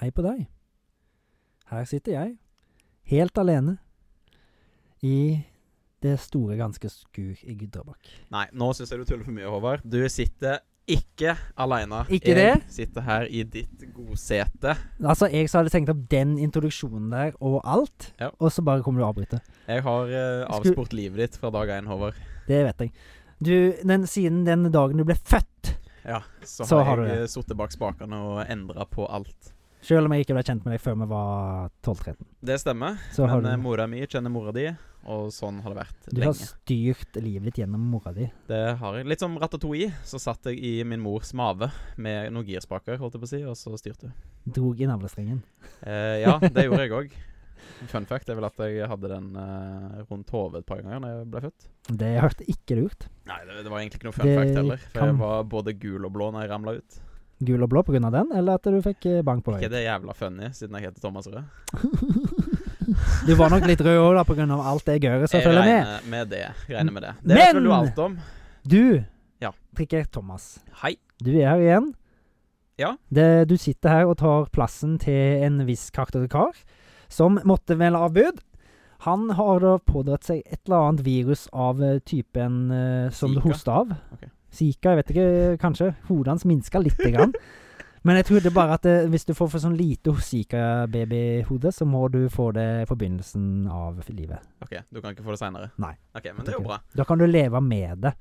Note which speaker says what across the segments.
Speaker 1: Hei på deg. Her sitter jeg, helt alene, i det store, ganske skur i Gudrabakk.
Speaker 2: Nei, nå syns jeg du tuller for mye, Håvard. Du sitter ikke aleine.
Speaker 1: Ikke
Speaker 2: jeg
Speaker 1: det?
Speaker 2: sitter her i ditt godsete.
Speaker 1: Altså, jeg som hadde tenkt opp den introduksjonen der og alt,
Speaker 2: Ja.
Speaker 1: og så bare kommer du og avbryter.
Speaker 2: Jeg har eh,
Speaker 1: Skulle-
Speaker 2: avsport livet ditt fra dag én, Håvard.
Speaker 1: Det vet jeg. Du, den, siden den dagen du ble født,
Speaker 2: Ja, så,
Speaker 1: Så har
Speaker 2: har
Speaker 1: du det.
Speaker 2: jeg sittet bak spakene og endra på alt.
Speaker 1: selv om jeg ikke ble kjent med deg før vi var 12-13,
Speaker 2: Det stemmer,
Speaker 1: så har
Speaker 2: men eh,
Speaker 1: du,
Speaker 2: mora mi kjenner mora di, og sånn har det vært
Speaker 1: du har
Speaker 2: lenge.
Speaker 1: styrt livet ditt gjennom mora di.
Speaker 2: Det har jeg. Litt som Ratatouille, så satt jeg i min mors mage med noen girspaker, holdt jeg på å si, og så styrte hun.
Speaker 1: Drog i navlestrengen.
Speaker 2: Eh, ja, det gjorde jeg òg. Fun fact er vel at jeg hadde den eh, rundt hodet et par ganger da jeg ble født.
Speaker 1: Det hørte ikke lurt.
Speaker 2: Nei, det, det var egentlig ikke noe fun
Speaker 1: Det
Speaker 2: fact heller. For
Speaker 1: kan-
Speaker 2: jeg var både gul og blå når jeg ramla ut.
Speaker 1: Gul og blå pga. den, eller at du fikk eh, bank på veien?
Speaker 2: Ikke det jævla funny, siden jeg heter Thomas Rød.
Speaker 1: Du var nok litt rød òg, da, pga. alt det gøret som
Speaker 2: Jeg
Speaker 1: følger med.
Speaker 2: regner med det. Regner med det. Det vet vel du
Speaker 1: Men-
Speaker 2: alt om.
Speaker 1: Du,
Speaker 2: Ja.
Speaker 1: prikker Thomas.
Speaker 2: Hei.
Speaker 1: Du er her igjen.
Speaker 2: Ja.
Speaker 1: Det, du sitter her og tar plassen til en viss karakterkar som måtte vel avbud. Han har da pådratt seg et eller annet virus av eh, typen eh, som du
Speaker 2: Zika?
Speaker 1: hoster av.
Speaker 2: Ok.
Speaker 1: Zika, jeg vet ikke, kanskje. Hodet hans minska lite grann. Men jeg trodde bare at eh, hvis du får for sånn lite Zika-babyhode, så må du få det i forbindelsen av livet.
Speaker 2: OK, du kan ikke få det seinere?
Speaker 1: Nei.
Speaker 2: Ok, Men det er jo bra.
Speaker 1: Da kan du leve med det.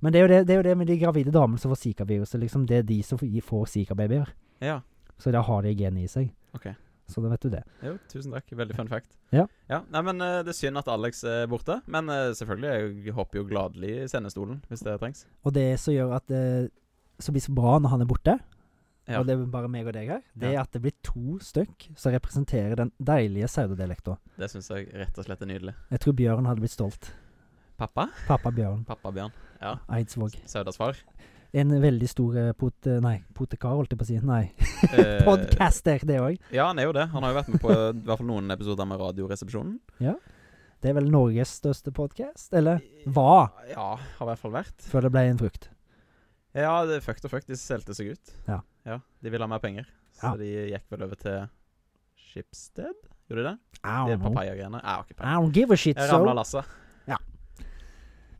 Speaker 1: Men det er jo det, det, er jo det med de gravide damene som får Zika-viruset. Liksom det er de som får- får Zika-babyer.
Speaker 2: Ja.
Speaker 1: Så da har de genet i seg.
Speaker 2: Ok.
Speaker 1: Så da vet du det.
Speaker 2: Jo, tusen takk. Veldig fun fact.
Speaker 1: Ja.
Speaker 2: Nei, men eh, Det er synd at Alex er borte, men eh, selvfølgelig, jeg hopper jo gladelig i sendestolen hvis det trengs.
Speaker 1: Og det som gjør at det som blir så bra når han er borte,
Speaker 2: Ja.
Speaker 1: og det er bare meg og deg her, det
Speaker 2: Ja.
Speaker 1: er at det blir to stykk som representerer den deilige saudialekta.
Speaker 2: Det syns jeg rett og slett er nydelig.
Speaker 1: Jeg tror Bjørn hadde blitt stolt.
Speaker 2: Pappa?
Speaker 1: Pappa Bjørn
Speaker 2: Pappa Bjørn. Ja.
Speaker 1: Eidsvåg.
Speaker 2: Saudas far.
Speaker 1: En veldig stor eh, pot... Nei, potekar, holdt jeg på å si. Nei,
Speaker 2: Eh,
Speaker 1: podcaster, det òg.
Speaker 2: Ja, han er jo det. Han har jo vært med på eh, i hvert fall noen episoder med Radioresepsjonen.
Speaker 1: Det er vel Norges største podkast? Eller hva?
Speaker 2: Ja, har i hvert fall vært.
Speaker 1: Før det ble en frukt.
Speaker 2: Ja, det er fucked og fucked. De solgte seg ut.
Speaker 1: Ja.
Speaker 2: De ville ha mer penger, så
Speaker 1: Ja.
Speaker 2: de gikk vel over til Schibsted? Gjorde de det?
Speaker 1: I
Speaker 2: De
Speaker 1: don't know.
Speaker 2: papaya-greiene? Ah, ok,
Speaker 1: I don't give a shit,
Speaker 2: jeg ramla
Speaker 1: so.
Speaker 2: lasset.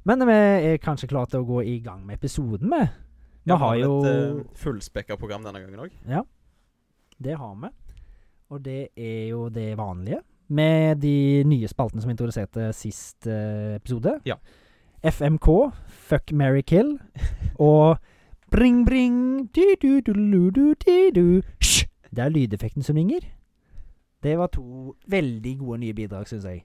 Speaker 1: Men vi er kanskje klare til å gå i gang med episoden, vi. Vi har jo
Speaker 2: et uh, fullspekka program denne gangen òg.
Speaker 1: Det har vi. Og det er jo det vanlige. Med de nye spaltene som vi introduserte sist eh, episode.
Speaker 2: Ja.
Speaker 1: FMK, Fuck Mary Kill, og Bring Bring di-du-du-lu-du-di-du. Hysj! Det er lydeffekten som ringer. Det var to veldig gode nye bidrag, syns jeg.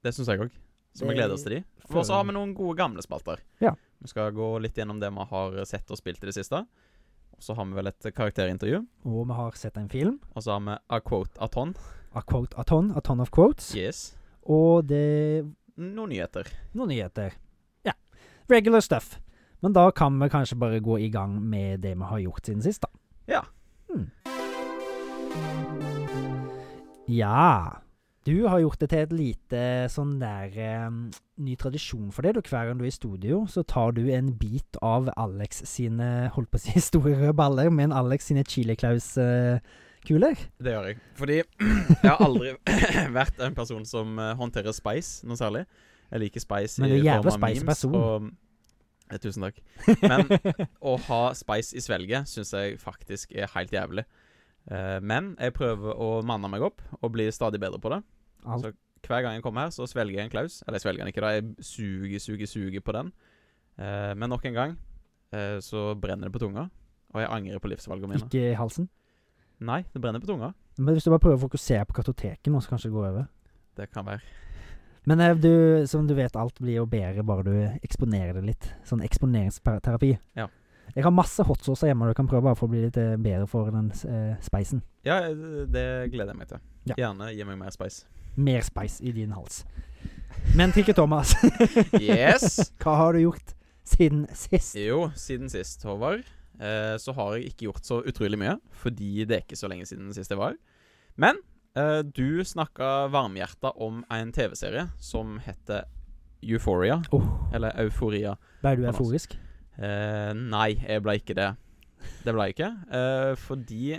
Speaker 2: Det syns jeg òg. Så vi
Speaker 1: Det-
Speaker 2: gleder oss til de. Og så har vi noen gode gamle spalter.
Speaker 1: Ja.
Speaker 2: Vi skal gå litt gjennom det vi har sett og spilt i det siste. Og så har vi vel et karakterintervju.
Speaker 1: Og vi har sett en film.
Speaker 2: Og så har vi A Quote Aton.
Speaker 1: A quote a ton, a ton of quotes.
Speaker 2: Yes.
Speaker 1: Og det
Speaker 2: Noen nyheter.
Speaker 1: Noen nyheter. Ja. Regular stuff. Men da kan vi kanskje bare gå i gang med det vi har gjort siden sist, da.
Speaker 2: Ja.
Speaker 1: Hmm. Ja. Du har gjort det til et lite sånn der eh, ny tradisjon for det. Du, hver gang du er i studio, så tar du en bit av Alex sine holdt på å si store røde baller, men Alex sine Chili Claus-kuler.
Speaker 2: Det gjør jeg. Fordi jeg har aldri vært en person som eh, håndterer spice noe særlig. Jeg liker spice
Speaker 1: Men du er
Speaker 2: i
Speaker 1: jævla
Speaker 2: form av
Speaker 1: spicy
Speaker 2: memes.
Speaker 1: person.
Speaker 2: Og, eh, tusen takk. Men å ha spice i svelget syns jeg faktisk er helt jævlig. Eh, men jeg prøver å manne meg opp og bli stadig bedre på det.
Speaker 1: Alt.
Speaker 2: Så hver gang jeg kommer her, så svelger jeg en klaus. Eller jeg svelger den ikke, da. Jeg suger, suger, suger på den. Eh, men nok en gang eh, så brenner det på tunga. Og jeg angrer på livsvalgene mine.
Speaker 1: Ikke i halsen.
Speaker 2: Nei, det brenner på tunga.
Speaker 1: Men hvis du bare prøver å fokusere på kartoteket nå, så kanskje det går over.
Speaker 2: Det kan være.
Speaker 1: Men eh, du, som du vet, alt blir jo bedre bare du eksponerer det litt. Sånn eksponeringsterapi.
Speaker 2: Ja.
Speaker 1: Jeg har masse hotsaucer hjemme, og du kan prøve bare for å bli litt eh, bedre for den eh, speisen.
Speaker 2: Ja, det gleder jeg meg til.
Speaker 1: Ja.
Speaker 2: Gjerne gi meg mer spice.
Speaker 1: Mer speis i din hals. Men Trikke Thomas,
Speaker 2: Yes!
Speaker 1: hva har du gjort siden sist?
Speaker 2: Jo, siden sist, Håvard, eh, så har jeg ikke gjort så utrolig mye. Fordi det er ikke så lenge siden sist jeg var. Men eh, du snakka varmhjerta om en TV-serie som heter Euphoria.
Speaker 1: Åh,
Speaker 2: Eller Euforia.
Speaker 1: Oh, ble du
Speaker 2: Thomas.
Speaker 1: euforisk?
Speaker 2: Eh, nei, jeg ble ikke det. Det ble jeg ikke. Eh, fordi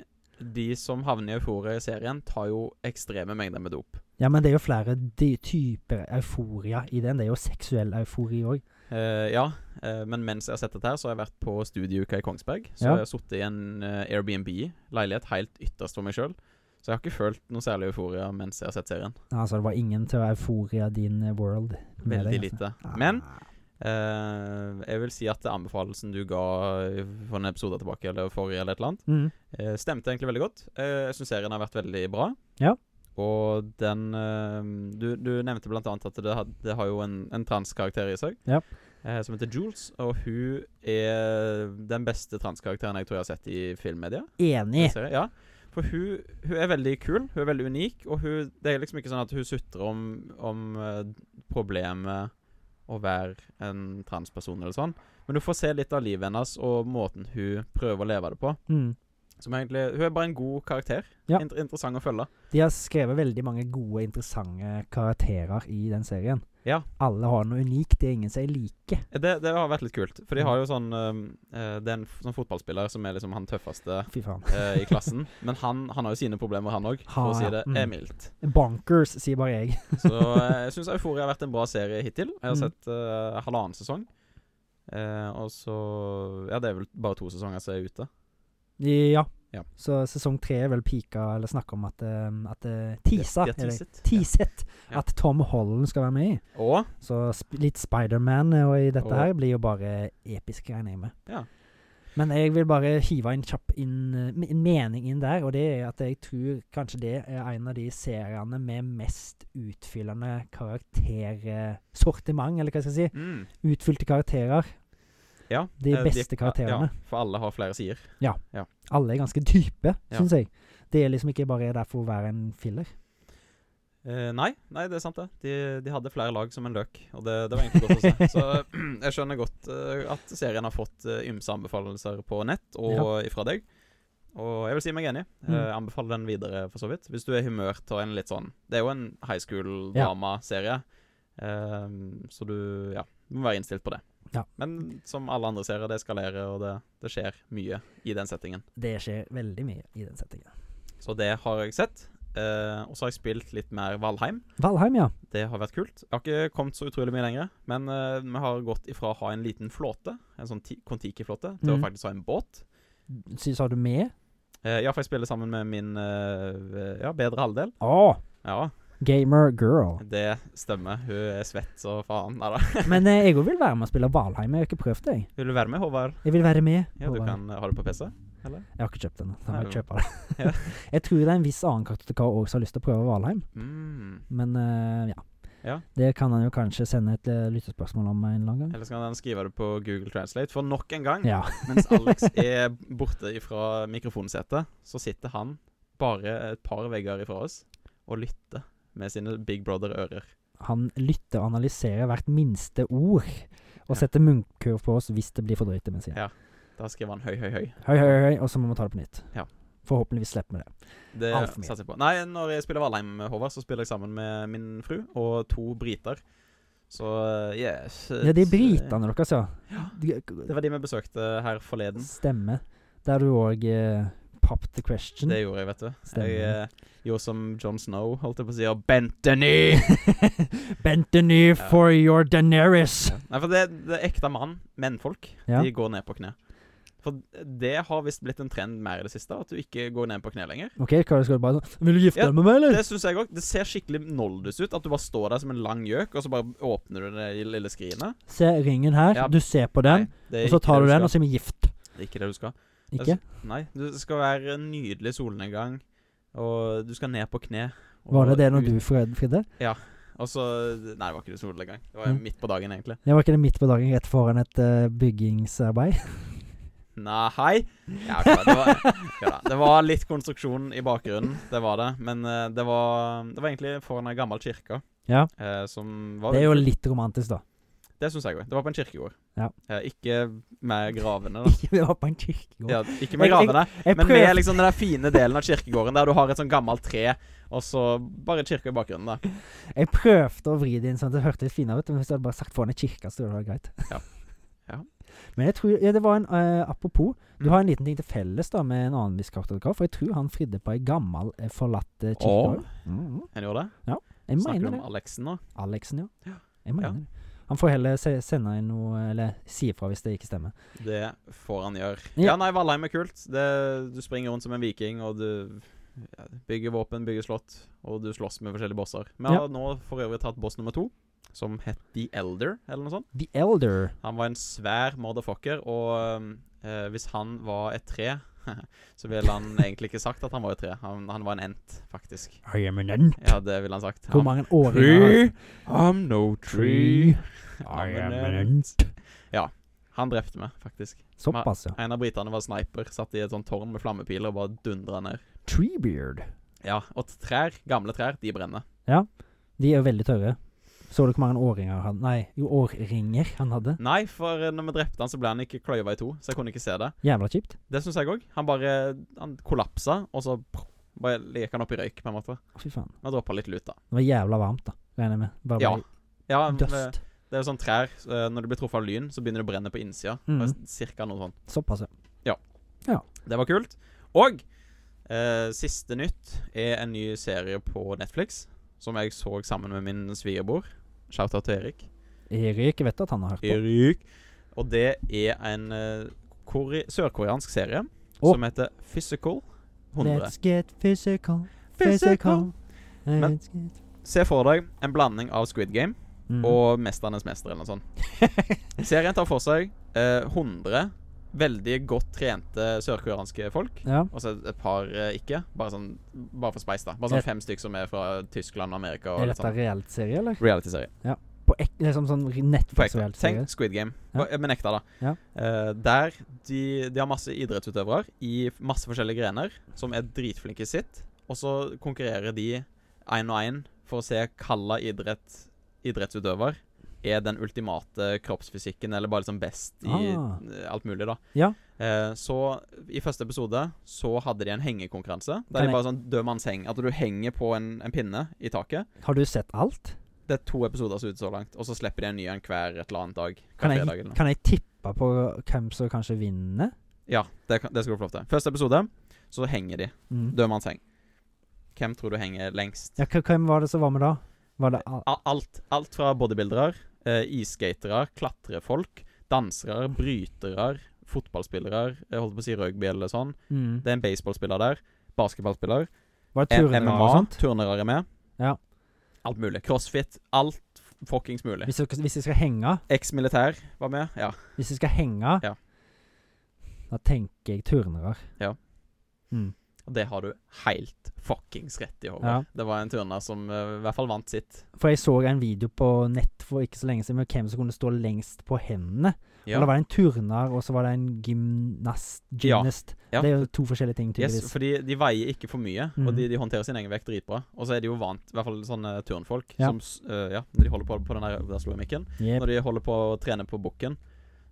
Speaker 2: de som havner i Euforia-serien, tar jo ekstreme mengder med dop.
Speaker 1: Ja, men det er jo flere de typer euforia i den. Det er jo seksuell eufori òg.
Speaker 2: Eh, ja, eh, men mens jeg har sett dette her, så har jeg vært på studieuka i Kongsberg. Så
Speaker 1: Ja.
Speaker 2: jeg har sittet i en eh, Airbnb-leilighet helt ytterst for meg sjøl. Så jeg har ikke følt noe særlig euforia mens jeg har sett serien.
Speaker 1: Altså, det var ingen til å euforia din eh, world. med
Speaker 2: Veldig
Speaker 1: deg, altså.
Speaker 2: lite. Men
Speaker 1: Ah.
Speaker 2: eh, jeg vil si at anbefalelsen du ga for en episode tilbake, eller forrige, eller et eller annet,
Speaker 1: mm.
Speaker 2: eh, stemte egentlig veldig godt. Eh, jeg syns serien har vært veldig bra.
Speaker 1: Ja.
Speaker 2: Og den eh, du, du nevnte blant annet at det, had, det har jo en, en transkarakter i seg.
Speaker 1: Ja.
Speaker 2: Eh, som heter Jules, og hun er den beste transkarakteren jeg tror jeg har sett i filmmedia.
Speaker 1: Enig.
Speaker 2: Jeg ser det, Ja. For hun, hun er veldig kul, hun er veldig unik, og hun, det er liksom ikke sånn at hun sutrer om, om eh, problemet å være en transperson eller sånn. Men du får se litt av livet hennes og måten hun prøver å leve det på.
Speaker 1: Mm.
Speaker 2: Som egentlig, hun er bare en god karakter.
Speaker 1: Ja.
Speaker 2: Inter interessant å følge.
Speaker 1: De har skrevet veldig mange gode, interessante karakterer i den serien.
Speaker 2: Ja.
Speaker 1: Alle har noe unikt. Det er ingen som er like.
Speaker 2: Eh, Det, det har vært litt kult, for
Speaker 1: Mhm.
Speaker 2: de har jo sånn eh, eh, Det er en f- sånn fotballspiller som er liksom han tøffeste
Speaker 1: Fy faen.
Speaker 2: eh, i klassen. Men han, han har jo sine problemer, han òg, for
Speaker 1: Ha,
Speaker 2: å si
Speaker 1: ja.
Speaker 2: det
Speaker 1: Mm.
Speaker 2: er mildt.
Speaker 1: Bonkers, sier bare jeg.
Speaker 2: Så eh, jeg syns Euforia har vært en bra serie hittil. Jeg har
Speaker 1: Mm.
Speaker 2: sett eh, halvannen sesong. Eh, og så Ja, det er vel bare to sesonger som er ute.
Speaker 1: Ja.
Speaker 2: Ja.
Speaker 1: Så sesong tre er vel pika, eller snakka om at, eh, at eh, Tisa,
Speaker 2: De- de har
Speaker 1: eller
Speaker 2: teaset.
Speaker 1: teaset,
Speaker 2: Ja.
Speaker 1: at Tom Holland skal være med i.
Speaker 2: Og
Speaker 1: Så sp litt Spiderman eh, og i dette
Speaker 2: Og-
Speaker 1: her blir jo bare episk, regner jeg med.
Speaker 2: Ja.
Speaker 1: Men jeg vil bare hive en kjapp inn, eh, me- en mening inn der, og det er at jeg tror kanskje det er en av de seriene med mest utfyllende karaktersortiment, eller hva skal jeg si.
Speaker 2: mm,
Speaker 1: Utfylte karakterer.
Speaker 2: ja,
Speaker 1: De
Speaker 2: eh,
Speaker 1: beste
Speaker 2: Ja,
Speaker 1: karakterene.
Speaker 2: for alle har flere sider.
Speaker 1: Alle er ganske dype,
Speaker 2: Ja.
Speaker 1: syns jeg. Det er liksom ikke bare der for å være en filler.
Speaker 2: Eh, nei, nei, det er sant, det. De, de hadde flere lag som en løk, og det, det var egentlig godt å se. Så jeg skjønner godt eh, at serien har fått eh, ymse anbefalelser på nett og ifra deg. Og jeg vil si meg enig. Eh,
Speaker 1: Mm.
Speaker 2: anbefaler den videre, for så vidt. Hvis du er i humør til en litt sånn Det er jo en high school-drama-serie, eh, så du Ja. Du må være innstilt på det.
Speaker 1: Ja.
Speaker 2: Men som alle andre serier, det eskalerer, og det, det skjer mye i den settingen.
Speaker 1: Det skjer veldig mye i den settingen.
Speaker 2: Så det har jeg sett. Eh, og så har jeg spilt litt mer Valheim.
Speaker 1: Valheim, ja.
Speaker 2: Det har vært kult. Jeg har ikke kommet så utrolig mye lenger. Men eh, vi har gått ifra å ha en liten flåte, en sånn ti- Kon-Tiki-flåte, til
Speaker 1: Mhm.
Speaker 2: å faktisk ha en båt.
Speaker 1: Sy- Sa du med?
Speaker 2: Eh, ja, for jeg spiller sammen med min eh, ja, bedre halvdel.
Speaker 1: Å!
Speaker 2: Ja,
Speaker 1: gamer girl.
Speaker 2: det stemmer. Hun er svett så faen. Nei da.
Speaker 1: Men eh, jeg òg vil være med og spille Valheim. Jeg har ikke prøvd det. jeg.
Speaker 2: Vil du være med, Håvard?
Speaker 1: Jeg vil være med.
Speaker 2: Ja, du
Speaker 1: Håvard.
Speaker 2: kan ha det på PC.
Speaker 1: Jeg har ikke kjøpt den. Da må jeg
Speaker 2: Nei,
Speaker 1: kjøpe det.
Speaker 2: Ja.
Speaker 1: jeg tror det er en viss annen karakter også som har lyst til å prøve Valheim,
Speaker 2: Mm.
Speaker 1: men eh, ja.
Speaker 2: Ja.
Speaker 1: Det kan han jo kanskje sende et eh, lyttespørsmål om en eller annen gang.
Speaker 2: Eller så kan han skrive det på Google Translate. For nok en gang,
Speaker 1: Ja.
Speaker 2: mens Alex er borte fra mikrofonsetet, så sitter han bare et par vegger ifra oss og lytter med sine Big Brother-ører.
Speaker 1: Han lytter og analyserer hvert minste ord, og
Speaker 2: Ja.
Speaker 1: setter munnkurv på oss hvis det blir for drøyt. det vi sier.
Speaker 2: Ja. Da skriver han høy, høy, høy.
Speaker 1: Høy, høy, høy, og så må vi ta det på nytt.
Speaker 2: Ja.
Speaker 1: Forhåpentligvis slipper vi det.
Speaker 2: Det
Speaker 1: Alt for mye.
Speaker 2: satser jeg på. Nei, når jeg spiller Valheim, Håvard, så spiller jeg sammen med min fru og to briter. Så eh, yes
Speaker 1: Ja, de britene dere, altså.
Speaker 2: Det var de vi besøkte her forleden.
Speaker 1: Stemme. Der du òg eh, popped the question.
Speaker 2: Det gjorde jeg, vet du.
Speaker 1: Stemmer.
Speaker 2: Jeg eh, gjorde som John Snow, holdt jeg på å si, og Bentony!
Speaker 1: Bent the knee for your Daenerys.
Speaker 2: Nei, for det, det er ekte mann, mennfolk,
Speaker 1: Ja.
Speaker 2: de går ned på kne. For det har visst blitt en trend mer i det siste, at du ikke går ned på kne lenger.
Speaker 1: Ok, hva skal du bare sånn Vil du gifte
Speaker 2: Ja,
Speaker 1: deg med meg, eller?
Speaker 2: Det synes jeg også. Det ser skikkelig noldus ut, at du bare står der som en lang gjøk, og så bare åpner du det i lille skrinet.
Speaker 1: Se ringen her,
Speaker 2: Ja.
Speaker 1: du ser på den, og så tar du den, og så er vi gift.
Speaker 2: Det er ikke det du skal.
Speaker 1: Ikke?
Speaker 2: Nei, du det skal være en nydelig solnedgang, og du skal ned på kne. og
Speaker 1: Var det det når
Speaker 2: ut-
Speaker 1: du fred- fridde?
Speaker 2: Og så Nei, det var ikke det solnedgang. Det var
Speaker 1: Mm.
Speaker 2: midt på dagen, egentlig.
Speaker 1: Det var ikke det midt på dagen rett foran et eh, byggingsarbeid?
Speaker 2: Nei, hei. Ja, klar, det, var, ja, da, det var litt konstruksjon i bakgrunnen, det var det. Men eh, det, var, det var egentlig foran ei gammel kirke.
Speaker 1: Ja.
Speaker 2: eh, som var
Speaker 1: Det er jo litt romantisk, da.
Speaker 2: Det syns jeg òg. Det var på en kirkegård.
Speaker 1: Ja.
Speaker 2: Eh, ikke med gravene, da.
Speaker 1: Ikke ved å hoppe en kirkegård.
Speaker 2: Ja, ikke med
Speaker 1: Jeg- jeg-
Speaker 2: gravene,
Speaker 1: Jeg
Speaker 2: men med
Speaker 1: prøvde-
Speaker 2: liksom den der fine delen av kirkegården der du har et sånn gammelt tre, og så bare kirke i bakgrunnen, da.
Speaker 1: Jeg prøvde å vri det inn sånn at det hørtes litt finere ut, men hvis du hadde bare sagt foran en kirke, så hadde det vært greit.
Speaker 2: Ja.
Speaker 1: Men jeg tror, ja, det var en eh, Apropos, du
Speaker 2: Mm.
Speaker 1: har en liten ting til felles da med en annen viss karaktergraf. For jeg tror han fridde på ei gammel, eh, forlatt eh, kirke.
Speaker 2: Å.
Speaker 1: også. Mm, mm.
Speaker 2: Han gjorde det?
Speaker 1: Jeg
Speaker 2: Snakker
Speaker 1: mener
Speaker 2: du
Speaker 1: det.
Speaker 2: om Alexen nå?
Speaker 1: Alexen,
Speaker 2: Ja.
Speaker 1: ja. Jeg mener
Speaker 2: Ja.
Speaker 1: det. Han får heller se, sende inn noe, eller si ifra hvis det ikke stemmer.
Speaker 2: Det får han gjøre.
Speaker 1: Ja.
Speaker 2: Ja, nei, Valheim er kult. Det, du springer rundt som en viking, og du ja, bygger våpen, bygger slott, og du slåss med forskjellige bosser. Vi har
Speaker 1: Ja.
Speaker 2: nå for øvrig tatt boss nummer to, som het The Elder, eller noe sånt.
Speaker 1: The Elder.
Speaker 2: Han var en svær motherfucker, og eh, hvis han var et tre, så ville han egentlig ikke sagt at han var et tre. Han, han var en ent, faktisk.
Speaker 1: I am an end.
Speaker 2: Ja, det ville han sagt.
Speaker 1: Hvor
Speaker 2: Han,
Speaker 1: mange årringer
Speaker 2: I'm no
Speaker 1: tree.
Speaker 2: I'm
Speaker 1: I
Speaker 2: an
Speaker 1: am an
Speaker 2: ant.
Speaker 1: end.
Speaker 2: han drepte meg, faktisk.
Speaker 1: Såpass, ja.
Speaker 2: En av britene var sniper, satt i et sånt tårn med flammepiler og bare dundra ned.
Speaker 1: Treebeard.
Speaker 2: Ja, og trær, gamle trær, de brenner.
Speaker 1: De er jo veldig tørre. Så du hvor mange årringer han Nei, jo, årringer han hadde?
Speaker 2: Nei, for eh, når vi drepte han, så ble han ikke kløyva i to, så jeg kunne ikke se det.
Speaker 1: Jævla kjipt.
Speaker 2: Det syns jeg òg. Han bare han kollapsa, og så bare gikk han opp i røyk, på en måte.
Speaker 1: Å, Fy faen.
Speaker 2: Vi droppa litt lut, da.
Speaker 1: Det var jævla varmt, da. Regner jeg med. Bare
Speaker 2: Ja,
Speaker 1: ble
Speaker 2: Ja, men, eh,
Speaker 1: dust.
Speaker 2: det er jo sånn trær eh, Når du blir truffet av lyn, så begynner det å brenne på innsida.
Speaker 1: Mhm.
Speaker 2: Og Cirka noe sånn.
Speaker 1: Såpass, ja.
Speaker 2: Det var kult. Og eh, siste nytt er en ny serie på Netflix som jeg så sammen med min svigerbror. Shout-out til Erik.
Speaker 1: Erik jeg vet at han har hørt på.
Speaker 2: Erik. Og det er en eh, kore sørkoreansk serie
Speaker 1: Å.
Speaker 2: som heter Physical 100.
Speaker 1: Let's get physical,
Speaker 2: Physical.
Speaker 1: physical.
Speaker 2: Men-
Speaker 1: Let's get-
Speaker 2: Se for deg en blanding av Squid Game
Speaker 1: Mm.
Speaker 2: og Mesternes mester, eller noe sånt. Serien tar for seg eh, 100 veldig godt trente sørkoreanske folk.
Speaker 1: Ja.
Speaker 2: Og så et par eh, ikke. Bare sånn Bare for spice, da. Bare sånn
Speaker 1: Er-
Speaker 2: fem stykk som er fra Tyskland og
Speaker 1: Er
Speaker 2: Amerika. Og litt
Speaker 1: dette
Speaker 2: sånn
Speaker 1: reelt serie, eller?
Speaker 2: Reality-serie.
Speaker 1: På ek liksom sånn
Speaker 2: På ekte.
Speaker 1: Netflix-reelt serie?
Speaker 2: Tenk Squid Game.
Speaker 1: Ja.
Speaker 2: På- Men ekte, da.
Speaker 1: Ja.
Speaker 2: Eh, der de, de har masse idrettsutøvere i masse forskjellige grener som er dritflinke i sitt, og så konkurrerer de én og én for å se hvilken idrett idrettsutøver er den ultimate kroppsfysikken, eller bare liksom best i
Speaker 1: Ah.
Speaker 2: eh, alt mulig, da.
Speaker 1: Ja.
Speaker 2: Eh, så i første episode så hadde de en hengekonkurranse.
Speaker 1: Kan
Speaker 2: Der
Speaker 1: jeg-
Speaker 2: de bare sånn død manns heng. At du henger på en, en pinne i taket.
Speaker 1: Har du sett alt?
Speaker 2: Det er to episoder som er ute så langt, og så slipper de en ny en hver et eller annet dag. Hver
Speaker 1: Kan
Speaker 2: fredag
Speaker 1: jeg,
Speaker 2: eller noe.
Speaker 1: kan jeg tippe på hvem som kanskje vinner?
Speaker 2: Ja, det, kan- det skal du få lov til. Første episode, så henger de.
Speaker 1: Mm.
Speaker 2: Dødmanns heng. Hvem tror du henger lengst?
Speaker 1: Ja, hva- hvem var det som var med da? Var det al
Speaker 2: A- Alt, alt fra bodybuildere, eh, isskatere, klatrefolk, dansere, brytere, fotballspillere Jeg holdt på å si rugby eller sånn.
Speaker 1: mm.
Speaker 2: Det er en baseballspiller der. Basketballspiller.
Speaker 1: Var det
Speaker 2: M-
Speaker 1: turnere og
Speaker 2: MMA.
Speaker 1: sånt?
Speaker 2: Turnere er med.
Speaker 1: Ja.
Speaker 2: Alt mulig. Crossfit. Alt f- fuckings mulig.
Speaker 1: Hvis jeg, hvis jeg skal henge
Speaker 2: Eks-militær var med. Ja.
Speaker 1: Hvis jeg skal henge
Speaker 2: Ja.
Speaker 1: Da tenker jeg turnere.
Speaker 2: Ja.
Speaker 1: Mm.
Speaker 2: Og det har du helt fuckings rett i, Håvard.
Speaker 1: Ja.
Speaker 2: Det var en turner som eh, i hvert fall vant sitt.
Speaker 1: For jeg så en video på nett for ikke så lenge siden med hvem som kunne stå lengst på hendene.
Speaker 2: Ja.
Speaker 1: Og da var det en turner, og så var det en gymnast.
Speaker 2: Ja.
Speaker 1: gymnast.
Speaker 2: Ja.
Speaker 1: Det er jo to forskjellige ting, tydeligvis.
Speaker 2: Yes, fordi de veier ikke for mye, og
Speaker 1: Mhm.
Speaker 2: de, de håndterer sin egen vekt dritbra. Og så er de jo vant, i hvert fall sånne turnfolk,
Speaker 1: Ja.
Speaker 2: som s- øh, ja, når de holder på på den der, der slo jeg mikken.
Speaker 1: Jep.
Speaker 2: Når de holder på å trene på bukken,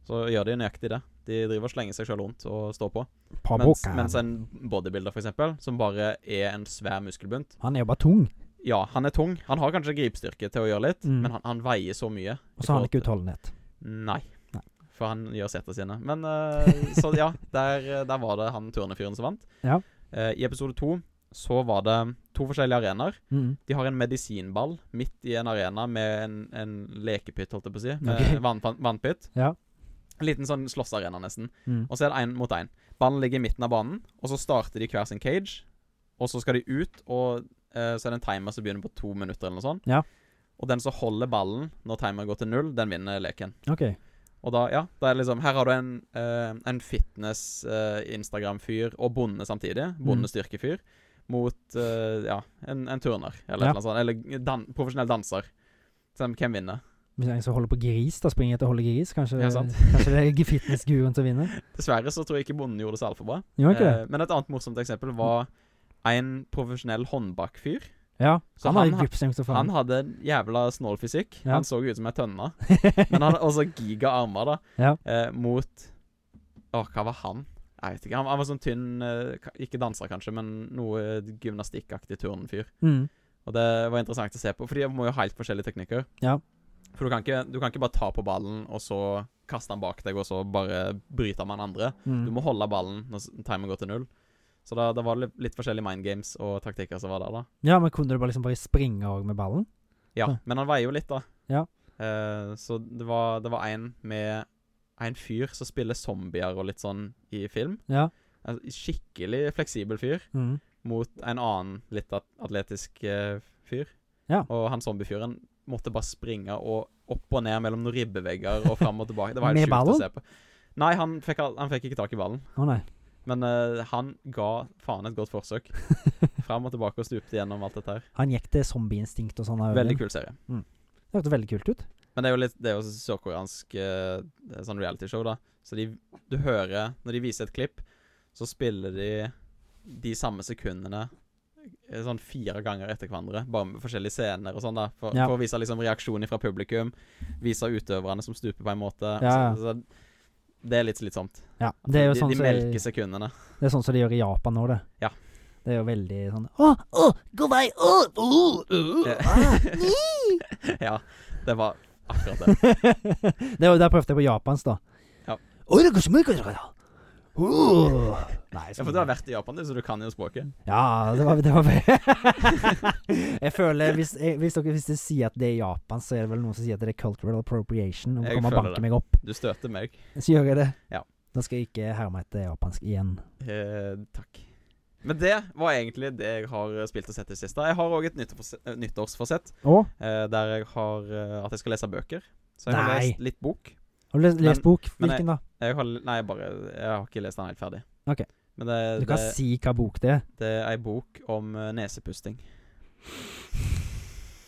Speaker 2: så gjør de nøyaktig det. De driver og slenger seg sjøl rundt og står på.
Speaker 1: På
Speaker 2: Mens,
Speaker 1: boka.
Speaker 2: mens en bodybuilder, for eksempel, som bare er en svær muskelbunt
Speaker 1: Han er jo bare tung,
Speaker 2: Ja, han er tung. Han har kanskje gripstyrke til å gjøre litt,
Speaker 1: Mhm.
Speaker 2: men han, han veier så mye.
Speaker 1: og så har han
Speaker 2: i forhold
Speaker 1: ikke utholdenhet.
Speaker 2: til- Nei.
Speaker 1: Nei.
Speaker 2: For han gjør seter sine. Men eh, Så ja, der, eh, der var det han turnefyren som vant.
Speaker 1: Ja.
Speaker 2: Eh, I episode to så var det to forskjellige arenaer.
Speaker 1: Mm.
Speaker 2: De har en medisinball midt i en arena med en, en lekepytt, holdt jeg på å si. Med
Speaker 1: Ok.
Speaker 2: vann, vann- vannpytt.
Speaker 1: Ja.
Speaker 2: En liten sånn slåssarena, nesten.
Speaker 1: Mm.
Speaker 2: Og så er det én mot én. Ballen ligger i midten av banen, og så starter de hver sin cage. Og så skal de ut, og eh, så er det en timer som begynner på to minutter, eller noe sånt.
Speaker 1: Ja.
Speaker 2: Og den som holder ballen når timeren går til null, den vinner leken.
Speaker 1: OK.
Speaker 2: Og da, ja, da er det liksom Her har du en, eh, en fitness-Instagram-fyr og bonde samtidig.
Speaker 1: Mm.
Speaker 2: Bondestyrkefyr. Mot eh, ja, en, en turner eller
Speaker 1: Ja.
Speaker 2: et eller annet sånt. Eller dan profesjonell danser. Som, hvem vinner?
Speaker 1: Hvis en som holder på gris, da springer etter å holde gris. Kanskje,
Speaker 2: Ja, sant.
Speaker 1: kanskje det er fitnessguruen som vinner.
Speaker 2: Dessverre så tror jeg ikke bonden gjorde det så altfor bra.
Speaker 1: Gjør han ikke det?
Speaker 2: Eh, men et annet morsomt eksempel var en profesjonell håndbakfyr.
Speaker 1: Ja.
Speaker 2: så
Speaker 1: Han har
Speaker 2: han
Speaker 1: jo
Speaker 2: ha-
Speaker 1: gripseng som
Speaker 2: Han
Speaker 1: faen.
Speaker 2: hadde en jævla snål fysikk.
Speaker 1: Ja.
Speaker 2: Han så jo ut som ei tønne. Men han hadde også giga armer, da.
Speaker 1: Ja.
Speaker 2: Eh, mot Å, hva var han? Jeg vet ikke. Han, han var sånn tynn eh, ka- Ikke danser, kanskje, men noe gymnastikkaktig turnfyr.
Speaker 1: Mm.
Speaker 2: Og det var interessant å se på, for de må jo ha helt forskjellige teknikker.
Speaker 1: Ja.
Speaker 2: For du kan, ikke, du kan ikke bare ta på ballen og så kaste den bak deg, og så bare bryte med den andre.
Speaker 1: Mm.
Speaker 2: Du må holde ballen når s- timen går til null. Så da, da var det litt- litt forskjellige mind games og taktikker som var der, da.
Speaker 1: Ja, men kunne du bare liksom bare springe òg med ballen?
Speaker 2: Ja,
Speaker 1: Ja.
Speaker 2: men han veier jo litt, da.
Speaker 1: Ja.
Speaker 2: Eh, så det var, det var en med en fyr som spiller zombier og litt sånn i film.
Speaker 1: Ja.
Speaker 2: En skikkelig fleksibel fyr
Speaker 1: Mm.
Speaker 2: mot en annen litt at- atletisk eh, fyr.
Speaker 1: Ja.
Speaker 2: Og han zombiefyren måtte bare springe og opp og ned mellom noen ribbevegger og fram og tilbake. Det var
Speaker 1: Med
Speaker 2: helt sjukt
Speaker 1: ballen?
Speaker 2: å se på. Nei, han fikk, al- han fikk ikke tak i ballen.
Speaker 1: Å nei.
Speaker 2: Men eh, han ga faen et godt forsøk. Fram og tilbake og stupte gjennom alt dette her.
Speaker 1: Han gikk til zombieinstinkt og sånn. da,
Speaker 2: Veldig
Speaker 1: Øyvind.
Speaker 2: kul serie.
Speaker 1: Det hørtes veldig kult ut.
Speaker 2: Men det er jo litt Det er jo sørkoreansk eh, det er sånn realityshow, da. Så de, du hører Når de viser et klipp, så spiller de de samme sekundene eh, sånn fire ganger etter hverandre, bare med forskjellige scener og sånn, da. For,
Speaker 1: Ja.
Speaker 2: for å vise liksom reaksjonen fra publikum. Vise utøverne som stuper på en måte.
Speaker 1: Ja, ja.
Speaker 2: Så, så, det er litt slitsomt.
Speaker 1: Ja, det er jo
Speaker 2: de,
Speaker 1: sånn
Speaker 2: de
Speaker 1: som
Speaker 2: melker
Speaker 1: jeg-
Speaker 2: sekundene.
Speaker 1: Det er sånn som de gjør i Japan nå, det.
Speaker 2: Ja.
Speaker 1: Det er jo veldig sånn Å, å, gå vei! Å, å, å,
Speaker 2: Ja.
Speaker 1: ah,
Speaker 2: ja. Det var akkurat det.
Speaker 1: ni!» Det var jo der prøvde jeg på japansk, da.
Speaker 2: Ja.
Speaker 1: «Oi, det går så mye, går så mye, ja. Åh. Nei,
Speaker 2: Ja, for du har vært i Japan, du, så du kan jo språket.
Speaker 1: Ja, det var, det var Jeg føler hvis, jeg, hvis, dere, hvis dere sier at det er Japan, så er det vel noen som sier at det er cultural appropriation. Og
Speaker 2: Jeg
Speaker 1: kommer og
Speaker 2: føler
Speaker 1: banker
Speaker 2: det.
Speaker 1: meg opp.
Speaker 2: Du støter meg.
Speaker 1: Så gjør jeg det.
Speaker 2: Ja.
Speaker 1: Da skal jeg ikke herme etter japansk igjen.
Speaker 2: Eh, takk. Men det var egentlig det jeg har eh, spilt og sett i det siste. Jeg har òg et nyttårsforse- eh, nyttårsforsett
Speaker 1: Å,
Speaker 2: eh, der jeg har eh, at jeg skal lese bøker. Så jeg har
Speaker 1: Nei.
Speaker 2: lest litt bok.
Speaker 1: har du lest, lest
Speaker 2: Men-
Speaker 1: bok?
Speaker 2: men jeg-
Speaker 1: Hvilken, da?
Speaker 2: Jeg har, nei, jeg bare, jeg har ikke lest den helt ferdig.
Speaker 1: Ok.
Speaker 2: Men det,
Speaker 1: Du
Speaker 2: det,
Speaker 1: kan si hva bok det er.
Speaker 2: det er ei bok om eh, nesepusting.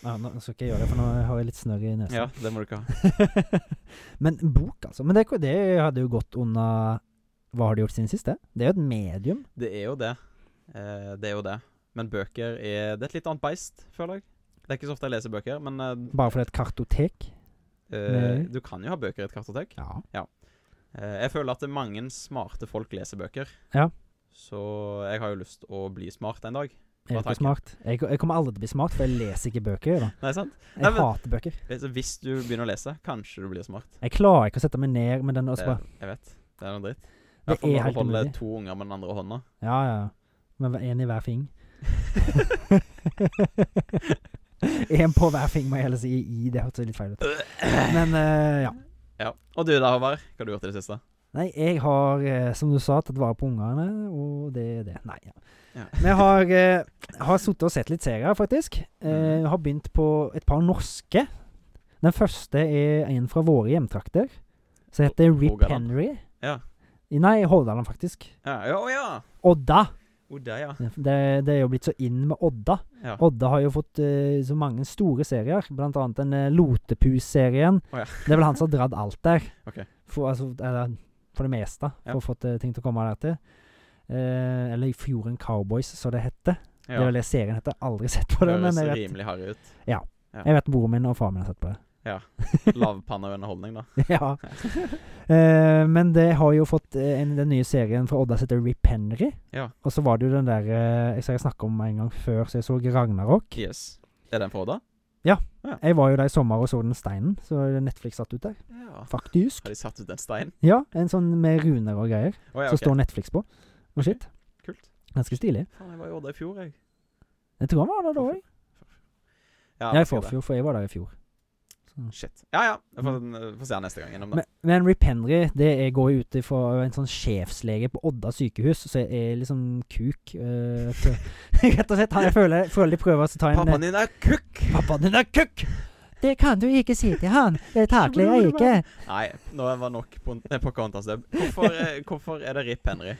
Speaker 1: Ja, nå skal ikke jeg gjøre det, for nå har jeg litt snørr i nesen.
Speaker 2: Ja, det må du ikke ha.
Speaker 1: Men bok, altså. Men det, det hadde jo gått unna Hva har du gjort siden sist? det? Det er jo et medium.
Speaker 2: Det er jo det. Eh, det er jo det. Men bøker er Det er et litt annet beist, føler jeg. Det er ikke så ofte jeg leser bøker, men eh,
Speaker 1: Bare fordi det er et kartotek.
Speaker 2: eh,
Speaker 1: Nei.
Speaker 2: du kan jo ha bøker i et kartotek.
Speaker 1: Ja.
Speaker 2: Eh, Jeg føler at det er mange smarte folk leser bøker.
Speaker 1: Ja.
Speaker 2: Så jeg har jo lyst å bli smart en dag.
Speaker 1: Jeg er
Speaker 2: Hva
Speaker 1: ikke
Speaker 2: tenker
Speaker 1: smart. Jeg, jeg kommer aldri til å bli smart, for jeg leser ikke bøker. Da.
Speaker 2: Nei, sant?
Speaker 1: Jeg
Speaker 2: Nei, men-
Speaker 1: hater bøker.
Speaker 2: Så Hvis du begynner å lese, kanskje du blir smart.
Speaker 1: Jeg klarer ikke å sette meg ned med den og
Speaker 2: Det,
Speaker 1: så bare
Speaker 2: jeg vet. Det er noe dritt. I
Speaker 1: Det
Speaker 2: hvert
Speaker 1: er
Speaker 2: fall når
Speaker 1: helt
Speaker 2: du holder
Speaker 1: umulig.
Speaker 2: to unger med den andre hånda.
Speaker 1: Ja, ja. Med hver- en i hver fing. En på hver fing, må jeg heller si. I, det hørtes litt feil ut. Men eh, ja.
Speaker 2: Ja. Og du da, Håvard? Hva har du gjort i det siste?
Speaker 1: Nei, jeg har, eh, som du sa, tatt vare på ungene, og det er det. Nei, ja.
Speaker 2: Ja.
Speaker 1: Men jeg har, eh, har sittet og sett litt serier, faktisk. Eh,
Speaker 2: Mm.
Speaker 1: har begynt på et par norske. Den første er en fra våre hjemtrakter, som heter Rip
Speaker 2: Rogaland.
Speaker 1: Henry.
Speaker 2: Ja.
Speaker 1: I- Nei, Hordaland, faktisk.
Speaker 2: Ja, ja, Å ja!
Speaker 1: Odda!
Speaker 2: Oda, ja.
Speaker 1: Det, det er jo blitt så inn med Odda.
Speaker 2: ja.
Speaker 1: Odda har jo fått eh, så mange store serier, blant annet den eh, Lotepus-serien.
Speaker 2: Å ja.
Speaker 1: Det er vel han som har dratt alt der.
Speaker 2: Ok.
Speaker 1: For, altså, eller, for det meste,
Speaker 2: Ja.
Speaker 1: for å få til- ting til å komme der til. Eh, eller Fjorden Cowboys, som det heter. Det er
Speaker 2: ja.
Speaker 1: vel det serien heter. Aldri sett på det, men
Speaker 2: Høres
Speaker 1: jeg vet,
Speaker 2: rimelig harry ut. ja.
Speaker 1: jeg vet broren min og faren min har sett på det.
Speaker 2: Lavpanna underholdning, da.
Speaker 1: ja. Eh, men det har jo fått eh, en, den nye serien fra Odda som heter Rip Henry.
Speaker 2: Ja.
Speaker 1: Og så var det jo den der eh, Jeg skal snakke om en gang før, så jeg så Ragnarok.
Speaker 2: Yes. Er den for Odda?
Speaker 1: Jeg var jo der i sommer og så den steinen, så Netflix satt ut der.
Speaker 2: Ja.
Speaker 1: Faktisk.
Speaker 2: Har de satt ut en stein?
Speaker 1: Ja, en sånn med runer og greier.
Speaker 2: Å ja,
Speaker 1: Som
Speaker 2: OK.
Speaker 1: står Netflix på. Og shit.
Speaker 2: Kult.
Speaker 1: Ganske stilig.
Speaker 2: Faen, jeg var i Odda i fjor, jeg.
Speaker 1: Jeg tror han var der da òg.
Speaker 2: Ja,
Speaker 1: Ja, i
Speaker 2: husker det.
Speaker 1: forfjor, for jeg var der i fjor. Så.
Speaker 2: Shit. Ja, ja. Jeg får, får se den neste gang gjennom det.
Speaker 1: Men, men Rip Henry det er, går jo ut ifra en sånn sjefslege på Odda sykehus, så jeg er liksom kuk. eh, så- rett og slett. Han, jeg føler, føler de prøver å ta en
Speaker 2: Pappaen din er kukk!
Speaker 1: Pappaen din er kukk! Det kan du ikke si til han. Det takler jeg ikke.
Speaker 2: Nei, nå var nok på Pocahontas-dub. Hvorfor, eh, hvorfor er det Rip Henry?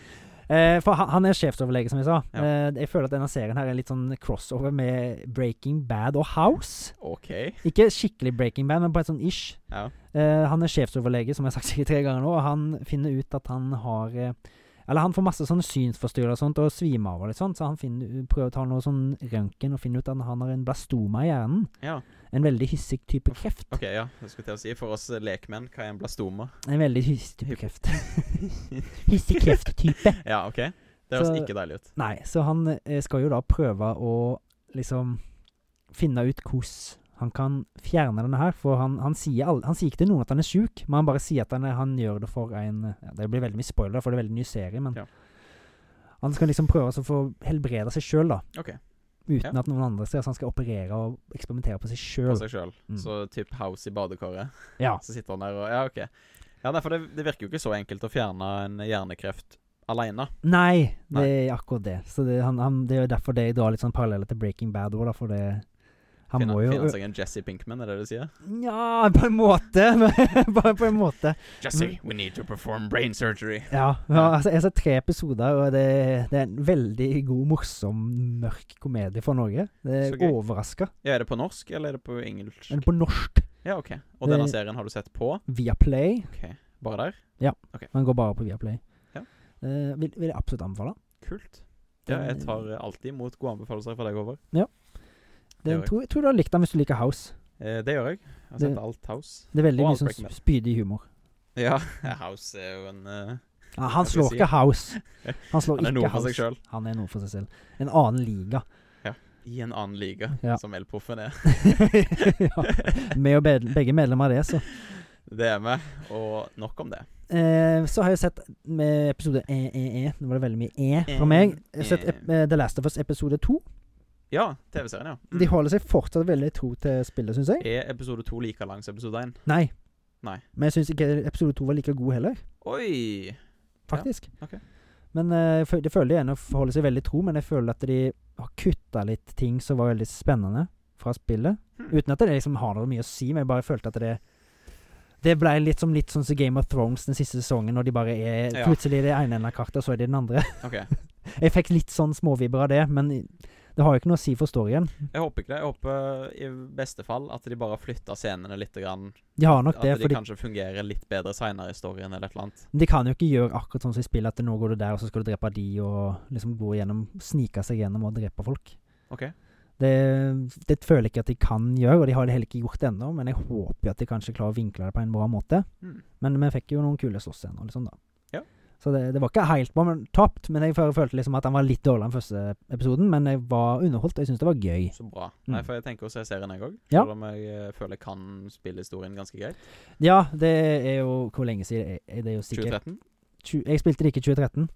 Speaker 1: Eh, for han, han er sjefsoverlege, som jeg sa.
Speaker 2: Ja.
Speaker 1: Eh, jeg føler at denne serien her er litt sånn crossover med Breaking Bad og House.
Speaker 2: OK.
Speaker 1: Ikke skikkelig Breaking Bad, men bare sånn ish.
Speaker 2: Ja.
Speaker 1: Eh, han er sjefsoverlege, som jeg har sagt sikkert tre ganger nå, og han finner ut at han har eh, Eller han får masse sånne synsforstyrrelser og sånt, og svimer av og litt sånt, så han finner, prøver å ta noe sånn røntgen og finner ut at han har en blastoma i hjernen.
Speaker 2: ja.
Speaker 1: En veldig hyssig type kreft.
Speaker 2: OK, ja. Jeg skulle til å si for oss eh, lekmenn hva er en blastoma?
Speaker 1: En veldig hyssig type kreft. hyssig krefttype.
Speaker 2: Ja, OK. Det høres
Speaker 1: Så-
Speaker 2: ikke deilig ut.
Speaker 1: Nei, så han eh, skal jo da prøve å liksom finne ut hvordan Han kan fjerne denne her, for han, han, sier, all, han sier ikke til noen at han er sjuk, men han bare sier at han, er- han gjør det for en ja, Det blir veldig mye spoiler, for det er veldig ny serie, men
Speaker 2: Ja.
Speaker 1: han skal liksom prøve å få helbrede seg sjøl, da.
Speaker 2: Ok.
Speaker 1: Uten at noen andre ser, så han skal operere og eksperimentere på seg
Speaker 2: på
Speaker 1: sjøl.
Speaker 2: seg sjøl.
Speaker 1: Mm.
Speaker 2: Så typ House i badekaret.
Speaker 1: Ja.
Speaker 2: Så sitter han der og Ja, OK. Ja, nei, for det, det virker jo ikke så enkelt å fjerne en hjernekreft aleine.
Speaker 1: Nei, det
Speaker 2: Nei.
Speaker 1: er akkurat det. Så det, han, han, det er jo derfor det drar litt sånn paralleller til Breaking Bad òg, da, for det Han
Speaker 2: Finne,
Speaker 1: må jo
Speaker 2: finne seg en Jesse Pinkman, er det det du sier?
Speaker 1: Nja, på en måte. Bare på en måte.
Speaker 2: Jesse,
Speaker 1: Mm.
Speaker 2: we need to perform brain surgery.
Speaker 1: Ja. ja altså, jeg har sett tre episoder, og det, det er en veldig god, morsom, mørk komedie for Norge. Det
Speaker 2: Så
Speaker 1: er
Speaker 2: gøy.
Speaker 1: overraska.
Speaker 2: Ja, er det på norsk, eller er det på engelsk?
Speaker 1: Men på norsk,
Speaker 2: Ja, OK. Og denne
Speaker 1: Det-
Speaker 2: serien har du sett på?
Speaker 1: via Play.
Speaker 2: OK. Bare der?
Speaker 1: Man går bare på via Play.
Speaker 2: Ja.
Speaker 1: Eh, vil, vil jeg absolutt anbefale.
Speaker 2: Kult. Ja,
Speaker 1: Den-
Speaker 2: jeg tar eh, alltid imot gode anbefalelser fra deg, Håvard. Det gjør
Speaker 1: Den
Speaker 2: jeg.
Speaker 1: tror, jeg tror du har likt den hvis du liker House.
Speaker 2: Eh, det gjør jeg. Jeg har
Speaker 1: Det-
Speaker 2: sett alt House.
Speaker 1: Det er veldig
Speaker 2: Og
Speaker 1: mye
Speaker 2: alt
Speaker 1: sånn
Speaker 2: Breaking Bad.
Speaker 1: spydig humor.
Speaker 2: Ja, House er jo en eh,
Speaker 1: Ja, han
Speaker 2: Jeg vil
Speaker 1: slår
Speaker 2: si-
Speaker 1: ikke House. Han slår
Speaker 2: Han er
Speaker 1: ikke
Speaker 2: noe for
Speaker 1: House.
Speaker 2: seg selv.
Speaker 1: Han er noe for seg selv. En annen liga.
Speaker 2: I en annen liga,
Speaker 1: Ja.
Speaker 2: som Elproffen er.
Speaker 1: ja. Med og bed- begge medlemmer av det, så.
Speaker 2: Det er vi. Og nok om det.
Speaker 1: Eh, så har jeg sett med episode E-E-E. Nå var det veldig mye E fra
Speaker 2: E,
Speaker 1: meg. Jeg har sett
Speaker 2: E.
Speaker 1: ep- eh, The Last of Us episode to.
Speaker 2: Ja, TV-serien, ja. Mm.
Speaker 1: De holder seg fortsatt veldig tro til spillet, syns jeg.
Speaker 2: Er episode to like lang som episode én?
Speaker 1: Nei.
Speaker 2: Nei.
Speaker 1: Men jeg syns ikke episode to var like god heller,
Speaker 2: Oi!
Speaker 1: faktisk.
Speaker 2: ok.
Speaker 1: Men eh, jeg fø- det føler jeg ennå forholder seg veldig tro, men jeg føler at de har kutta litt ting som var veldig spennende fra spillet.
Speaker 2: Hmm.
Speaker 1: Uten at det liksom har noe mye å si, men jeg bare følte at det det ble litt som litt sånn som Game of Thrones den siste sesongen, når de bare er
Speaker 2: Ja.
Speaker 1: plutselig i det ene enden av kartet, og så er de den andre.
Speaker 2: OK.
Speaker 1: Jeg fikk litt sånn småvibber av det, men det har jo ikke noe å si for storyen.
Speaker 2: Jeg håper ikke det. Jeg håper i beste fall at de bare flytter scenene litt. Grann.
Speaker 1: De har nok
Speaker 2: At
Speaker 1: det,
Speaker 2: de
Speaker 1: for de,
Speaker 2: kanskje fungerer litt bedre seinere i storyen eller et eller annet.
Speaker 1: de kan jo ikke gjøre akkurat sånn som i spill, at nå går du der, og så skal du drepe de, og liksom gå gjennom, snike seg gjennom og drepe folk.
Speaker 2: OK.
Speaker 1: Det, det føler jeg ikke at de kan gjøre, og de har heller ikke gjort det ennå, men jeg håper jo at de kanskje klarer å vinkle det på en bra måte.
Speaker 2: Hmm.
Speaker 1: Men vi fikk jo noen kule slåssscener, liksom, da.
Speaker 2: Ja.
Speaker 1: Så det, det var ikke helt bra, men tapt, men jeg følte liksom at han var litt dårligere enn første episoden, men jeg var underholdt, og jeg syntes det var gøy.
Speaker 2: Så bra.
Speaker 1: Mm.
Speaker 2: Nei, for jeg tenker å se serien, jeg òg.
Speaker 1: Ja.
Speaker 2: Selv om jeg eh, føler jeg kan spillehistorien ganske greit.
Speaker 1: Ja, det er jo Hvor lenge siden er er det? jo sikkert
Speaker 2: 2013.
Speaker 1: tju- Jeg spilte det ikke i 2013.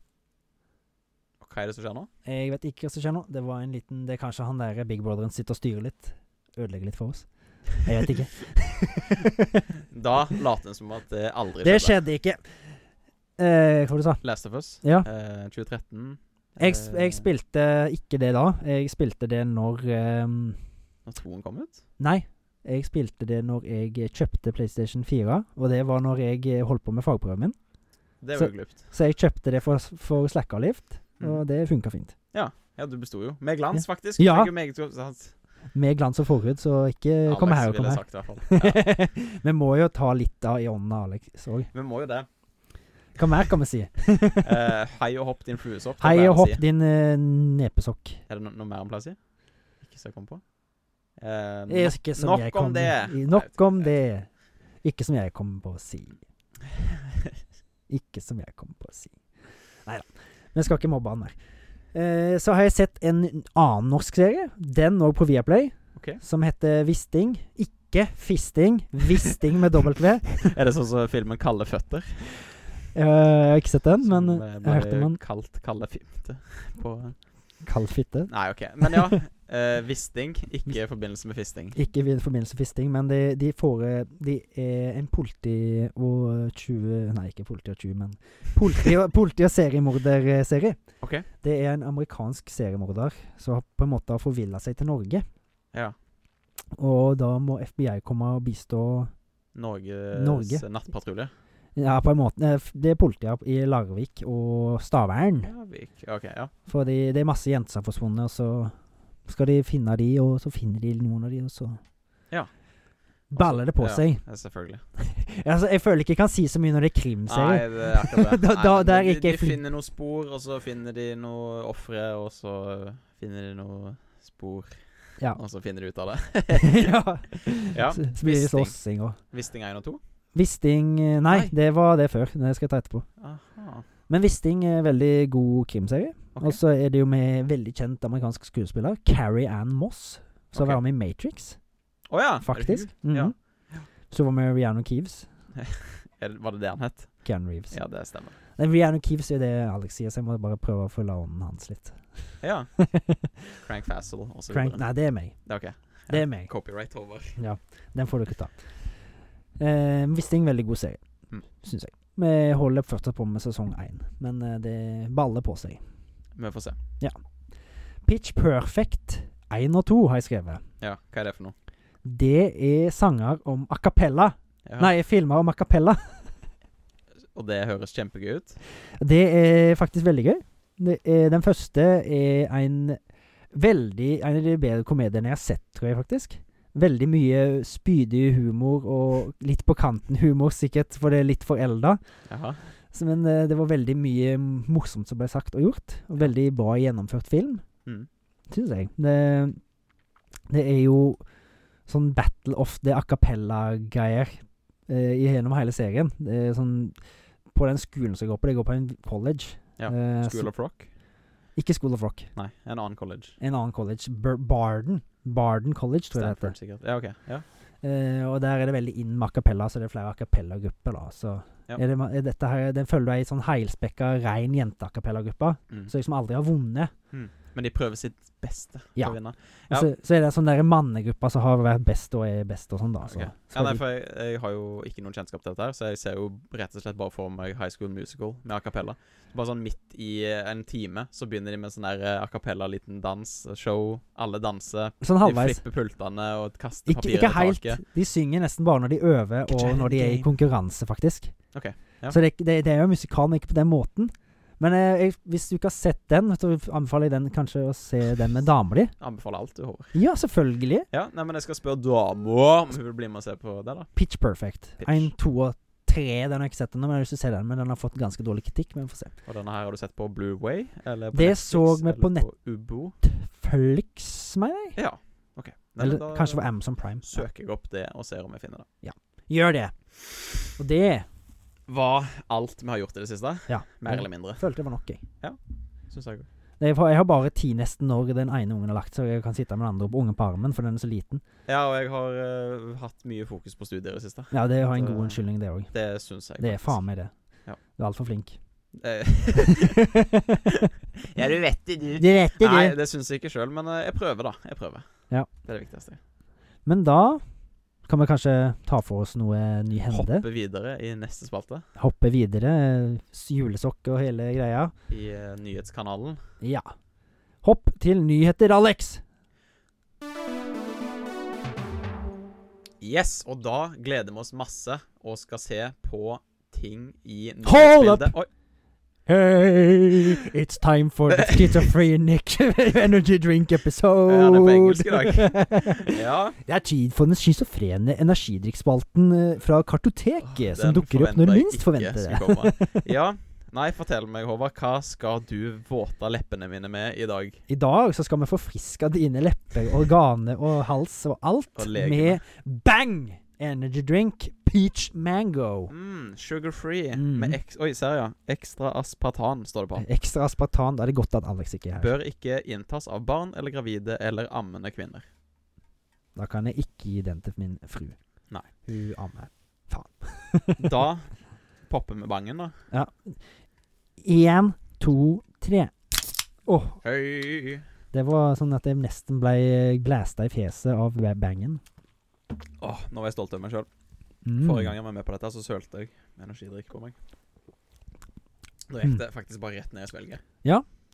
Speaker 2: Og Hva er det som skjer nå?
Speaker 1: Jeg vet ikke hva som skjer nå. Det var en liten Det er kanskje han der Big Brotheren sitter og styrer litt. Ødelegger litt for oss. Jeg vet ikke.
Speaker 2: Da later en som at det aldri
Speaker 1: det skjedde ikke. Eh, hva var det du sa?
Speaker 2: Last of Us.
Speaker 1: Ja.
Speaker 2: Eh, 2013.
Speaker 1: Jeg, s- jeg
Speaker 2: Eh,
Speaker 1: spilte ikke det da. Jeg spilte det når ehm,
Speaker 2: Når toen kom ut?
Speaker 1: Nei. Jeg spilte det når jeg kjøpte PlayStation 4, og det var når jeg eh, holdt på med fagprøven min.
Speaker 2: Det
Speaker 1: Så-
Speaker 2: var jo glupt.
Speaker 1: Så jeg kjøpte det for, for Slackerlift, og
Speaker 2: Mm.
Speaker 1: det funka fint.
Speaker 2: Ja, du besto jo. Med glans, faktisk.
Speaker 1: Ja.
Speaker 2: Fikk jo meget godt- sant.
Speaker 1: Med glans og forhud, så ikke
Speaker 2: Alex
Speaker 1: kom her og kom
Speaker 2: ville
Speaker 1: her.
Speaker 2: sagt det i hvert fall. Ja.
Speaker 1: Vi må jo ta litt av i ånden av Alex òg.
Speaker 2: Vi må jo det.
Speaker 1: Hva mer kan vi si?
Speaker 2: Eh, hei og hopp, din fluesopp. det
Speaker 1: Hei
Speaker 2: pleier
Speaker 1: og
Speaker 2: jeg å
Speaker 1: hopp, din eh, nepesokk.
Speaker 2: Si. Er det no noe mer om plass i? Ikke så jeg kom på. Eh,
Speaker 1: Det er Ikke som
Speaker 2: nok
Speaker 1: jeg
Speaker 2: om
Speaker 1: kom,
Speaker 2: det.
Speaker 1: i-
Speaker 2: Nei,
Speaker 1: Nok om
Speaker 2: jeg
Speaker 1: det. Ikke som jeg kom på å si. Ikke som jeg kom på å si. Nei da. Vi skal ikke mobbe han mer. Eh, så har jeg sett en annen norsk serie, den òg på Viaplay,
Speaker 2: Ok.
Speaker 1: som heter Visting. Ikke Fisting. Visting med dobbelt V.
Speaker 2: er det sånn som filmen Kalde føtter?
Speaker 1: Eh, jeg har ikke sett den, men
Speaker 2: Som,
Speaker 1: eh,
Speaker 2: eh,
Speaker 1: jeg hørte om
Speaker 2: ble
Speaker 1: den.
Speaker 2: Kalt Kalle Fimte på
Speaker 1: Kald fitte.
Speaker 2: Nei, OK. Men ja. eh, visting, ikke i forbindelse med fisting.
Speaker 1: Ikke i forbindelse med fisting, men de, de får eh, De er en politi og 20 Nei, ikke politi og 20, men Politi og, politi og seriemorderserie.
Speaker 2: Ok.
Speaker 1: Det er en amerikansk seriemorder som har på en måte har forvilla seg til Norge.
Speaker 2: Ja.
Speaker 1: Og da må FBI komme og bistå
Speaker 2: Norges
Speaker 1: Norge.
Speaker 2: nattpatrulje.
Speaker 1: Ja, på en måte eh, f- Det er politiet i Larvik og Stavern.
Speaker 2: Ja, vi- OK, ja.
Speaker 1: Fordi det er masse jenter som har forsvunnet, og så skal de finne de, og så finner de noen av de, og så
Speaker 2: Ja.
Speaker 1: Baller det på
Speaker 2: Ja.
Speaker 1: seg.
Speaker 2: ja, Selvfølgelig.
Speaker 1: Altså, jeg føler ikke jeg kan si så mye når det er krimserie.
Speaker 2: Nei, det er akkurat det.
Speaker 1: Da-
Speaker 2: Nei,
Speaker 1: da-
Speaker 2: men
Speaker 1: der
Speaker 2: de,
Speaker 1: gikk jeg
Speaker 2: de
Speaker 1: fri.
Speaker 2: finner noen spor, og så finner de noen ofre, og så finner de noen spor,
Speaker 1: Ja.
Speaker 2: og så finner de ut av det.
Speaker 1: ja.
Speaker 2: Ja,
Speaker 1: Så så blir det
Speaker 2: visting.
Speaker 1: slåssing og
Speaker 2: Visting 1 og 2.
Speaker 1: Visting eh, nei,
Speaker 2: Nei.
Speaker 1: det var det før. Det skal jeg ta etterpå.
Speaker 2: Aha.
Speaker 1: Men Visting er en veldig god krimserie.
Speaker 2: Ok.
Speaker 1: Og så er det jo med veldig kjent amerikansk skuespiller, Carrie Ann Moss, som
Speaker 2: Ok.
Speaker 1: var med i Matrix.
Speaker 2: Å ja. er det
Speaker 1: faktisk.
Speaker 2: hun? Ja.
Speaker 1: Mhm. Så var vi Rihanna Keeves.
Speaker 2: Er det- Var det det han het?
Speaker 1: Keanu Reeves.
Speaker 2: Ja, det stemmer.
Speaker 1: Nei, Rihanna Keeves er jo det Alex sier, så jeg må bare prøve å følge ånden hans litt.
Speaker 2: Ja. Crank Fassel og så
Speaker 1: Crank,
Speaker 2: videre.
Speaker 1: nei, det er meg.
Speaker 2: Det er OK.
Speaker 1: Det er meg.
Speaker 2: Copyright, Håvard.
Speaker 1: Den får dere ta. Eh, Wisting, veldig god serie,
Speaker 2: Mm.
Speaker 1: syns jeg. Vi holder fortsatt på med sesong én, men eh, det baller på seg.
Speaker 2: Vi får se.
Speaker 1: Pitch Perfect 1 og 2 har jeg skrevet.
Speaker 2: Ja, hva er det for noe?
Speaker 1: Det er sanger om a cappella.
Speaker 2: Ja.
Speaker 1: Nei, filmer om a cappella.
Speaker 2: Og det høres kjempegøy ut.
Speaker 1: Det er faktisk veldig gøy. Det er, den første er en veldig En av de bedre komediene jeg har sett, tror jeg faktisk. Veldig mye spydig humor og litt på kanten humor, sikkert, for det er litt forelda.
Speaker 2: Jaha.
Speaker 1: Så- Men eh, det var veldig mye morsomt som ble sagt og gjort. Og veldig bra gjennomført film.
Speaker 2: Mm.
Speaker 1: syns jeg. Det, det er jo sånn battle of the acapella-greier eh, i- gjennom hele serien. Det er sånn På den skolen som jeg går på, det går på en college.
Speaker 2: Ja,
Speaker 1: Eh,
Speaker 2: School
Speaker 1: så-
Speaker 2: of Rock?
Speaker 1: Ikke School of Rock.
Speaker 2: Nei, en annen college.
Speaker 1: En annen college. Ber- Barden. Barden College, tror jeg det
Speaker 2: Stanford,
Speaker 1: heter.
Speaker 2: sikkert. Ja, OK. Ja.
Speaker 1: Eh, og der er det veldig inn med acapella, så det er flere acapella-grupper, da. Så
Speaker 2: Ja.
Speaker 1: er det, ma- er dette her, den følger ei sånn heilspekka, rein jente-acapella-gruppe,
Speaker 2: Mm.
Speaker 1: som liksom aldri har vunnet.
Speaker 2: Men de prøver sitt beste
Speaker 1: Ja.
Speaker 2: for å vinne.
Speaker 1: Og
Speaker 2: Ja.
Speaker 1: Så, så er det sånn der mannegruppa som har vært best og er best og sånn, da. Så,
Speaker 2: Ok.
Speaker 1: så
Speaker 2: Ja, nei,
Speaker 1: de-
Speaker 2: for jeg, jeg har jo ikke noen kjennskap til dette, her så jeg ser jo rett og slett bare for meg High School Musical med a cappella. Bare sånn midt i eh, en time så begynner de med sånn der eh, a cappella liten dans, eh, show. Alle danser.
Speaker 1: sånn
Speaker 2: De
Speaker 1: halvveis.
Speaker 2: flipper pultene og kaster
Speaker 1: Ikke,
Speaker 2: papirer
Speaker 1: ikke
Speaker 2: i
Speaker 1: helt.
Speaker 2: taket.
Speaker 1: De synger nesten bare når de øver,
Speaker 2: Get your
Speaker 1: og når
Speaker 2: head
Speaker 1: de
Speaker 2: in
Speaker 1: er i
Speaker 2: game.
Speaker 1: konkurranse, faktisk.
Speaker 2: Ok, ja.
Speaker 1: Så det, er ikke- det, det er jo musikal, men ikke på den måten. Men eh, jeg, hvis du ikke har sett den, så anbefaler jeg den kanskje å se den med dama di.
Speaker 2: Anbefaler alt, du, Håvard.
Speaker 1: Ja, selvfølgelig.
Speaker 2: Ja, nei, men jeg skal spørre dama om hun vil bli med og se på det, da.
Speaker 1: Pitch Perfect.
Speaker 2: Pitch.
Speaker 1: Én, to og tre. Den har jeg ikke sett ennå, men jeg har lyst til å se den. Men den har fått ganske dårlig kritikk, men vi får se.
Speaker 2: Og denne her har du sett på Blueway? Eller på
Speaker 1: Det
Speaker 2: Netflix,
Speaker 1: så vi
Speaker 2: eller
Speaker 1: på nett-
Speaker 2: på Ubo?
Speaker 1: Flux, mener jeg.
Speaker 2: Ja. OK. Nei, men
Speaker 1: Eller
Speaker 2: da
Speaker 1: kanskje på Amazon Prime. Ja.
Speaker 2: søker jeg opp det og ser om jeg finner det.
Speaker 1: Gjør det. Og det
Speaker 2: Var alt vi har gjort i det siste?
Speaker 1: Ja.
Speaker 2: Mer eller mindre,
Speaker 1: følte jeg var nok, jeg.
Speaker 2: syns jeg.
Speaker 1: Jeg har, jeg har bare ti nesten når den ene ungen har lagt seg, og jeg kan sitte med den andre på ungen på armen, for den er så liten.
Speaker 2: Ja, og jeg har eh, hatt mye fokus på studier i det siste.
Speaker 1: Ja, det har en god
Speaker 2: Det-
Speaker 1: unnskyldning, det òg.
Speaker 2: Det syns jeg.
Speaker 1: Det er
Speaker 2: faktisk.
Speaker 1: faen meg det.
Speaker 2: Ja.
Speaker 1: Du er altfor flink.
Speaker 2: Eh, ja, du vet det, du.
Speaker 1: Du vet det,
Speaker 2: Nei,
Speaker 1: du.
Speaker 2: det syns jeg ikke sjøl, men eh, jeg prøver, da. Jeg prøver.
Speaker 1: Ja.
Speaker 2: Det er det viktigste.
Speaker 1: Men da kan vi kanskje ta for oss noe ny hende. Hoppe,
Speaker 2: Hoppe videre i neste spalte,
Speaker 1: videre. eh, s- Julesokk og hele greia.
Speaker 2: i eh, nyhetskanalen.
Speaker 1: Ja. Hopp til nyheter, Alex!
Speaker 2: Yes, og da gleder vi oss masse og skal se på ting i
Speaker 1: Hold up!
Speaker 2: nyhetsbildet. Oi,
Speaker 1: Hey, it's time for the schizophrenic energy drink episode.
Speaker 2: Ja, den er på engelsk i dag.
Speaker 1: dag.
Speaker 2: ja.
Speaker 1: det er tid for den schizofrene energidrikkspalten eh, fra Kartoteket,
Speaker 2: Åh,
Speaker 1: som
Speaker 2: den
Speaker 1: dukker opp når
Speaker 2: forventer
Speaker 1: du
Speaker 2: jeg
Speaker 1: minst
Speaker 2: ikke
Speaker 1: forventer det.
Speaker 2: skulle komme. Ja. Nei, fortell meg, Håvard. Hva skal du våte leppene mine med i dag?
Speaker 1: I dag så skal vi forfriske dine lepper, organer og hals og alt
Speaker 2: Og legeme.
Speaker 1: med Bang! Energy drink peach mango.
Speaker 2: Mm, sugar free
Speaker 1: Mm.
Speaker 2: med eks Oi, ser jeg. Ekstra aspartan, står det på.
Speaker 1: Ekstra aspartan. Da er det godt at Alex ikke er her.
Speaker 2: Bør ikke inntas av barn eller gravide eller ammende kvinner.
Speaker 1: Da kan jeg ikke gi den til min fru.
Speaker 2: Nei.
Speaker 1: Hun ammer.
Speaker 2: Da popper vi bangen, da.
Speaker 1: Én, to, tre. Åh,
Speaker 2: Høy.
Speaker 1: det var sånn at jeg nesten ble blæsta i fjeset av bangen.
Speaker 2: Åh, nå var jeg stolt av meg sjøl.
Speaker 1: Mm.
Speaker 2: Forrige gang jeg var med på dette, så sølte jeg med energidrikk på meg. Da gikk
Speaker 1: Mm.
Speaker 2: det faktisk bare rett ned i svelget.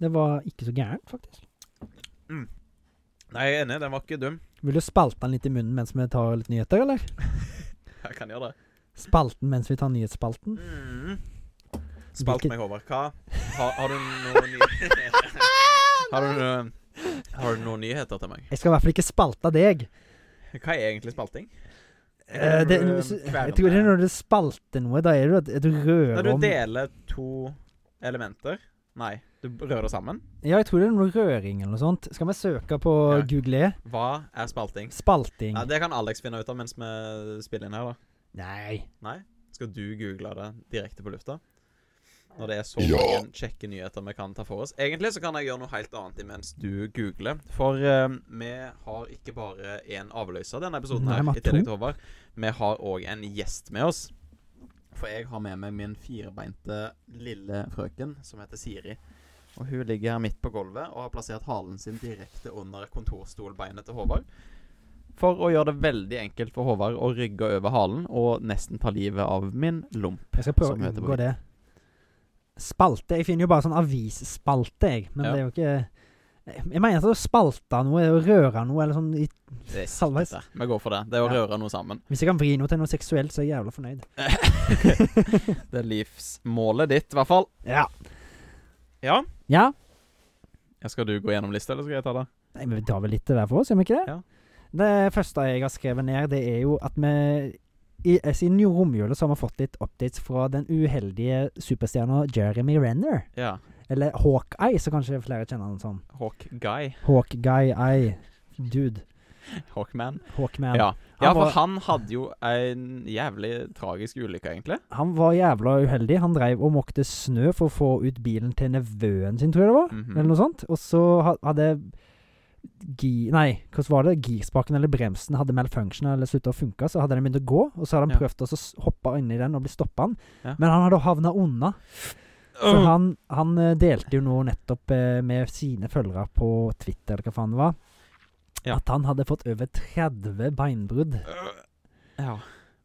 Speaker 1: Det var ikke så gærent, faktisk.
Speaker 2: Nei, jeg er enig, den var ikke dum.
Speaker 1: Vil du spalte den litt i munnen mens vi tar litt nyheter, eller?
Speaker 2: Jeg kan gjøre det.
Speaker 1: Spalten mens vi tar nyhetsspalten?
Speaker 2: Mm. Spalt
Speaker 1: Hvilket-
Speaker 2: meg, Håvard. Hva har, har du noen nyheter har, du, noe- har du noen nyheter til meg?
Speaker 1: Jeg skal i hvert fall ikke spalte deg.
Speaker 2: Hva er egentlig spalting?
Speaker 1: Eh, det, hvis du- jeg tror det er når du spalter noe, da er det jo at du
Speaker 2: Når
Speaker 1: rører
Speaker 2: du
Speaker 1: om
Speaker 2: deler to elementer Nei, du rører det sammen.
Speaker 1: Ja, jeg tror det er noe røring eller noe sånt. Skal vi søke på
Speaker 2: Ja.
Speaker 1: Google? E?
Speaker 2: Hva er spalting?
Speaker 1: Spalting.
Speaker 2: Ja, Det kan Alex finne ut av mens vi spiller inn her. da
Speaker 1: Nei.
Speaker 2: Nei? Skal du google det direkte på lufta? Når det er så mange kjekke nyheter vi kan ta for oss. Egentlig så kan jeg gjøre noe helt annet imens du googler. For eh, vi har ikke bare én avløser denne episoden
Speaker 1: Nei,
Speaker 2: her,
Speaker 1: vi har
Speaker 2: i tillegg
Speaker 1: to.
Speaker 2: til Håvard. Vi har òg en gjest med oss. For jeg har med meg min firbeinte lille frøken som heter Siri. Og hun ligger her midt på gulvet og har plassert halen sin direkte under kontorstolbeinet til Håvard. For å gjøre det veldig enkelt for Håvard å rygge over halen og nesten ta livet av min lomp.
Speaker 1: Jeg skal prøve
Speaker 2: Som
Speaker 1: å
Speaker 2: heter
Speaker 1: unngå det. Spalte Jeg finner jo bare sånn avisspalte, jeg. Men
Speaker 2: Ja.
Speaker 1: det er jo ikke Jeg mener at å spalte noe er å røre noe, eller sånn i,
Speaker 2: Det er
Speaker 1: Salveis.
Speaker 2: sikkert det. Vi går for det. Det er å
Speaker 1: Ja.
Speaker 2: røre noe sammen.
Speaker 1: Hvis jeg kan vri noe til noe seksuelt, så er jeg jævla fornøyd.
Speaker 2: det er livsmålet ditt, i hvert fall.
Speaker 1: Ja.
Speaker 2: Ja.
Speaker 1: ja.
Speaker 2: Skal du gå gjennom lista, eller skal jeg ta det?
Speaker 1: Nei, men Vi tar vel litt til hver for oss, gjør vi ikke det?
Speaker 2: Ja.
Speaker 1: Det første jeg har skrevet ned, det er jo at vi i, eh, siden romjula så har vi fått litt updates fra den uheldige superstjerna Jeremy Renner.
Speaker 2: Ja.
Speaker 1: Eller Hawkeye, så kanskje flere kjenner han som.
Speaker 2: Hawk Guy.
Speaker 1: Hawkguy Eye. Dude.
Speaker 2: Hawkman.
Speaker 1: Hawkman.
Speaker 2: Ja.
Speaker 1: Han
Speaker 2: ja, for
Speaker 1: var-
Speaker 2: han hadde jo en jævlig tragisk ulykke, egentlig.
Speaker 1: Han var jævla uheldig. Han dreiv og måkte snø for å få ut bilen til nevøen sin, tror jeg det var.
Speaker 2: Mhm.
Speaker 1: Eller noe sånt. Og så ha- hadde gi, Nei, hvordan var det? Girspaken eller bremsen hadde malfunction eller slutta å funke. Så hadde den begynt å gå, og så hadde han
Speaker 2: Ja.
Speaker 1: prøvd å s- hoppe inni den og bli stoppa.
Speaker 2: Ja.
Speaker 1: Men han hadde havna unna. Så
Speaker 2: Øh.
Speaker 1: han, han eh, delte jo nå nettopp eh, med sine følgere på Twitter, eller hva faen det var,
Speaker 2: Ja.
Speaker 1: at han hadde fått over 30 beinbrudd.
Speaker 2: Ja.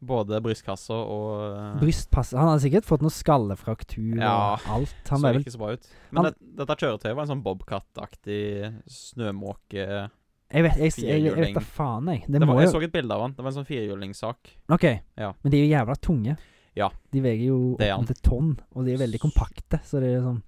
Speaker 2: Både brystkassa og eh,
Speaker 1: Brystpass Han hadde sikkert fått noe skallefraktur
Speaker 2: Ja.
Speaker 1: og alt. Han
Speaker 2: så
Speaker 1: ble vel
Speaker 2: ikke så bra ut. Men
Speaker 1: Han-
Speaker 2: det, dette kjøretøyet var en sånn bobcat-aktig snømåke...
Speaker 1: Jeg vet, jeg, jeg, jeg
Speaker 2: Firhjuling.
Speaker 1: vet da faen, jeg. Det,
Speaker 2: Det
Speaker 1: må
Speaker 2: var, jeg
Speaker 1: jo
Speaker 2: så et bilde av han. Det var en sånn firehjulingssak.
Speaker 1: OK.
Speaker 2: Ja.
Speaker 1: Men de er jo jævla tunge.
Speaker 2: Ja.
Speaker 1: De veier jo
Speaker 2: Det er han.
Speaker 1: opp til tonn, og de er veldig kompakte, så det er sånn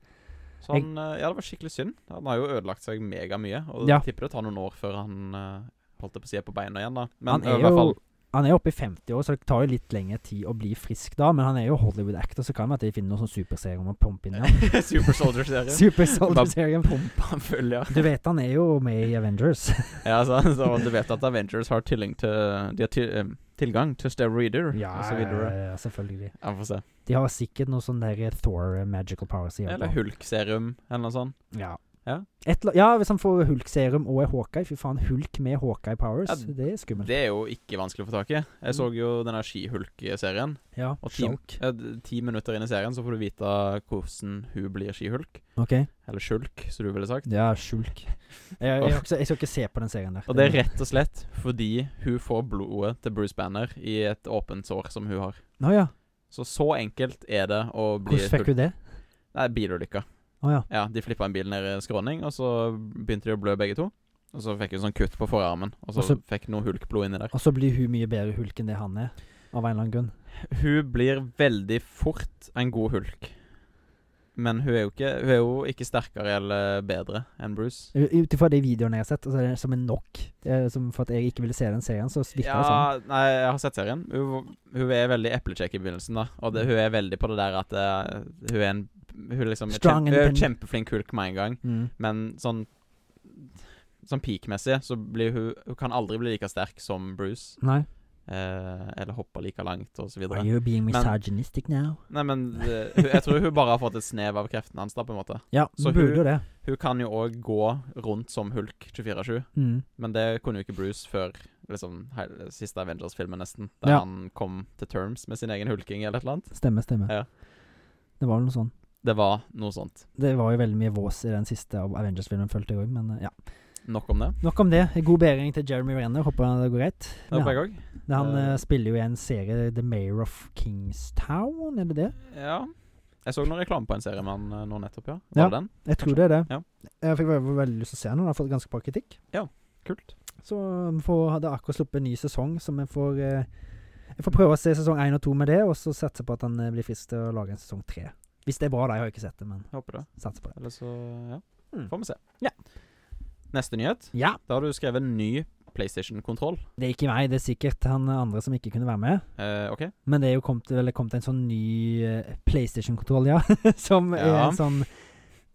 Speaker 2: Så han, eh, ja, det var skikkelig synd. Han har jo ødelagt seg megamye. Og
Speaker 1: Ja.
Speaker 2: jeg tipper det tar noen år før han eh, holdt det på å si er på beina igjen, da.
Speaker 1: Han
Speaker 2: Men eh,
Speaker 1: er
Speaker 2: i hvert fall
Speaker 1: jo Han er oppe i 50 år, så det tar jo litt lengre tid å bli frisk da, men han er jo Hollywood-actor, så kan det være at de finner noen sånn superserum å pumpe inn i.
Speaker 2: Super Soldier-serien.
Speaker 1: Supersoldier-serum.
Speaker 2: Pumpa han full, ja.
Speaker 1: Du vet han er jo med i Avengers.
Speaker 2: ja så, så du vet at Avengers har tilling til De har til, eh, tilgang til steroider og så videre.
Speaker 1: ja, selvfølgelig.
Speaker 2: Ja, får se.
Speaker 1: De har sikkert noe sånn der Thor eh, Magical Powers i
Speaker 2: Eller Hulk-serum, eller noe sånt.
Speaker 1: Ja.
Speaker 2: Ja.
Speaker 1: Et, la- ja, hvis han får Hulk-serum og er Hawkeye, fy faen. Hulk med Hawkeye Powers,
Speaker 2: Ja,
Speaker 1: det er skummelt.
Speaker 2: Det er jo ikke vanskelig å få tak i. Jeg så jo denne Skihulk-serien.
Speaker 1: ja,
Speaker 2: Og ti,
Speaker 1: Shulk.
Speaker 2: ja, d- ti minutter inn i serien så får du vite hvordan hun blir Skihulk.
Speaker 1: Ok.
Speaker 2: Eller Skjulk, som du ville sagt.
Speaker 1: Ja, Shulk. Jeg, jeg, jeg, jeg skal ikke se på den serien der.
Speaker 2: Og det er rett og slett fordi hun får blodet til Bruce Banner i et åpent sår som hun har.
Speaker 1: Nå ja.
Speaker 2: Så så enkelt er det å bli
Speaker 1: Hvordan fikk hun det?
Speaker 2: Nei, bilulykka.
Speaker 1: Å ja.
Speaker 2: Ja, de flippa en bil ned i skråning, og så begynte de å blø begge to. Og så fikk hun sånn kutt på forarmen, og så
Speaker 1: Og så-
Speaker 2: fikk noe hulkblod inni der.
Speaker 1: Og så blir hun mye bedre Hulk enn det han er, av en eller annen grunn.
Speaker 2: Hun blir veldig fort en god hulk. Men hun er jo ikke, hun er jo ikke sterkere eller bedre enn Bruce.
Speaker 1: Eh, Ut ifra de videoene jeg har sett, altså, det er som en nok eh, som For at jeg ikke ville se den serien, så virker det sånn.
Speaker 2: Ja, nei, jeg har sett serien. Hun, hun er veldig eplekjekk i begynnelsen, da. Og det, hun er veldig på det der at eh, hun er en Hun liksom er
Speaker 1: Strong
Speaker 2: kjempe, hun er
Speaker 1: independent.
Speaker 2: kjempeflink hulk med en gang,
Speaker 1: Mm.
Speaker 2: men sånn Sånn peak-messig så blir hun Hun kan aldri bli like sterk som Bruce.
Speaker 1: Nei.
Speaker 2: eh, eller hoppe like langt, og så
Speaker 1: Are
Speaker 2: videre.
Speaker 1: you being
Speaker 2: Men-
Speaker 1: misogynistic now?
Speaker 2: Nei, men eh, hun- jeg tror hun bare har fått et snev av kreftene hans, da, på en måte.
Speaker 1: Ja,
Speaker 2: Så
Speaker 1: burde
Speaker 2: hun-
Speaker 1: jo det.
Speaker 2: Hun kan jo òg gå rundt som hulk 24-7.
Speaker 1: Mm.
Speaker 2: Men det kunne jo ikke Bruce før liksom, hele, siste Avengers-filmen, nesten. Der
Speaker 1: Ja.
Speaker 2: han kom til terms med sin egen hulking eller et eller annet.
Speaker 1: Stemme, stemme.
Speaker 2: Ja.
Speaker 1: Det var vel noe sånn.
Speaker 2: Det var noe sånt.
Speaker 1: Det var jo veldig mye vås i den siste av Avengers-filmen, følte jeg òg, men eh, ja.
Speaker 2: Nok om det.
Speaker 1: Nok om det. God bedring til Jeremy Renner, håper det går greit.
Speaker 2: Det
Speaker 1: med
Speaker 2: håper
Speaker 1: han
Speaker 2: jeg òg.
Speaker 1: han eh,
Speaker 2: Eh.
Speaker 1: spiller jo i en serie, The Mayor of Kingstown, er det det?
Speaker 2: Ja. Jeg så noen reklame på en serie med han eh, nå nettopp, ja. Var
Speaker 1: Ja.
Speaker 2: det den?
Speaker 1: Jeg tror det er det.
Speaker 2: Ja.
Speaker 1: Jeg fikk veldig, veldig lyst til å se den, og den har fått ganske bra kritikk.
Speaker 2: Kult.
Speaker 1: Så eh, vi får, hadde akkurat sluppet en ny sesong, så vi får eh, Jeg får prøve å se sesong én og to med det, og så satse på at han eh, blir frisk til å lage en sesong tre. Hvis det er bra, da. Jeg har ikke sett det, men
Speaker 2: Jeg håper det.
Speaker 1: satser på det.
Speaker 2: Eller så ja.
Speaker 1: Mm.
Speaker 2: Får vi se.
Speaker 1: Ja.
Speaker 2: Neste nyhet.
Speaker 1: Ja.
Speaker 2: Da har du skrevet en ny PlayStation-kontroll.
Speaker 1: Det er ikke meg, det er sikkert han andre som ikke kunne være med.
Speaker 2: Eh, OK?
Speaker 1: Men det er jo kommet, eller kommet en sånn ny eh, PlayStation-kontroll, ja. som er
Speaker 2: Ja.
Speaker 1: en sånn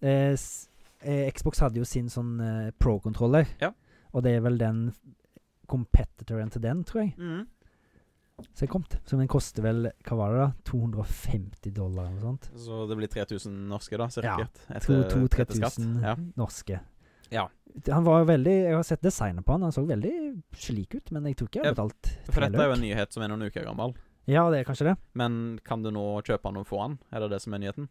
Speaker 1: eh, s- eh, Xbox hadde jo sin sånn eh, pro-kontroller.
Speaker 2: Ja.
Speaker 1: Mm. Og det er vel den competitoren til den, tror jeg. som er kommet. Som den koster vel hva var det da, 250 dollar eller noe sånt.
Speaker 2: Så det blir 3000 norske, da,
Speaker 1: Ja.
Speaker 2: sikkert?
Speaker 1: To- to-
Speaker 2: etter
Speaker 1: 3000.
Speaker 2: skatt. Ja.
Speaker 1: Norske.
Speaker 2: Ja.
Speaker 1: Han var jo veldig Jeg har sett designet på han. Han så veldig slik ut, men jeg tror ikke jeg
Speaker 2: Ja,
Speaker 1: har betalt
Speaker 2: For
Speaker 1: tre
Speaker 2: dette er jo
Speaker 1: løk.
Speaker 2: en nyhet som er noen uker gammel.
Speaker 1: Ja, det er kanskje det.
Speaker 2: Men kan du nå kjøpe den og få den? Er det det som er nyheten?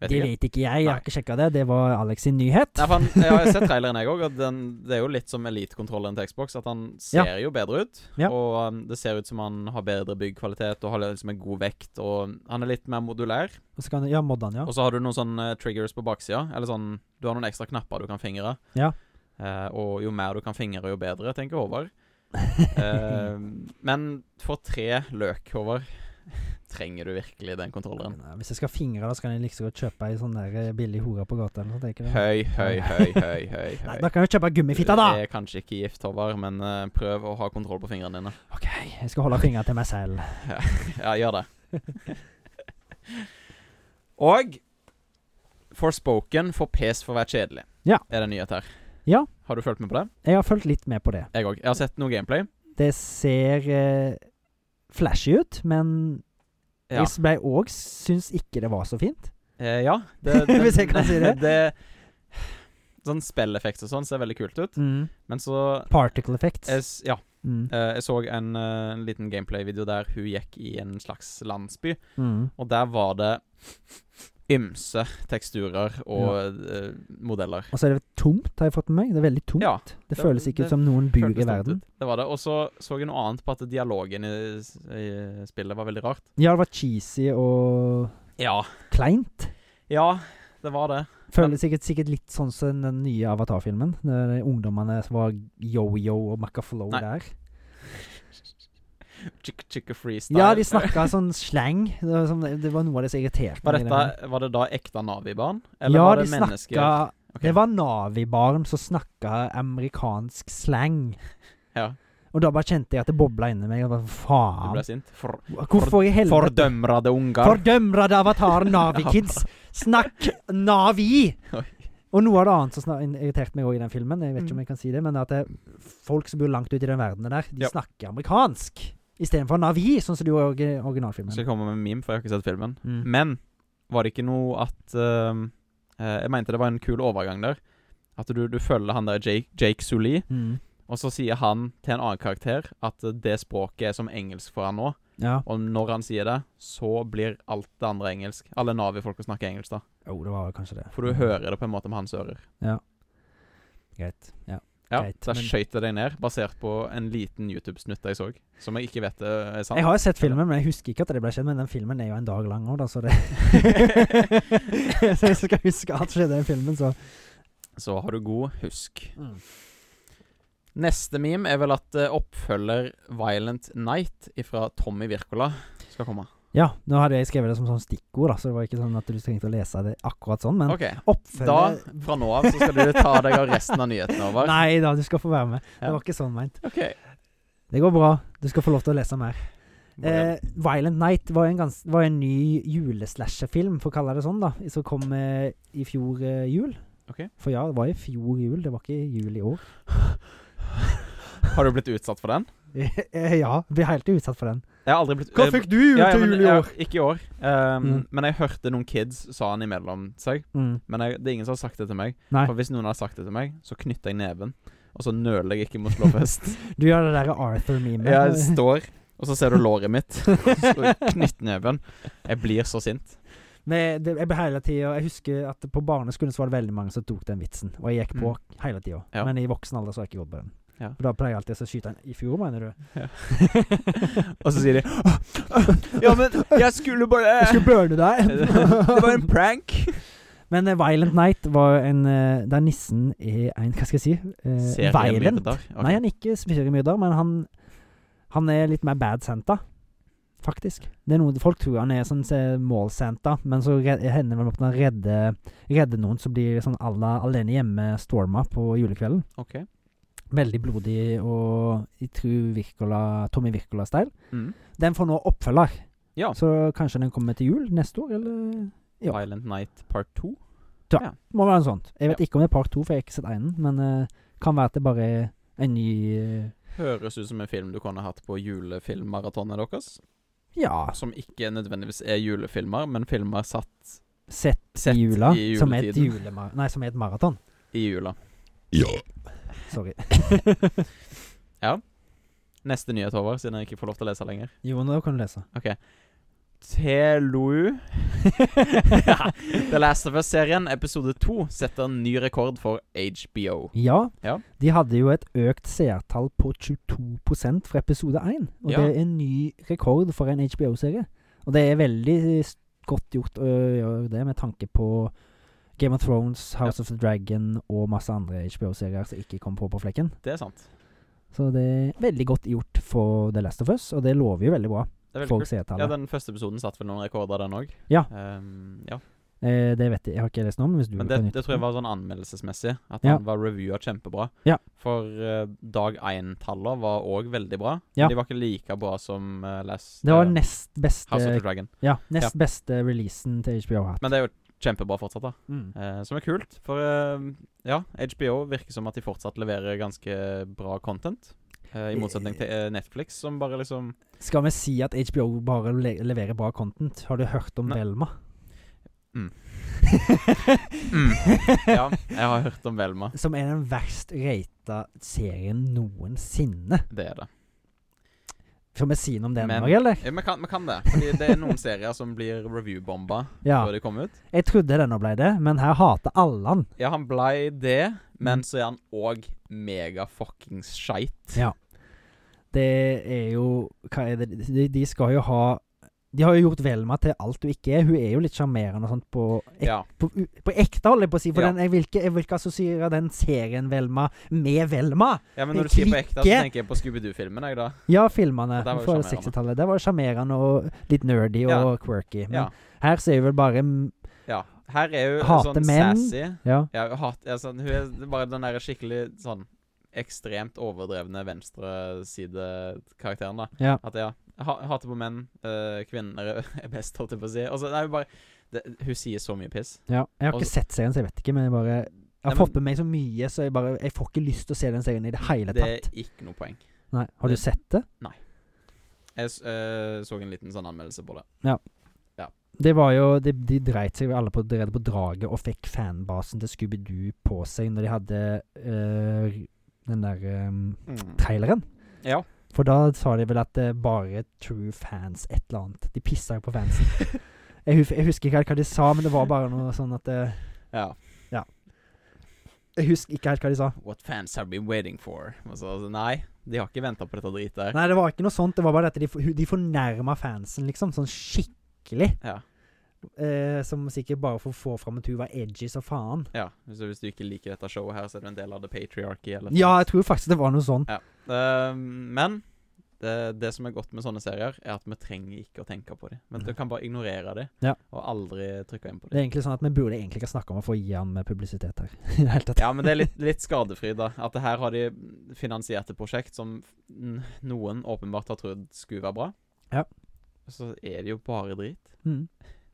Speaker 2: Vet
Speaker 1: det
Speaker 2: ikke.
Speaker 1: vet ikke jeg. Jeg
Speaker 2: Nei.
Speaker 1: har ikke sjekka det. Det var Alex sin nyhet.
Speaker 2: Nei, for han, jeg har sett traileren, jeg òg, og den, det er jo litt som elitekontrolleren til Xbox. At han ser jo bedre ut,
Speaker 1: Ja.
Speaker 2: og um, det ser ut som han har bedre byggkvalitet og har liksom en god vekt. Og han er litt mer modulær.
Speaker 1: Og så kan, ja, moddan, ja.
Speaker 2: Og så har du noen sånne eh, triggers på baksida. Eller sånn Du har noen ekstra knapper du kan fingre.
Speaker 1: Ja.
Speaker 2: Eh, og jo mer du kan fingre, jo bedre, tenker Håvard. Eh, men for tre løk, Håvard, trenger du virkelig den kontrolleren?
Speaker 1: Nei, Hvis jeg skal fingre, da, så kan jeg like så godt kjøpe ei sånn der eh, billig hore på gata. Eller noe, sånt, er ikke det?
Speaker 2: Høy, høy, høy, høy, høy.
Speaker 1: Nei,
Speaker 2: høy.
Speaker 1: da kan jeg kjøpe gummifitta, da!
Speaker 2: Du er kanskje ikke gift, Håvard, men eh, prøv å ha kontroll på fingrene dine.
Speaker 1: OK, jeg skal holde fingra til meg selv.
Speaker 2: Ja, gjør det. Og Forspoken får pes for å være kjedelig.
Speaker 1: Ja.
Speaker 2: Er det en nyhet her?
Speaker 1: Ja.
Speaker 2: Har du fulgt med på det?
Speaker 1: Jeg har fulgt litt med på det.
Speaker 2: Jeg òg. Jeg har sett noe gameplay.
Speaker 1: Det ser eh, flashy ut, men
Speaker 2: Ja.
Speaker 1: jeg ble òg syns ikke det var så fint.
Speaker 2: Eh, ja det, det-
Speaker 1: Hvis jeg kan si det.
Speaker 2: sånn spilleffekt og sånn ser veldig kult ut,
Speaker 1: Mm.
Speaker 2: men så
Speaker 1: Particle effects.
Speaker 2: jeg, s- Ja.
Speaker 1: Mm.
Speaker 2: eh, jeg så en eh, liten gameplay-video der hun gikk i en slags landsby.
Speaker 1: Mm.
Speaker 2: Og der var det ymse teksturer og eh, modeller.
Speaker 1: Og så er det tomt, har jeg fått med meg. Det er veldig tomt.
Speaker 2: Ja,
Speaker 1: det
Speaker 2: det-
Speaker 1: føles ikke
Speaker 2: det
Speaker 1: ut som noen bur
Speaker 2: Føltes
Speaker 1: i
Speaker 2: dumt
Speaker 1: verden.
Speaker 2: ut. Det var det. Og så så jeg noe annet på at dialogen i, s- i eh, spillet var veldig rart.
Speaker 1: Ja, det var cheesy og
Speaker 2: Ja.
Speaker 1: kleint.
Speaker 2: Ja, det var det.
Speaker 1: Føles sikkert, sikkert litt sånn som den nye Avatar-filmen. Der ungdommene som var yo-yo og macaflow
Speaker 2: Nei.
Speaker 1: der.
Speaker 2: Chick chicka freestyle.
Speaker 1: Ja, de snakka sånn slang. Det var, sånn, det var noe av det som irriterte
Speaker 2: var,
Speaker 1: meg. i den.
Speaker 2: dette, var det da ekte Navi-barn? Eller
Speaker 1: Ja,
Speaker 2: var
Speaker 1: de
Speaker 2: det mennesker?
Speaker 1: snakka
Speaker 2: Ok.
Speaker 1: Det var Navi-barn som snakka amerikansk slang.
Speaker 2: Ja,
Speaker 1: Og da bare kjente jeg at det bobla inni meg. Jeg bare,
Speaker 2: du ble
Speaker 1: Faen.
Speaker 2: sint? For,
Speaker 1: Hvorfor i helvete
Speaker 2: fordømrede ungar.
Speaker 1: Fordømrede avataren Navi-kids! Snakk Navi!
Speaker 2: Oi. Mm.
Speaker 1: Og noe av det annet som snak- irriterte meg òg i den filmen, jeg vet ikke om jeg kan si det, men at det, folk som bor langt ute i den verdenen der, de
Speaker 2: Ja.
Speaker 1: snakker amerikansk. Istedenfor Navi, sånn som det gjorde i orgi-
Speaker 2: Jeg
Speaker 1: originalfilmen.
Speaker 2: skal komme med en meme, for jeg har ikke sett filmen.
Speaker 1: Mm.
Speaker 2: Men var det ikke noe at ehm, eh, Jeg mente det var en kul overgang der. At du, du følger han der Jake, Jake Sully,
Speaker 1: Mm.
Speaker 2: og så sier han til en annen karakter at det språket er som engelsk for han nå.
Speaker 1: Ja.
Speaker 2: Og når han sier det, så blir alt det andre engelsk. Alle Navi-folka snakker engelsk, da.
Speaker 1: Jo, det var kanskje det.
Speaker 2: For du hører det på en måte med hans ører.
Speaker 1: Greit. Ja.
Speaker 2: Ja,
Speaker 1: Greit,
Speaker 2: Da
Speaker 1: men-
Speaker 2: skøyt det deg ned, basert på en liten YouTube-snutt jeg så, som jeg ikke vet eh, er sant.
Speaker 1: Jeg har jo sett filmen, men jeg husker ikke at det ble skjedd. Men den filmen er jo en dag lang òg, da, så det Så jeg skal huske alt som skjedde i den filmen, så
Speaker 2: Så har du god husk. Neste meme er vel at eh, oppfølger Violent Night fra Tommy Wirkola skal komme.
Speaker 1: Ja, nå hadde jeg skrevet det som sånn stikkord, da, så det var ikke sånn at du trengte å lese det akkurat sånn, men
Speaker 2: OK. Da,
Speaker 1: oppfølger
Speaker 2: fra nå av, så skal du ta deg av resten av nyhetene over.
Speaker 1: Nei da, du skal få være med.
Speaker 2: Ja.
Speaker 1: Det var ikke sånn meint.
Speaker 2: OK.
Speaker 1: Det går bra. Du skal få lov til å lese mer.
Speaker 2: Bare-
Speaker 1: Eh, Violent Night var en, gans var en ny juleslasherfilm, for å kalle det sånn, da, som kom eh, i fjor eh, jul.
Speaker 2: Ok.
Speaker 1: For ja, det var i fjor jul, det var ikke i jul i år.
Speaker 2: har du blitt utsatt for den?
Speaker 1: Eh, ja, blir helt utsatt for den.
Speaker 2: Jeg har aldri blitt
Speaker 1: Hva
Speaker 2: eh,
Speaker 1: fikk du jul
Speaker 2: ja, ja,
Speaker 1: til
Speaker 2: men-
Speaker 1: jul i
Speaker 2: ja,
Speaker 1: år?
Speaker 2: Ikke i år. Um,
Speaker 1: Mm.
Speaker 2: Men jeg hørte noen kids sa han imellom seg.
Speaker 1: Mm.
Speaker 2: Men jeg, det er ingen som har sagt det til meg.
Speaker 1: Nei.
Speaker 2: For hvis noen hadde sagt det til meg, så knytter jeg neven. Og så nøler jeg ikke med å slå fest.
Speaker 1: Du gjør det derre Arthur-memet.
Speaker 2: Jeg står, og så ser du låret mitt. Så knytt neven. Jeg blir så sint.
Speaker 1: Men det, jeg ble hele tida Jeg husker at på barneskolen så var det veldig mange som tok den vitsen, og jeg gikk på hele tida.
Speaker 2: Mm. Ja.
Speaker 1: Men i voksen alder så har jeg ikke gått på den.
Speaker 2: Ja.
Speaker 1: For da pleier jeg alltid å skyte den i fjor, mener du?
Speaker 2: Og så sier de Ja, men jeg skulle bare
Speaker 1: Jeg skulle burne
Speaker 2: Det
Speaker 1: deg!
Speaker 2: var en prank.
Speaker 1: men eh, Violent Night var en eh, Der nissen er en Hva skal jeg si? Eh, violent. Nei, han er ikke seriemyrder, men han Han er litt mer bad Santa, faktisk. Det er noe Folk tror han er sånn se- mål-Santa, men så re- hender det at han redder, redder noen som blir sånn à la alene hjemme-storma på julekvelden.
Speaker 2: Ok.
Speaker 1: Veldig blodig og i tru Wirkola, Tommy Wirkola-style.
Speaker 2: Mm.
Speaker 1: Den får nå oppfølger,
Speaker 2: Ja.
Speaker 1: så kanskje den kommer til jul neste år, eller Ja.
Speaker 2: Violent Night part 2.
Speaker 1: må være noe sånt. Jeg vet ikke om det er part to, for jeg har ikke sett einen, men eh, kan være at det bare er en ny eh,
Speaker 2: Høres ut som en film du kunne hatt på julefilmmaratonet deres.
Speaker 1: Ja,
Speaker 2: Som ikke nødvendigvis er julefilmer, men filmer satt
Speaker 1: sett,
Speaker 2: Sett
Speaker 1: i jula.
Speaker 2: i
Speaker 1: som er et
Speaker 2: juletiden.
Speaker 1: julemar... Nei, som er et maraton.
Speaker 2: i jula.
Speaker 1: Sorry.
Speaker 2: Neste nyhet, Håvard, siden jeg ikke får lov til å lese lenger.
Speaker 1: Jo, nå kan du lese.
Speaker 2: Telou The Last of Us-serien, episode to, setter en ny rekord for HBO.
Speaker 1: Ja,
Speaker 2: Ja.
Speaker 1: de hadde jo et økt seertall på 22 fra episode 1. Og
Speaker 2: Ja.
Speaker 1: det er en ny rekord for en HBO-serie. Og det er veldig s- godt gjort å gjøre det, med tanke på Game of Thrones, House of the Dragon og masse andre HBO-serier som ikke kom på på flekken.
Speaker 2: Det er sant.
Speaker 1: Så det er veldig godt gjort for The Last of Us, og det lover jo veldig bra
Speaker 2: Det er veldig
Speaker 1: for
Speaker 2: kult. Ja,
Speaker 1: seertallet.
Speaker 2: den første episoden satt vel noen rekorder, den òg.
Speaker 1: Ja.
Speaker 2: ja.
Speaker 1: eh, det vet jeg, jeg har ikke lest noe om, men hvis du
Speaker 2: Men det,
Speaker 1: kan
Speaker 2: det tror jeg var sånn anmeldelsesmessig. At
Speaker 1: Mm, Ja.
Speaker 2: han var revua kjempebra.
Speaker 1: Ja.
Speaker 2: For eh, dag én-tallene var òg veldig bra.
Speaker 1: Ja.
Speaker 2: Men de var ikke like bra som uh, Last
Speaker 1: Det var
Speaker 2: eh,
Speaker 1: nest beste,
Speaker 2: House of the Dragon.
Speaker 1: ja, nest beste releasen til HBO har hatt.
Speaker 2: Men det er jo kjempebra fortsatt, da.
Speaker 1: Mm.
Speaker 2: Eh, som er kult. For eh, ja, HBO virker som at de fortsatt leverer ganske bra content. eh, I motsetning til eh, Netflix, som bare liksom
Speaker 1: Skal vi si at HBO bare le leverer bra content? Har du hørt om
Speaker 2: Nei.
Speaker 1: Velma?
Speaker 2: Mm. Mm. Ja, jeg har hørt om Velma.
Speaker 1: Som er den verst rata serien noensinne.
Speaker 2: Det er det.
Speaker 1: Skal vi si noe om den,
Speaker 2: Men-
Speaker 1: Marie, eller?
Speaker 2: Eh, Vi kan, vi kan det. Fordi det er noen serier som blir review-bomba
Speaker 1: Ja.
Speaker 2: før de kommer ut.
Speaker 1: Jeg trodde denne ble det, men her hater alle han.
Speaker 2: Ja, han blei det, men
Speaker 1: Mm.
Speaker 2: så er han òg mega fuckings skeit.
Speaker 1: Ja. Det er jo Hva er det De, de skal jo ha De har jo gjort Velma til alt du ikke er. Hun er jo litt sjarmerende og sånt på, ek
Speaker 2: Ja.
Speaker 1: på, u- på ekte, holder jeg på å si. For
Speaker 2: Ja.
Speaker 1: den, jeg, vil ikke, jeg vil ikke assosiere den serien Velma med Velma.
Speaker 2: ja, men når du
Speaker 1: Det
Speaker 2: sier på ekte, så
Speaker 1: klikker.
Speaker 2: tenker jeg på Scooby-Doo-filmen, jeg, da.
Speaker 1: Ja, filmene
Speaker 2: Og der var jo
Speaker 1: fra
Speaker 2: sjarmerende.
Speaker 1: 60-tallet. Der var det sjarmerende og litt nerdy
Speaker 2: Ja.
Speaker 1: og quirky. Men
Speaker 2: Ja.
Speaker 1: her ser vi vel bare mm,
Speaker 2: ja. Her er hun
Speaker 1: Hater
Speaker 2: sånn
Speaker 1: menn.
Speaker 2: sassy.
Speaker 1: Ja.
Speaker 2: Ja, hun hat, ja, sånn, hun er bare den der skikkelig sånn ekstremt overdrevne venstresidekarakteren, da.
Speaker 1: Ja.
Speaker 2: At ja, ha, hater på menn, eh, kvinner er best, holdt jeg på å si. Og så, nei, hun bare det, Hun sier så mye piss.
Speaker 1: ja. Jeg har
Speaker 2: Og
Speaker 1: ikke sett serien, så jeg vet ikke, men jeg bare Jeg har
Speaker 2: Nei, men-
Speaker 1: fått med meg så mye, så jeg bare Jeg får ikke lyst til å se den serien i det hele
Speaker 2: Det er
Speaker 1: tatt.
Speaker 2: ikke noe poeng.
Speaker 1: Nei. Har du
Speaker 2: det-
Speaker 1: sett det?
Speaker 2: Jeg s- eh, så en liten sånn anmeldelse på det.
Speaker 1: Det var jo De, de dreit seg jo alle på, allerede på draget og fikk fanbasen til Scooby-Doo på seg når de hadde eh, den der eh, traileren.
Speaker 2: Ja.
Speaker 1: For da sa de vel at det bare true fans et eller annet. De pissa jo på fansen. Jeg, hus- jeg husker ikke helt hva de sa, men det var bare noe sånn at eh,
Speaker 2: ja.
Speaker 1: Jeg husker ikke helt hva de sa.
Speaker 2: What fans have been waiting for. Og så, altså, nei, de har ikke venta på dette dritet her.
Speaker 1: Nei, det var ikke noe sånt. Det var bare at de, for- de fornærma fansen, liksom. Sånn skikkelig.
Speaker 2: Ja,
Speaker 1: Eh, som sikkert bare for å få fram at hun var edgy som faen.
Speaker 2: ja. Så hvis du ikke liker dette showet her, så er du en del av the patriarchy. Eller
Speaker 1: Ja, jeg tror faktisk det var noe sånt.
Speaker 2: Eh, men det, det som er godt med sånne serier, er at vi trenger ikke å tenke på dem. Men du kan bare ignorere dem,
Speaker 1: Ja.
Speaker 2: og aldri trykke inn på
Speaker 1: Det
Speaker 2: dem.
Speaker 1: er egentlig sånn at vi burde egentlig ikke snakke om å få gi han med publisitet her. I det hele tatt.
Speaker 2: Ja, men det er litt, litt skadefri, da. At det her har de finansiert et prosjekt som n- noen åpenbart har trodd skulle være bra.
Speaker 1: Ja.
Speaker 2: Så er det jo bare drit.
Speaker 1: Mm.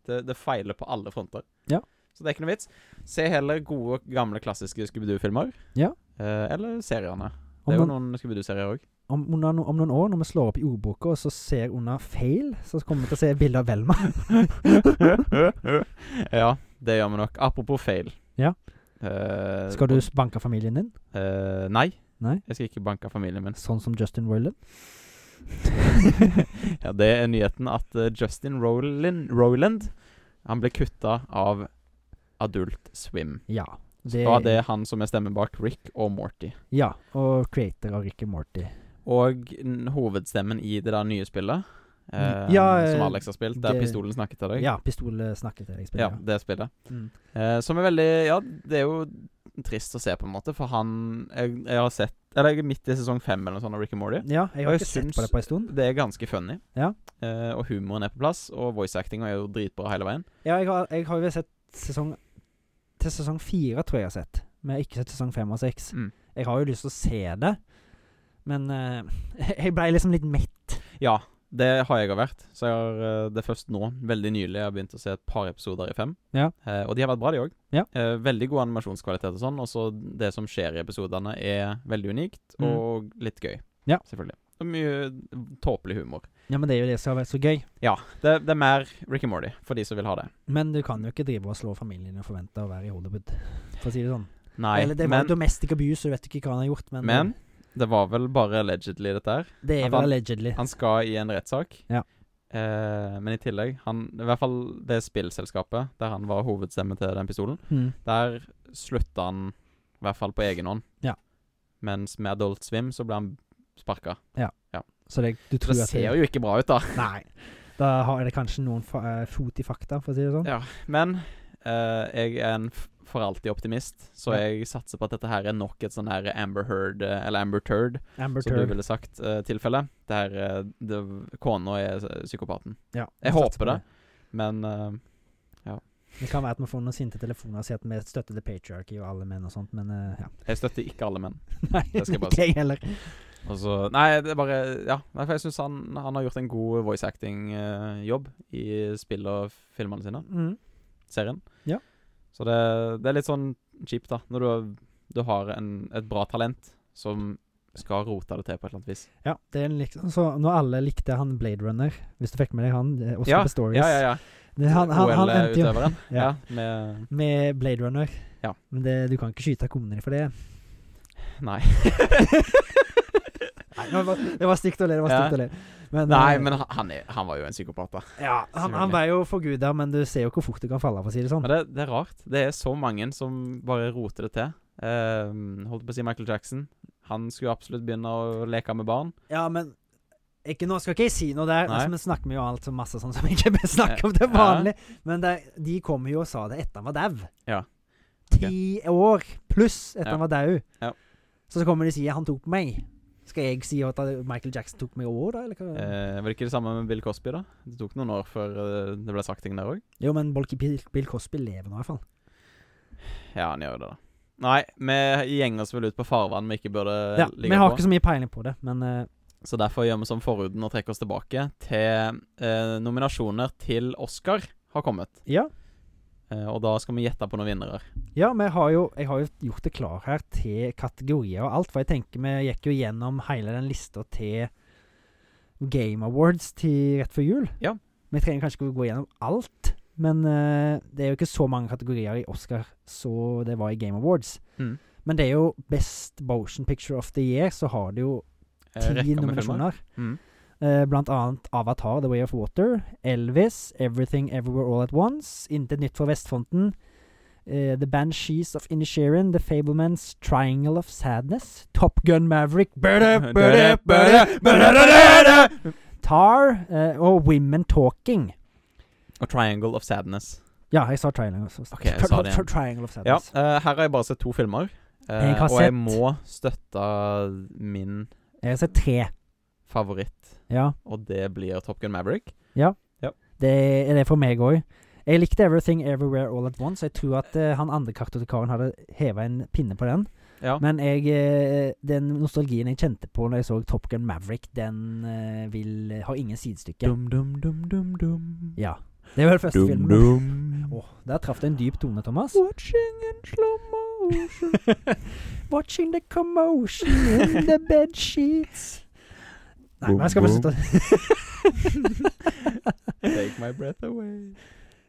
Speaker 2: Det, det feiler på alle fronter.
Speaker 1: Ja.
Speaker 2: Så det er ikke noe vits. Se heller gode, gamle, klassiske Scooby-Doo-filmer.
Speaker 1: Ja.
Speaker 2: Eh, eller seriene. Det
Speaker 1: Om,
Speaker 2: er jo
Speaker 1: noen,
Speaker 2: noen Scooby-Doo-serier òg.
Speaker 1: om, under, no- om noen år, når vi slår opp i ordboka og så ser under feil, så kommer vi til å se bilde av Velma.
Speaker 2: ja, det gjør vi nok. Apropos feil.
Speaker 1: Ja.
Speaker 2: Eh,
Speaker 1: Skal du s- banke familien din,
Speaker 2: eh, Nei.
Speaker 1: Nei?
Speaker 2: Jeg skal ikke banke familien min.
Speaker 1: sånn som Justin Roiland?
Speaker 2: ja, det er nyheten at eh, Justin Roland, Roland Han ble kutta av Adult Swim.
Speaker 1: Ja.
Speaker 2: Det... Og det er han som er stemmen bak Rick og Morty.
Speaker 1: Ja, og creator av Ricky Morty.
Speaker 2: Og n- hovedstemmen i det der nye spillet, eh,
Speaker 1: Ja, eh,
Speaker 2: som Alex har spilt, der
Speaker 1: det-
Speaker 2: pistolen snakker til deg.
Speaker 1: Ja, pistolsnakket til deg.
Speaker 2: ja,
Speaker 1: spiller jeg.
Speaker 2: det spillet.
Speaker 1: Mm.
Speaker 2: Eh, som er veldig Ja, det er jo trist å se, på en måte, for han Jeg, jeg har sett Eller jeg er midt i sesong fem eller noe sånt av Rick and Morty.
Speaker 1: Ja, jeg har
Speaker 2: Og
Speaker 1: ikke
Speaker 2: jeg
Speaker 1: sett
Speaker 2: syns-
Speaker 1: på det på en stund.
Speaker 2: Det er ganske funny.
Speaker 1: Ja.
Speaker 2: Eh, og humoren er på plass, og voice-actinga er jo dritbra hele veien.
Speaker 1: Ja, jeg har, jeg har jo sett sesong Til sesong fire, tror jeg jeg har sett. Men jeg har ikke sett sesong fem og seks.
Speaker 2: Mm.
Speaker 1: Jeg har jo lyst til å se det, men eh, jeg ble liksom litt mett.
Speaker 2: Ja, det har jeg også vært. Så jeg har eh, det er først nå, veldig nylig, jeg har begynt å se et par episoder i fem.
Speaker 1: Ja.
Speaker 2: Eh, og de har vært bra, de òg.
Speaker 1: Ja.
Speaker 2: Eh, veldig god animasjonskvalitet og sånn. Og så det som skjer i episodene, er veldig unikt
Speaker 1: Mm.
Speaker 2: og litt gøy.
Speaker 1: Ja.
Speaker 2: Selvfølgelig. Og mye tåpelig humor.
Speaker 1: Ja, men det er jo det som har vært så gøy.
Speaker 2: Det, det er mer Rick and Morty for de som vil ha det.
Speaker 1: Men du kan jo ikke drive og slå familien og forvente å være i Hollywood, for å si det sånn.
Speaker 2: Nei,
Speaker 1: Eller det var
Speaker 2: men,
Speaker 1: jo domestic abuse, og du vet ikke hva han har gjort, men,
Speaker 2: men det var vel bare allegedly, dette her.
Speaker 1: det
Speaker 2: at
Speaker 1: er
Speaker 2: han-
Speaker 1: vel allegedly.
Speaker 2: Han skal i en rettssak.
Speaker 1: Ja.
Speaker 2: Eh, men i tillegg han, I hvert fall det spillselskapet der han var hovedstemme til den pistolen,
Speaker 1: Mm.
Speaker 2: der slutta han i hvert fall på egen hånd.
Speaker 1: Ja.
Speaker 2: Mens med Adult Swim så ble han sparka.
Speaker 1: Så det, du tror
Speaker 2: Det
Speaker 1: at det-
Speaker 2: ser jo ikke bra ut, da.
Speaker 1: Nei. Da har det kanskje noen fa eh, fot i fakta, for å si det sånn.
Speaker 2: Ja, men eh, jeg er en f- for alltid optimist, så
Speaker 1: Ja.
Speaker 2: jeg satser på at dette her er nok et sånn her Amber Heard, eh, eller Amber Turd,
Speaker 1: Amber
Speaker 2: som du
Speaker 1: Turd.
Speaker 2: ville sagt, eh, tilfelle. Der eh, det- kona er eh, psykopaten.
Speaker 1: Ja,
Speaker 2: Jeg
Speaker 1: vi satser
Speaker 2: håper
Speaker 1: på
Speaker 2: det. Men eh,
Speaker 1: Det kan være at vi får noen sinte telefoner og sier at vi støtter the patriarchy og alle menn og sånt, men eh, ja.
Speaker 2: jeg støtter ikke alle menn.
Speaker 1: Nei,
Speaker 2: Det skal jeg bare
Speaker 1: ikke jeg heller.
Speaker 2: Og så- nei, det er bare Ja. Nei, for jeg syns han, han har gjort en god voice acting-jobb i spill og filmene sine.
Speaker 1: Mm.
Speaker 2: Serien.
Speaker 1: Ja.
Speaker 2: Så det, det er litt sånn kjipt, da. Når du, har- du har en, et bra talent som skal rote det til på et eller annet vis.
Speaker 1: Ja, det er en liksom Så når alle likte han Blade Runner, hvis du fikk med deg han, eh, Oscar
Speaker 2: Ja,
Speaker 1: Pistorius
Speaker 2: Ja, eh, ja, ja.
Speaker 1: Det- Han, han, han endte jo
Speaker 2: OL-utøveren.
Speaker 1: ja.
Speaker 2: Ja. med
Speaker 1: med Blade Runner.
Speaker 2: Ja.
Speaker 1: Men det, du kan ikke skyte kona di for det.
Speaker 2: Nei.
Speaker 1: Nei, det var, det var stygt å le, det var
Speaker 2: Ja.
Speaker 1: stygt å le. Men,
Speaker 2: Nei,
Speaker 1: eh,
Speaker 2: men han, han, er, han var jo en psykopat, da.
Speaker 1: ja, han,
Speaker 2: Selvfølgelig.
Speaker 1: han ble jo forguda, men du ser jo hvor fort du kan falle av, for å si det sånn.
Speaker 2: Men det, det er rart. Det er så mange som bare roter det til. Eh, holdt på å si Michael Jackson. Han skulle absolutt begynne å leke med barn.
Speaker 1: Ja, men ikke, Nå skal ikke jeg si noe der,
Speaker 2: Nei.
Speaker 1: altså, men snakker vi jo alt så masse sånn som vi ikke bør snakke om til
Speaker 2: Ja.
Speaker 1: vanlig. Men det, de kom jo og sa det etter han var dau.
Speaker 2: Ja.
Speaker 1: Ti år pluss etter
Speaker 2: Ja.
Speaker 1: han var dau.
Speaker 2: Ja.
Speaker 1: Så, så kommer de og sier 'han tok på meg'. Skal jeg si at Michael Jackson tok meg òg, da? Eller hva?
Speaker 2: Eh, var det ikke det samme med Bill Cosby, da? Det tok noen år før eh, det ble sagt ting der òg.
Speaker 1: Jo, men Bolky Bill, Bill Cosby lever nå, i hvert fall.
Speaker 2: Ja, han gjør det, da. Nei, vi gjenger oss vel ut på farvann vi ikke burde
Speaker 1: Ja,
Speaker 2: ligge
Speaker 1: vi har
Speaker 2: på.
Speaker 1: ikke så mye peiling på det, men eh,
Speaker 2: Så derfor gjør vi som forhuden og trekker oss tilbake til eh, nominasjoner til Oscar har kommet.
Speaker 1: ja.
Speaker 2: Eh, og da skal vi gjette på noen vinnere.
Speaker 1: Ja, vi har jo, jeg har jo gjort det klar her til kategorier og alt, for jeg tenker vi gikk jo gjennom hele den lista til Game Awards til rett før jul.
Speaker 2: Ja.
Speaker 1: Vi trenger kanskje ikke å gå gjennom alt, men eh, det er jo ikke så mange kategorier i Oscar så det var i Game Awards.
Speaker 2: Mm.
Speaker 1: Men det er jo Best Motion Picture of the Year, så har det jo
Speaker 2: Eh,
Speaker 1: ti
Speaker 2: rekker med filmer.
Speaker 1: nominasjoner.
Speaker 2: Mm.
Speaker 1: Eh, blant annet Avatar, The Way of Water, Elvis, Everything Everywhere All At Once, Intet Nytt fra Vestfronten, eh, The Banshees of Inisherin, The Fablemans, Triangle of Sadness, Top Gun Maverick, bada, bada, bada, bada, bada, bada, Tar eh, og Women Talking.
Speaker 2: Og 'Triangle of Sadness'.
Speaker 1: Ja, jeg sa Triangle of Sadness.
Speaker 2: Ok, jeg sa det igjen.
Speaker 1: Triangle of
Speaker 2: Ja,
Speaker 1: Sadness.
Speaker 2: eh, her har jeg bare sett to filmer. eh,
Speaker 1: Jeg har
Speaker 2: og jeg
Speaker 1: sett-
Speaker 2: må støtte min
Speaker 1: Jeg har sett tre.
Speaker 2: favoritt,
Speaker 1: Ja.
Speaker 2: og det blir Top Gun Maverick.
Speaker 1: Det er det for meg òg. Jeg likte Everything Everywhere All At Once. Jeg tror at eh, han andre kartotekaren hadde heva en pinne på den.
Speaker 2: Ja.
Speaker 1: Men jeg, eh, den nostalgien jeg kjente på når jeg så Top Gun Maverick, den eh, vil har ingen sidestykke.
Speaker 2: Dum, dum, dum, dum, dum.
Speaker 1: Ja. Det var den første
Speaker 2: Dum,
Speaker 1: filmen.
Speaker 2: dum.
Speaker 1: Åh, der traff det en dyp tone, Thomas.
Speaker 2: Watching in slow motion.
Speaker 1: Watching the commotion in the bedsheets. Nei, men jeg skal bare slutte. å-
Speaker 2: Take my breath away.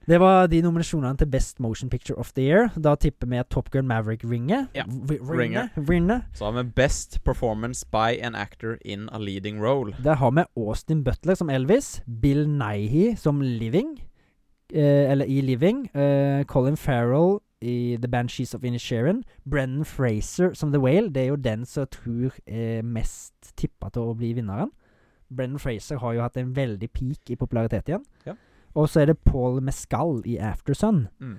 Speaker 1: Det var de nominasjonene til Best Motion Picture of the Year. Da tipper vi at Top Gun Maverick ringer.
Speaker 2: Ja,
Speaker 1: V-
Speaker 2: ringer.
Speaker 1: ringer. ringer.
Speaker 2: Så har vi Best Performance by an Actor in a Leading Role.
Speaker 1: Der har vi Austin Butler som Elvis, Bill Nighy som Living, eh, eller i Living, eh, Colin Farrell i The Banshees of Inisherin, Brennan Fraser som The Whale, det er jo den som jeg tror er mest tippa til å bli vinneren. Brennan Fraser har jo hatt en veldig peak i popularitet igjen.
Speaker 2: Ja.
Speaker 1: Og så er det Paul Mescal i Aftersun.
Speaker 2: Mm.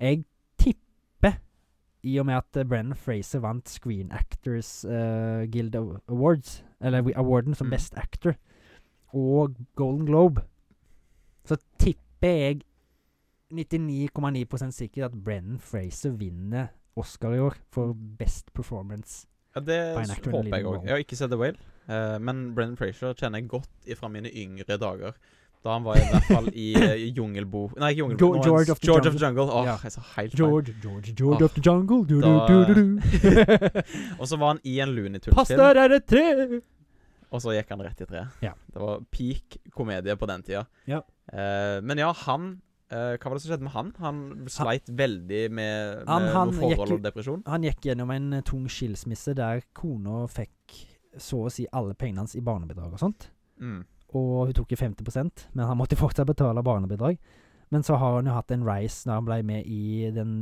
Speaker 1: Jeg tipper, i og med at eh, Brennan Fraser vant Screen Actors eh, Guild Aw- Awards, eller wi- awarden som
Speaker 2: Mm.
Speaker 1: Best Actor, og Golden Globe, så tipper jeg 99,9 sikkert at Brennan Fraser vinner Oscar i år for Best Performance.
Speaker 2: Ja, det
Speaker 1: By an
Speaker 2: s-
Speaker 1: actor in a
Speaker 2: håper jeg
Speaker 1: leading
Speaker 2: òg.
Speaker 1: role.
Speaker 2: Jeg har ikke sett The Whale, eh, men Brendan Frazier kjenner jeg godt ifra mine yngre dager. Da han var i hvert fall i eh, Jungelbo Nei, ikke Jungelbo.
Speaker 1: Geo-
Speaker 2: nå er han
Speaker 1: George
Speaker 2: s-
Speaker 1: of the
Speaker 2: George
Speaker 1: Jungle.
Speaker 2: Jungle. Åh,
Speaker 1: Ja.
Speaker 2: jeg sa helt feil.
Speaker 1: George, George, George
Speaker 2: Ah.
Speaker 1: of the Jungle. Du, du,
Speaker 2: Da-
Speaker 1: du, du, du.
Speaker 2: Og så var han i en Looney
Speaker 1: Pass
Speaker 2: Tunes-film.
Speaker 1: der er et tre!
Speaker 2: og så gikk han rett i treet.
Speaker 1: Ja.
Speaker 2: Det var peak komedie på den tida.
Speaker 1: Ja.
Speaker 2: Eh, men ja, han eh, Hva var det som skjedde med han? Han sleit veldig med, med
Speaker 1: Han- han
Speaker 2: noe
Speaker 1: gikk
Speaker 2: forhold
Speaker 1: jo-
Speaker 2: og depresjon.
Speaker 1: Han gikk gjennom en eh, tung skilsmisse der kona fikk så å si alle pengene hans i barnebidrag og sånt.
Speaker 2: Mm.
Speaker 1: Og hun tok jo 50 men han måtte fortsatt betale barnebidrag. Men så har han jo hatt en rise når han ble med i den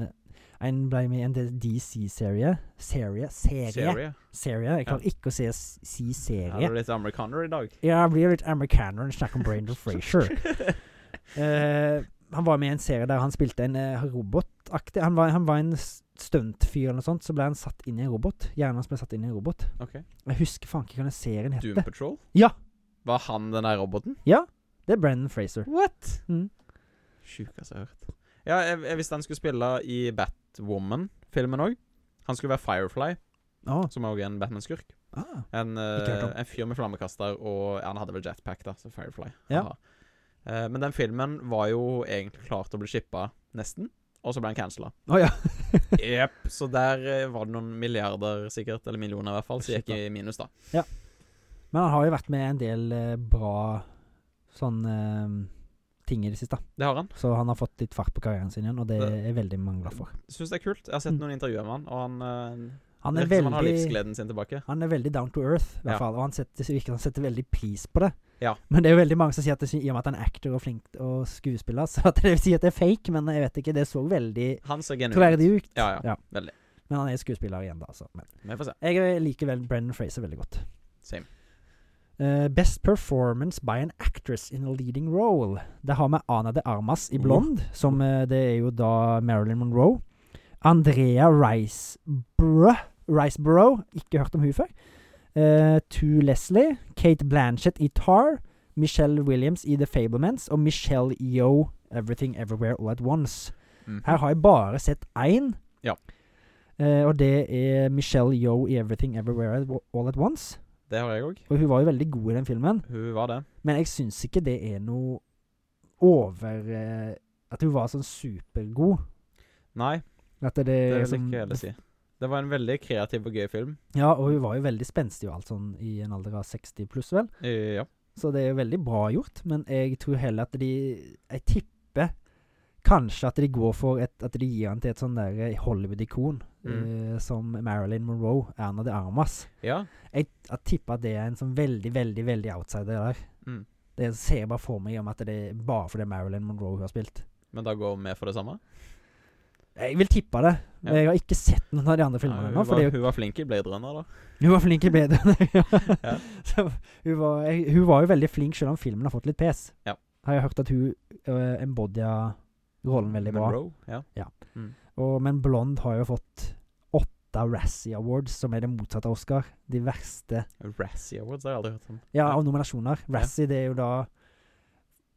Speaker 1: Han ble med i en DC-serie. Serie? Serie?
Speaker 2: Serie.
Speaker 1: Serie? Jeg klarer ikke å si, si
Speaker 2: Her er
Speaker 1: serie.
Speaker 2: det litt amerikaner i dag.
Speaker 1: Ja, jeg blir litt amerikaner og snakker om Brandon Frazier. Eh, han var med i en serie der han spilte en eh, robotaktig han var, han var en s- stuntfyr eller noe sånt, så ble han satt inn i en robot. Hjernen hans ble satt inn i en robot.
Speaker 2: Ok.
Speaker 1: Jeg husker faen ikke hva den serien
Speaker 2: Doom
Speaker 1: het.
Speaker 2: Patrol?
Speaker 1: Ja.
Speaker 2: Var han den der roboten?
Speaker 1: Det er Brandon Frazier.
Speaker 2: What?
Speaker 1: Mm.
Speaker 2: Sjukeste altså, jeg har hørt. Ja, jeg, jeg visste han skulle spille i Batwoman-filmen òg. Han skulle være Firefly,
Speaker 1: Å,
Speaker 2: som òg er en Batman-skurk.
Speaker 1: ah.
Speaker 2: En, eh,
Speaker 1: Ikke hørt om.
Speaker 2: en fyr med flammekaster og ja, Han hadde vel jetpack, da, så Firefly.
Speaker 1: Ja.
Speaker 2: Haha. Eh, men den filmen var jo egentlig klar til å bli shippa, nesten, og så ble den cancela.
Speaker 1: Å ja.
Speaker 2: Jepp. Så der eh, var det noen milliarder, sikkert, eller millioner i hvert fall, som
Speaker 1: Shit,
Speaker 2: gikk i minus, da.
Speaker 1: Men han har jo vært med en del eh, bra sånn eh, ting i det siste.
Speaker 2: Det har han.
Speaker 1: Så han har fått litt fart på karrieren sin igjen, og det
Speaker 2: Det-
Speaker 1: er veldig mange glad for.
Speaker 2: Syns det er kult. Jeg har sett
Speaker 1: Mm.
Speaker 2: noen intervjuer med han, og han, eh,
Speaker 1: Han er,
Speaker 2: virker som han har
Speaker 1: veldig,
Speaker 2: livsgleden sin tilbake.
Speaker 1: han er veldig down to earth, i hvert
Speaker 2: Ja.
Speaker 1: fall. Og han setter, det virker som han setter veldig pris på det.
Speaker 2: Ja.
Speaker 1: Men det er jo veldig mange som sier at det, sy- i og med at han er actor og flink og skuespiller, så at det sier at det er fake, men jeg vet ikke. Det så veldig
Speaker 2: Han ser genuin ut.
Speaker 1: troverdig ut.
Speaker 2: Ja, ja,
Speaker 1: Ja.
Speaker 2: Veldig.
Speaker 1: Men han er skuespiller igjen, da. Altså. Men
Speaker 2: Vi får se.
Speaker 1: jeg liker vel Brennan Fraser veldig godt.
Speaker 2: Same.
Speaker 1: Eh, best performance by an actress in a leading role. Det har vi Ana de Armas i
Speaker 2: Uh.
Speaker 1: Blond, som eh, det er jo da Marilyn Monroe. Andrea Riceborough, Riceborough ikke hørt om hun før. Uh, to Leslie. Kate Blanchett i Tar. Michelle Williams i The Fablements. Og Michelle Yo, Everything Everywhere All At Once.
Speaker 2: Mhm.
Speaker 1: Her har jeg bare sett én.
Speaker 2: Ja.
Speaker 1: Eh, og det er Michelle Yo i Everything Everywhere All At Once.
Speaker 2: Det har jeg òg.
Speaker 1: Og hun var jo veldig god i den filmen.
Speaker 2: Hun var det.
Speaker 1: Men jeg syns ikke det er noe over eh, At hun var sånn supergod.
Speaker 2: Nei,
Speaker 1: At det,
Speaker 2: det
Speaker 1: er
Speaker 2: vil jeg
Speaker 1: som-
Speaker 2: ikke heller si. Det var en veldig kreativ og gøy film.
Speaker 1: Ja, og hun var jo veldig spenstig og alt sånn i en alder av 60 pluss, vel.
Speaker 2: Eh, Ja.
Speaker 1: Så det er jo veldig bra gjort, men jeg tror heller at de Jeg tipper kanskje at de går for et, at de gir han til et sånn der eh, Hollywood-ikon
Speaker 2: Mm.
Speaker 1: eh, som Marilyn Monroe, Erna de Armas.
Speaker 2: ja.
Speaker 1: Jeg, jeg tipper at det er en sånn veldig, veldig veldig outsider der.
Speaker 2: Mm.
Speaker 1: Det ser jeg bare for meg om at det er bare fordi Marilyn Monroe hun har spilt.
Speaker 2: Men da går vi med for det samme?
Speaker 1: Jeg vil tippe det.
Speaker 2: Ja.
Speaker 1: Men jeg har ikke sett noen av de andre filmene
Speaker 2: Ja, hun,
Speaker 1: ennå.
Speaker 2: var,
Speaker 1: fordi hun,
Speaker 2: hun var flink i Blade Runner, da.
Speaker 1: hun var flink i bedre.
Speaker 2: Ja.
Speaker 1: Så hun, var, jeg, hun var jo veldig flink, selv om filmen har fått litt pes.
Speaker 2: Ja.
Speaker 1: Har jeg hørt at hun uh, embodya rollen veldig bra.
Speaker 2: Monroe, ja.
Speaker 1: Og, men Blond har jo fått åtte Razzie Awards, som er det motsatte av Oscar. De verste
Speaker 2: Razzie Awards det har jeg aldri hørt om.
Speaker 1: Ja, av nominasjoner. Razzie, det er jo da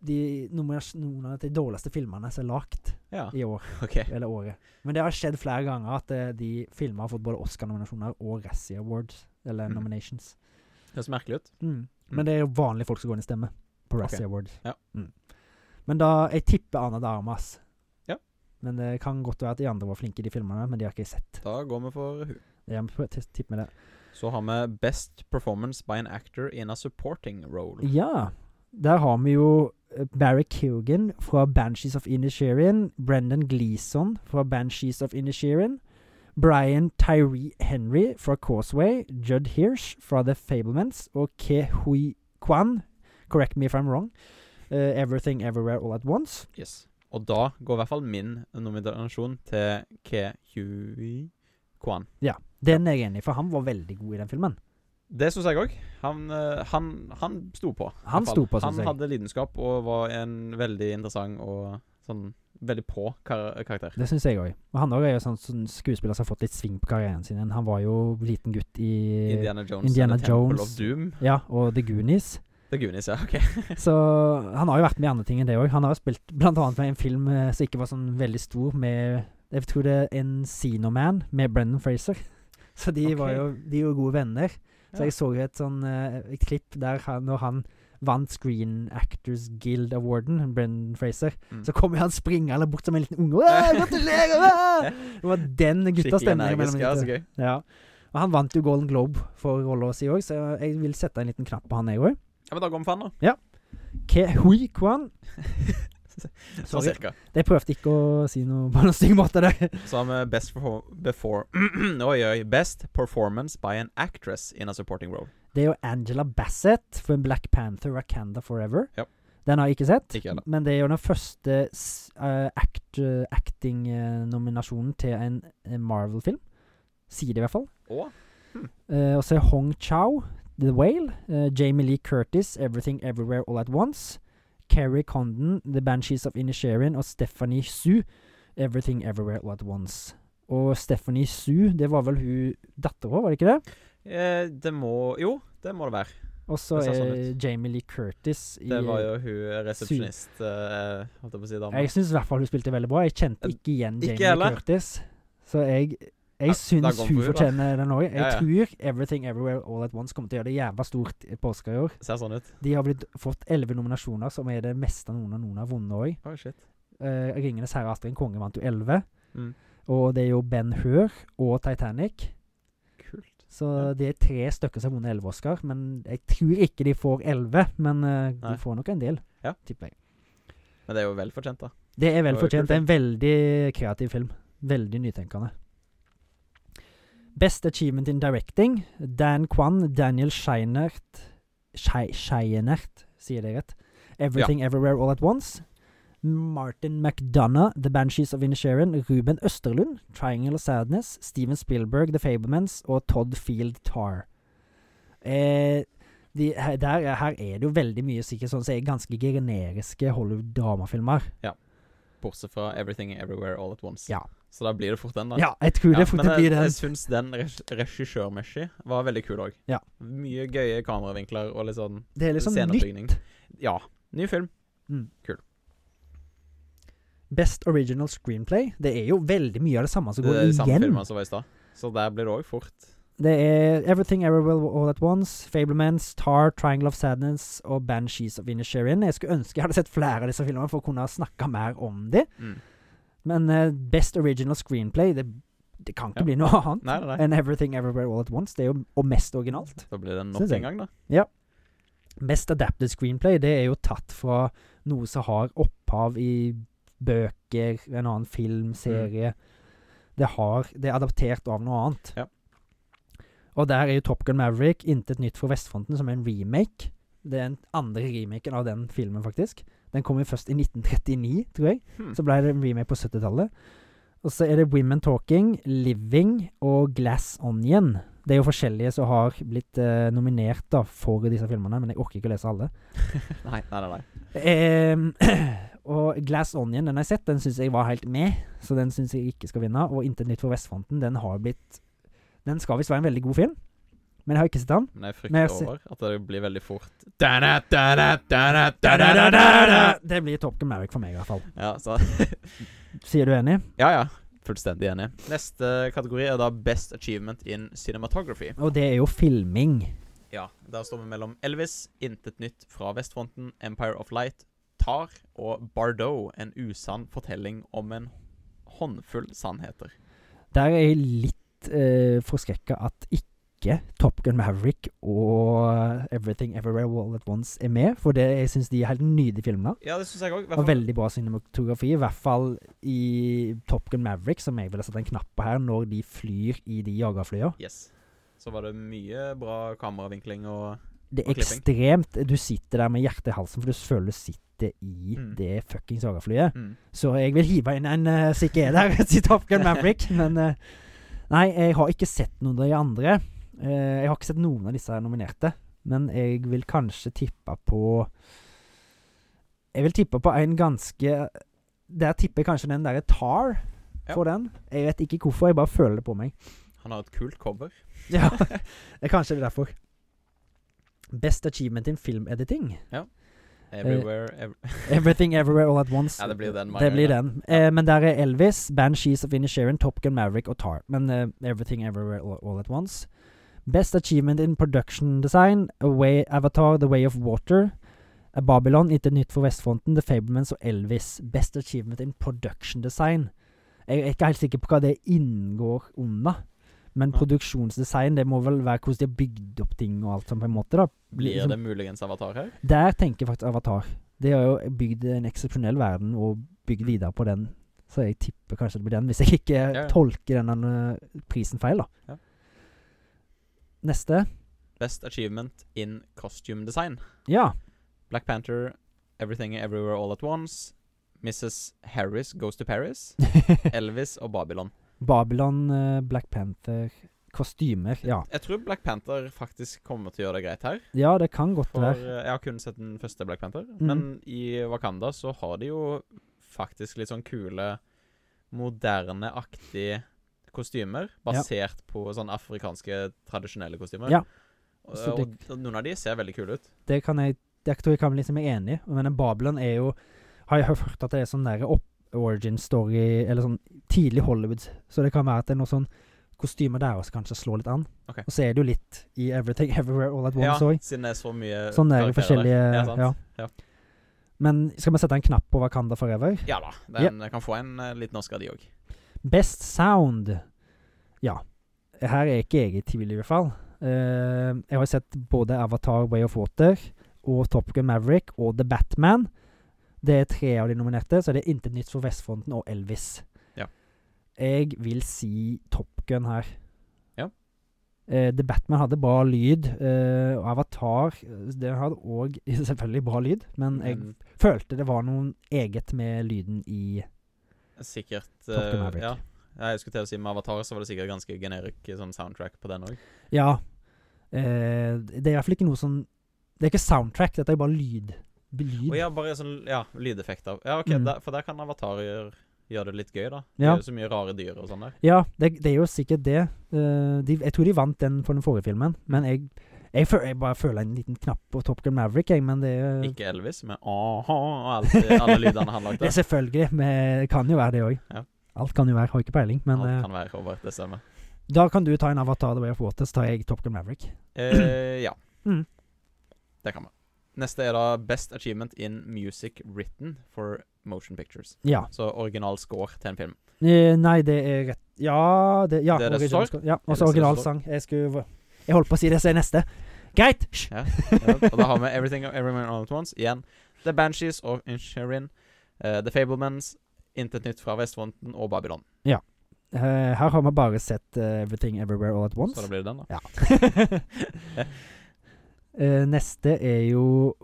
Speaker 1: de nominasjonene til de dårligste filmene som er lagd
Speaker 2: Ja,
Speaker 1: i år.
Speaker 2: Ah, OK.
Speaker 1: eller året. Men det har skjedd flere ganger at eh, de filmer har fått både Oscar-nominasjoner og Razzie Awards, eller
Speaker 2: Mm.
Speaker 1: nominations.
Speaker 2: Det ser merkelig ut.
Speaker 1: Mm. Men det er jo vanlige folk som går inn og stemmer på Razzie Awards.
Speaker 2: Ja.
Speaker 1: Mm. Men da Jeg tipper Ana de Armas.
Speaker 2: Ja.
Speaker 1: Men det kan godt være at de andre var flinke i de filmene, men de har ikke jeg sett.
Speaker 2: Da går vi for hun.
Speaker 1: Jeg prøver å tis- tippe med det.
Speaker 2: Så har vi Best Performance by an Actor in a Supporting Role.
Speaker 1: Ja. Der har vi jo eh, Barry Keoghan fra Banshees of Inisherin. Brendan Gleeson fra Banshees of Inisherin. Brian Tyree Henry fra Causeway. Judd Hirsch fra The Fablements. Og Ke Hui Kwan, correct me if I'm wrong, eh, Everything Everywhere All At Once.
Speaker 2: Yes. Og da går i hvert fall min nominasjon til Ke Hui Kwan.
Speaker 1: Den er jeg enig i, for han var veldig god i den filmen.
Speaker 2: Det syns jeg òg. Han, eh, han, han sto på. i
Speaker 1: Han
Speaker 2: hvert fall.
Speaker 1: sto på, synes
Speaker 2: Han
Speaker 1: jeg.
Speaker 2: hadde lidenskap og var en veldig interessant og sånn veldig på kar karakter.
Speaker 1: Det syns jeg òg. Og han også er jo sånn, sånn skuespiller som har fått litt sving på karrieren sin. igjen. Han var jo liten gutt i
Speaker 2: Indiana Jones
Speaker 1: Eh, Indiana
Speaker 2: and the Temple
Speaker 1: Jones.
Speaker 2: of Doom.
Speaker 1: Ja, og The Goonies.
Speaker 2: Det er Goonies, ja. OK.
Speaker 1: Så han har jo vært med i andre ting enn det òg. Han har jo spilt blant annet med en film eh, som ikke var sånn veldig stor, med Jeg tror det er en Man med Brendan Fraser. Så de var
Speaker 2: Ok.
Speaker 1: jo de er jo gode venner. Så
Speaker 2: Ja.
Speaker 1: jeg så jo et sånn eh, et klipp der han, når han vant Screen Actors Guild Awarden, Brendan Fraser,
Speaker 2: Mm.
Speaker 1: så kom jo han springende bort som en liten unge. «Åh, Gratulerer! åh!» Det var den gutta
Speaker 2: Skikkelig
Speaker 1: stemningen
Speaker 2: energisk. altså.
Speaker 1: mellom
Speaker 2: Ja,
Speaker 1: de
Speaker 2: så
Speaker 1: to.
Speaker 2: gøy.
Speaker 1: Ja. Og Men han vant jo Golden Globe for rolla si òg, så jeg vil sette en liten knapp på han, jeg òg.
Speaker 2: Ja, men da går vi for han, da.
Speaker 1: Ke Hui Kwan.
Speaker 2: Sånn
Speaker 1: Sorry.
Speaker 2: cirka.
Speaker 1: Jeg prøvde ikke å si noe på noen stygg måte der.
Speaker 2: Så har vi Best perfor- before Oi, oi. Best performance by an actress in a supporting role.
Speaker 1: Det er jo Angela Bassett for Black Panther Wakanda Forever.
Speaker 2: Ja.
Speaker 1: Den har jeg ikke sett.
Speaker 2: Ikke heller.
Speaker 1: Men det er jo den første s- eh, act, acting-nominasjonen til en, en Marvel-film. Sier det i hvert fall.
Speaker 2: Og
Speaker 1: Eh, og så er Hong Chau, The Whale. eh, Jamie Lee Curtis, Everything Everywhere All At Once. Carrie Condon, The Banshees of Inisherin. Og Stephanie Sue, Everything Everywhere All At Once. Og Stephanie Sue, det var vel hun dattera, var det ikke det?
Speaker 2: eh, det må Jo, det må det være.
Speaker 1: Og så
Speaker 2: Det ser
Speaker 1: er
Speaker 2: sånn ut.
Speaker 1: Jamie Lee Curtis i
Speaker 2: Det var jo hun resepsjonist eh, Holdt jeg på å si dama.
Speaker 1: Jeg syns i hvert fall hun spilte veldig bra. Jeg kjente
Speaker 2: Eh,
Speaker 1: ikke igjen
Speaker 2: ikke
Speaker 1: Jamie
Speaker 2: heller.
Speaker 1: Curtis. Så jeg,
Speaker 2: Ja,
Speaker 1: jeg
Speaker 2: da
Speaker 1: syns
Speaker 2: går vi
Speaker 1: hun
Speaker 2: for hun, da.
Speaker 1: fortjener den òg. Jeg
Speaker 2: Ja, ja.
Speaker 1: tror Everything Everywhere All At Once kommer til å gjøre det jævla stort på Oscar i år.
Speaker 2: Ser sånn ut.
Speaker 1: De har blitt, fått elleve nominasjoner, som er det meste noen av noen har vunnet òg.
Speaker 2: Oi, shit.
Speaker 1: Eh, 'Ringenes herre' Astrid Konge vant jo elleve.
Speaker 2: Mm.
Speaker 1: Og det er jo Ben Hur og Titanic.
Speaker 2: Kult.
Speaker 1: Så det er tre stykker som har vunnet elleve Oscar. Men jeg tror ikke de får elleve, men eh,
Speaker 2: Nei.
Speaker 1: de får nok en del,
Speaker 2: Ja.
Speaker 1: tipper jeg.
Speaker 2: Men det er jo vel fortjent, da.
Speaker 1: Det er vel
Speaker 2: Det var jo
Speaker 1: fortjent. Det er en veldig kreativ film. Veldig nytenkende. Best achievement in directing. Dan Kwan, Daniel Scheinert Schei- Scheinert, sier det rett. Everything Everywhere All At Once. Martin McDonough, The Banshees of Inisherin. Ruben Østerlund, Triangle of Sadness. Steven Spielberg, The Fablemans. Og Todd Field Tar. Eh, de, her, der, her er det jo veldig mye sikkert sånn som er ganske generiske Hollywood-dramafilmer.
Speaker 2: Bortsett fra Everything Everywhere All At Once.
Speaker 1: Ja.
Speaker 2: Så da blir det fort den, da.
Speaker 1: Ja, jeg tror
Speaker 2: Ja,
Speaker 1: det fort
Speaker 2: men
Speaker 1: det blir
Speaker 2: jeg,
Speaker 1: den.
Speaker 2: jeg syns den res- regissørmessig var veldig kul òg.
Speaker 1: Ja.
Speaker 2: Mye gøye kameravinkler og litt sånn
Speaker 1: Det er liksom nytt.
Speaker 2: sceneoppbygning. Ja. Ny film.
Speaker 1: Best original screenplay. Det er jo veldig mye av det samme som
Speaker 2: Det
Speaker 1: går
Speaker 2: er de Eh, samme altså.
Speaker 1: igjen.
Speaker 2: filmene som var i stad. Så der blir det òg fort
Speaker 1: Det er Everything Everywhere All At Once, Fablemans, Tar, Triangle of Sadness og Banshees of Inisherin. Jeg skulle ønske jeg hadde sett flere av disse filmene for å kunne snakka mer om de.
Speaker 2: mm.
Speaker 1: Men eh, Best original screenplay, det, det kan ikke bli
Speaker 2: Ja.
Speaker 1: noe annet
Speaker 2: Nei, nei, nei.
Speaker 1: enn Everything Everywhere All At Once. Det er jo og mest originalt.
Speaker 2: Da blir det
Speaker 1: Synes
Speaker 2: nok
Speaker 1: jeg.
Speaker 2: en gang, da.
Speaker 1: Best adapted screenplay, det er jo tatt fra noe som har opphav i bøker, en annen film, serie. Det, har, det er adaptert av noe annet.
Speaker 2: Ja.
Speaker 1: Og der er jo Top Gun Maverick intet nytt fra Vestfronten, som er en remake. Det er den andre remaken av den filmen, faktisk. Den kom jo først i 1939, tror jeg.
Speaker 2: Hmm.
Speaker 1: Så ble det en remake på 70-tallet. Og så er det Women Talking, Living og Glass Onion. Det er jo forskjellige som har blitt eh, nominert da, for disse filmene, men jeg orker ikke å lese alle.
Speaker 2: Nei, nei, nei. nei.
Speaker 1: Ehm, og Glass Onion, den har jeg sett, den syns jeg var helt med, så den syns jeg ikke skal vinne. Og Intet nytt fra Vestfronten, den har blitt Den skal visst være en veldig god film, men jeg har ikke sett den.
Speaker 2: Men jeg
Speaker 1: Men jeg
Speaker 2: frykter
Speaker 1: ser-
Speaker 2: over at det blir veldig fort da-da, da-da, da-da, da-da, da-da.
Speaker 1: Det blir Top Gun Maverick for meg, i hvert fall.
Speaker 2: Ja, så
Speaker 1: Sier du enig?
Speaker 2: Ja, ja. Fullstendig enig. Neste kategori er da Best Achievement in Cinematography.
Speaker 1: Og det er jo filming.
Speaker 2: Ja, Der står vi mellom Elvis, Intet nytt fra Vestfronten, Empire of Light, Tar og Bardot. En usann fortelling om en håndfull sannheter.
Speaker 1: Der er jeg litt uh, forskrekka at ikke Top Gun Maverick og Everything Everywhere All At Once er med, for det, jeg syns de er helt nydelige filmer.
Speaker 2: Ja, det syns jeg òg.
Speaker 1: Og veldig bra cinematografi, i hvert fall i Top Gun Maverick, som jeg ville satt en knapp på her, når de flyr i de jagerflya.
Speaker 2: Yes. Så var det mye bra kameravinkling og
Speaker 1: Det
Speaker 2: Og
Speaker 1: er ekstremt Du sitter der med hjertet i halsen, for du føler du sitter i
Speaker 2: Mm.
Speaker 1: det fuckings jagerflyet.
Speaker 2: mm.
Speaker 1: Så jeg vil hive inn en uh, Sikke er der til Top Gun Maverick, men eh, Nei, jeg har ikke sett noen av de andre. Eh, jeg har ikke sett noen av disse her nominerte, men jeg vil kanskje tippe på Jeg vil tippe på en ganske Der tipper jeg kanskje den derre Tar
Speaker 2: Ja.
Speaker 1: for den. Jeg vet ikke hvorfor, jeg bare føler det på meg.
Speaker 2: Han har et kult cover.
Speaker 1: Ja, det er kanskje derfor. Best achievement in film editing. Eh,
Speaker 2: Everywhere ev
Speaker 1: Everything Everywhere All At Once.
Speaker 2: Ja, det blir den mange
Speaker 1: Det blir
Speaker 2: ganger.
Speaker 1: den. Eh, men der er Elvis, Banshees of Inisherin, Top Gun Maverick og Tar. Men eh, Everything Everywhere All, All At Once. Best Achievement in Production Design, Away, Avatar, The Way of Water, eh, Babylon, Intet Nytt for Vestfronten, The Fablemans og Elvis. Best Achievement in Production Design. Jeg er ikke helt sikker på hva det inngår under. Men
Speaker 2: Ja.
Speaker 1: produksjonsdesign, det må vel være hvordan de har bygd opp ting og alt sånn, på en måte, da.
Speaker 2: Blir
Speaker 1: Liksom-
Speaker 2: det muligens Avatar her?
Speaker 1: Der tenker jeg faktisk Avatar. De har jo bygd en eksepsjonell verden og bygd videre på den. Så jeg tipper kanskje det blir den, hvis jeg ikke
Speaker 2: ja.
Speaker 1: tolker denne eh, prisen feil, da.
Speaker 2: Ja.
Speaker 1: Neste.
Speaker 2: Best achievement in costume design.
Speaker 1: Ja.
Speaker 2: Black Panther, Everything Everywhere All At Once. Mrs. Harris Goes to Paris. Elvis og Babylon.
Speaker 1: Babylon, eh, Black Panther, kostymer. Ja,
Speaker 2: Jeg tror Black Panther faktisk kommer til å gjøre det greit her.
Speaker 1: ja det Mm. kan godt
Speaker 2: For eh,
Speaker 1: være.
Speaker 2: jeg har kun sett den første Black Panther. Men i Wakanda så har de jo faktisk litt sånn kule, moderne-aktige kostymer. Basert på sånn afrikanske, tradisjonelle kostymer.
Speaker 1: Ja.
Speaker 2: Og,
Speaker 1: Så
Speaker 2: og noen av de ser veldig kule ut.
Speaker 1: Det kan jeg Jeg tror jeg kan liksom være enig i. Men Babylon er jo Har jeg hørt at det er sånn der opp origin story Eller sånn tidlig Hollywood. Så det kan være at det er noe sånn kostymer der også kanskje slår litt an.
Speaker 2: Ok.
Speaker 1: Og så er det jo litt i Everything Everywhere All At
Speaker 2: Ja,
Speaker 1: Once òg.
Speaker 2: siden det er så mye
Speaker 1: Sånn er det
Speaker 2: karakterer der.
Speaker 1: forskjellige-
Speaker 2: Ja, sant?
Speaker 1: ja.
Speaker 2: Ja.
Speaker 1: Men skal vi sette en knapp på Wakanda Forever?
Speaker 2: Ja da. Den kan få en eh, liten Oscar, de òg.
Speaker 1: Best sound. Ja. Her er ikke jeg i tvil, i hvert fall. Eh, jeg har sett både Avatar Way of Water og Top Gun Maverick og The Batman. Det er tre av de nominerte, så det er intet nytt for Vestfronten og Elvis.
Speaker 2: Ja.
Speaker 1: Jeg vil si Top Gun her.
Speaker 2: Ja.
Speaker 1: Eh, The Batman hadde bra lyd, eh, og Avatar eh, det hadde òg selvfølgelig bra lyd, men jeg
Speaker 2: Men
Speaker 1: følte det var noe eget med lyden i
Speaker 2: Sikkert
Speaker 1: Top Gun
Speaker 2: eh,
Speaker 1: Maverick.
Speaker 2: Ja. Jeg skulle til å si Med Avatar så var det sikkert ganske generic eh, sånn soundtrack på den òg.
Speaker 1: Ja. Eh, det er i hvert fall ikke noe sånn Det er ikke soundtrack, dette er bare lyd. B- Lyd.
Speaker 2: Og ja, bare sånn ja, lydeffekter. Ja, ok,
Speaker 1: Mm.
Speaker 2: der, For der kan Avatar gjøre gjøre det litt gøy, da. Det
Speaker 1: Ja.
Speaker 2: er jo så mye rare dyr og sånn der.
Speaker 1: Ja, det, det er jo sikkert det. Eh, de, jeg tror de vant den for den forrige filmen, men jeg, jeg, føl, jeg bare føler en liten knapp på Top Gun Maverick, jeg, men det er
Speaker 2: Ikke Elvis, men aha og alt, eh, alle lydene han
Speaker 1: Det
Speaker 2: lagde.
Speaker 1: er selvfølgelig, men det kan jo være det òg.
Speaker 2: Ja.
Speaker 1: Alt kan jo være, har ikke peiling. Men
Speaker 2: alt
Speaker 1: eh,
Speaker 2: kan være Robert, det stemmer.
Speaker 1: da kan du ta en Avatar The Way of Water, så tar jeg Top Gun Maverick.
Speaker 2: Eh, ja.
Speaker 1: Mm.
Speaker 2: Det kan man. Neste er da Best Achievement in Music Written for Motion Pictures.
Speaker 1: Ja.
Speaker 2: Så original score til en film.
Speaker 1: Eh, nei, det er rett Ja, det, ja,
Speaker 2: Det er det
Speaker 1: original-
Speaker 2: står.
Speaker 1: Ja,
Speaker 2: det
Speaker 1: også
Speaker 2: som
Speaker 1: original
Speaker 2: står.
Speaker 1: sang. Jeg skulle Jeg holdt på å si det, så er neste. Greit! Hysj.
Speaker 2: Ja, ja. Og da har vi Everything Everyone All At Once igjen. The Banshees og Insherin. eh, The Fablemans. Intet nytt fra Vestfronten og Babylon.
Speaker 1: Eh, her har vi bare sett eh, Everything Everywhere All At
Speaker 2: Så da
Speaker 1: Once.
Speaker 2: Sånn blir det den, da.
Speaker 1: Ja. Eh, neste er jo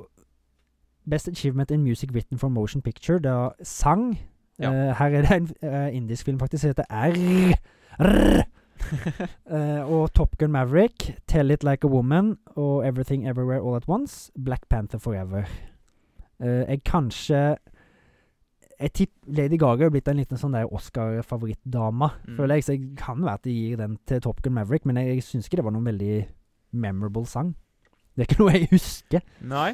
Speaker 1: Best Achievement in Music Written for Motion Picture. Det er sang.
Speaker 2: Ja.
Speaker 1: Eh, her er det en eh, indisk film faktisk som heter R. R. Eh, og Top Gun Maverick, Tell It Like a Woman og Everything Everywhere All At Once. Black Panther Forever. Eh, jeg kanskje jeg tipper Lady Gaga er blitt en liten sånn der Oscar-favorittdama,
Speaker 2: Mm.
Speaker 1: føler jeg. Så jeg kan være at de gir den til Top Gun Maverick, men jeg, jeg syns ikke det var noen veldig memorable sang. Det er ikke noe jeg husker.
Speaker 2: Nei.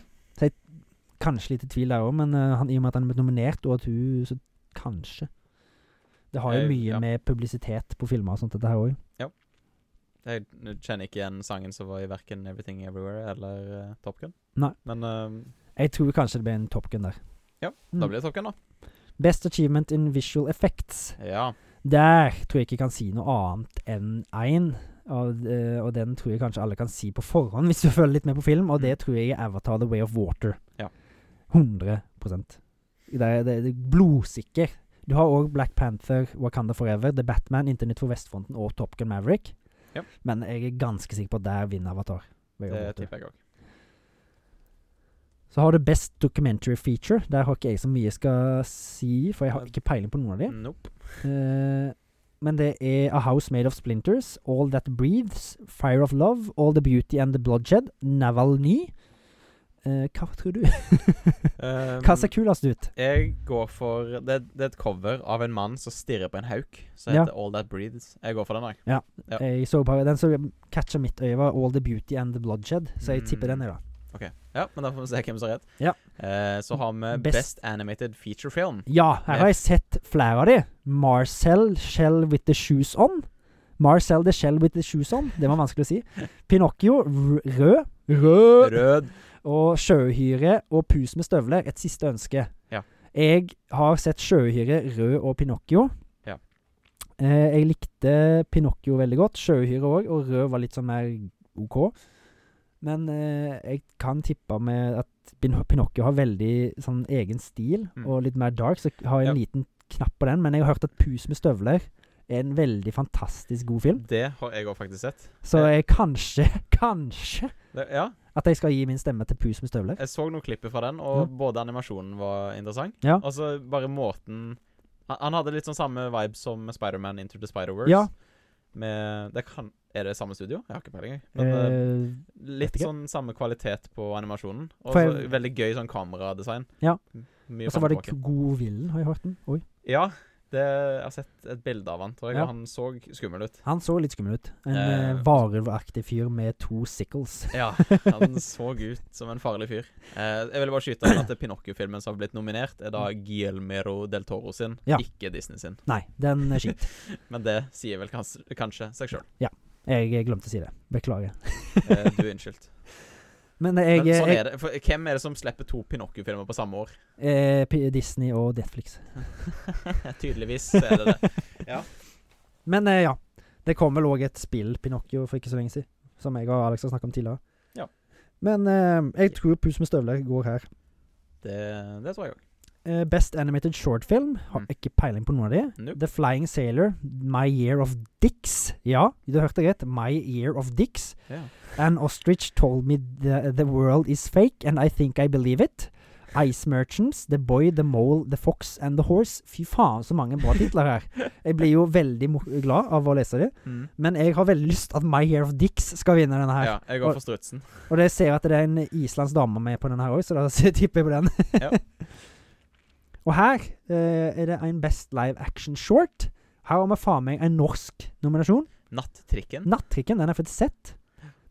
Speaker 1: Kanskje litt i tvil der òg, men eh, han, i og med at han er blitt nominert, og at hun Så kanskje. Det har jo
Speaker 2: Eh,
Speaker 1: mye
Speaker 2: ja.
Speaker 1: med publisitet på filmer og sånt, dette her òg.
Speaker 2: Jeg kjenner ikke igjen sangen som var i verken Everything Everywhere eller eh, Top Gun.
Speaker 1: Nei. Mm.
Speaker 2: Men eh,
Speaker 1: Jeg tror kanskje det ble en Top Gun der.
Speaker 2: ja,
Speaker 1: Mm.
Speaker 2: da blir det Top Gun, da.
Speaker 1: Best achievement in visual effects.
Speaker 2: Ja.
Speaker 1: Der tror jeg ikke jeg kan si noe annet enn én. Og, eh, og den tror jeg kanskje alle kan si på forhånd, hvis du følger litt med på film. Og det tror jeg er Avatar The Way of Water.
Speaker 2: Mm. Ja.
Speaker 1: 100 det er, det er Blodsikker. Du har òg Black Panther, Wakanda Forever, The Batman, Internett for Vestfronten og Top Gun Maverick.
Speaker 2: Ja.
Speaker 1: Men jeg er ganske sikker på at der vinner Avatar. Way of
Speaker 2: Det
Speaker 1: Water.
Speaker 2: tipper jeg òg.
Speaker 1: Så har du Best Documentary Feature. Der har ikke jeg så mye jeg skal si, for jeg har ikke peiling på noen av de.
Speaker 2: Nope.
Speaker 1: Eh, men det er A House Made of Splinters, All That Breathes, Fire of Love, All the Beauty and the Bloodshed, Navalny. Eh, hva tror du?
Speaker 2: Um,
Speaker 1: Hva ser kulest ut?
Speaker 2: jeg går for det, det er et cover av en mann som stirrer på en hauk, som
Speaker 1: Ja.
Speaker 2: heter All That Breathes. Jeg går for den, jeg. Ja.
Speaker 1: Jeg Eh, så bare, den som catcha mitt øye, var All the Beauty and the Bloodshed, så jeg tipper
Speaker 2: Mm.
Speaker 1: den, jeg, da.
Speaker 2: Ok, ja, men da får vi se hvem som har rett.
Speaker 1: Ja.
Speaker 2: Eh, så har vi
Speaker 1: Best-
Speaker 2: Best, Animated Feature Film.
Speaker 1: Ja, her har jeg sett flere av de. Marcel Shell with the Shoes On. Marcel the Shell with the Shoes On. Det var vanskelig å si. Pinocchio, r- rød. Rød.
Speaker 2: Rød.
Speaker 1: Og sjøuhyre og pus med støvler, et siste ønske.
Speaker 2: Ja.
Speaker 1: Jeg har sett sjøuhyre, rød og Pinocchio.
Speaker 2: Ja.
Speaker 1: Eh, jeg likte Pinocchio veldig godt. Sjøuhyre òg, og rød var litt sånn mer OK. Men eh, jeg kan tippe med at Pin- Pinocchio har veldig sånn egen stil,
Speaker 2: Mm.
Speaker 1: og litt mer dark, så har jeg en liten knapp på den. Men jeg har hørt at Pus med støvler er en veldig fantastisk god film.
Speaker 2: Det har jeg òg faktisk sett.
Speaker 1: Så jeg kanskje, kanskje
Speaker 2: Det, ja,
Speaker 1: at jeg skal gi min stemme til Pus med støvler.
Speaker 2: Jeg så noen klipper fra den, og både animasjonen var interessant.
Speaker 1: Ja.
Speaker 2: Og så bare måten han, han hadde litt sånn samme vibe som Spider-Man Into the Spider-Verse.
Speaker 1: Ja.
Speaker 2: Med, det kan, er det samme studio? Jeg har ikke peiling. jeg. Men eh,
Speaker 1: Eh,
Speaker 2: litt
Speaker 1: vet ikke.
Speaker 2: sånn samme kvalitet på animasjonen. Og
Speaker 1: For
Speaker 2: så
Speaker 1: jeg-
Speaker 2: veldig gøy sånn kameradesign.
Speaker 1: Ja.
Speaker 2: M- Mye
Speaker 1: og så
Speaker 2: fram
Speaker 1: var det
Speaker 2: og tilbake.
Speaker 1: Godvillen, har jeg hørt den? Oi.
Speaker 2: Ja. Det, jeg har sett et bilde av han, tror jeg.
Speaker 1: Ja.
Speaker 2: Og han så skummel ut.
Speaker 1: Han så litt skummel ut. En
Speaker 2: Eh,
Speaker 1: eh, varulvaktig fyr med to sickles.
Speaker 2: Ja, han så ut som en farlig fyr. Eh, jeg ville bare skyte inn at Pinocchio-filmen som har blitt nominert, er da Guillermo del Toro sin,
Speaker 1: Mm. Ja.
Speaker 2: ikke Disney sin.
Speaker 1: Nei, den eh, er skit.
Speaker 2: Men det sier vel kanskje, kanskje seg sjøl.
Speaker 1: Jeg eh, glemte å si det. Beklager.
Speaker 2: Eh, du er unnskyldt.
Speaker 1: Men eh,
Speaker 2: Men
Speaker 1: jeg,
Speaker 2: sånn
Speaker 1: jeg,
Speaker 2: er det. For, hvem er det som slipper to Pinocchio-filmer på samme år?
Speaker 1: eh, P- Disney og Netflix.
Speaker 2: Tydeligvis så er det det.
Speaker 1: Men eh, ja. Det kom vel òg et spill, Pinocchio, for ikke så lenge siden. Som jeg og Alex har snakka om tidligere.
Speaker 2: Ja.
Speaker 1: Men eh, jeg tror Pus med støvler går her.
Speaker 2: Det, det tror jeg òg.
Speaker 1: Eh, Best animated shortfilm. Har
Speaker 2: Mm.
Speaker 1: ikke peiling på noen av de.
Speaker 2: Nope.
Speaker 1: The Flying Sailor. My Year of Dicks. Ja, du hørte rett. My Year of Dicks.
Speaker 2: Ja.
Speaker 1: An ostrich told me the, the world is fake, and I think I believe it. Ice Merchants, The Boy, The Mole, The Fox and The Horse. Fy faen, så mange bra titler her. Jeg blir jo veldig mo- glad av å lese det.
Speaker 2: Mm.
Speaker 1: Men jeg har veldig lyst at My Year of Dicks skal vinne denne her.
Speaker 2: ja. Jeg går for strutsen.
Speaker 1: Og det ser jeg at det er en islandsk dame med på denne her òg, så da tipper jeg på den.
Speaker 2: Ja.
Speaker 1: Og her eh, er det en Best Live Action Short. Her har vi faen meg en norsk nominasjon.
Speaker 2: Nattrikken.
Speaker 1: Nattrikken, den er faktisk sett.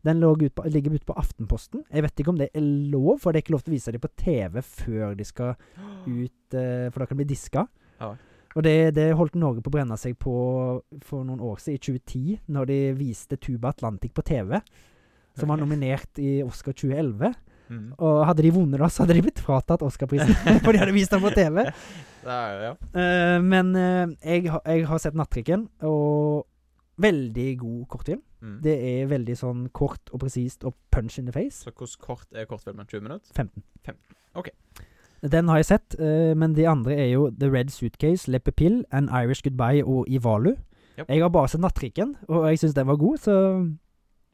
Speaker 1: Den lå ut på, ligger ute på Aftenposten. Jeg vet ikke om det er lov, for det er ikke lov til å vise dem på TV før de skal ut, eh, for da kan de bli diska.
Speaker 2: Ja.
Speaker 1: Og det, det holdt Norge på å brenne seg på for noen år siden, i 2010, når de viste Tuba Atlantic på TV, som var
Speaker 2: Ok.
Speaker 1: nominert i Oscar 2011.
Speaker 2: Mm.
Speaker 1: Og hadde de vunnet da, så hadde de blitt fratatt Oscarprisen, for de hadde vist den på TV.
Speaker 2: Det er, ja.
Speaker 1: Eh, men eh, jeg, har- jeg har sett Nattrikken, og veldig god kortfilm.
Speaker 2: Mm.
Speaker 1: Det er veldig sånn kort og presist og punch in the face.
Speaker 2: Så hvordan kort er kortfilmen? 20 minutter?
Speaker 1: 15.
Speaker 2: 15, ok.
Speaker 1: Den har jeg sett, eh, men de andre er jo The Red Suitcase, Leppepill, An Irish Goodbye og Ivalu.
Speaker 2: Japp.
Speaker 1: Jeg har bare sett Nattrikken, og jeg syns den var god, så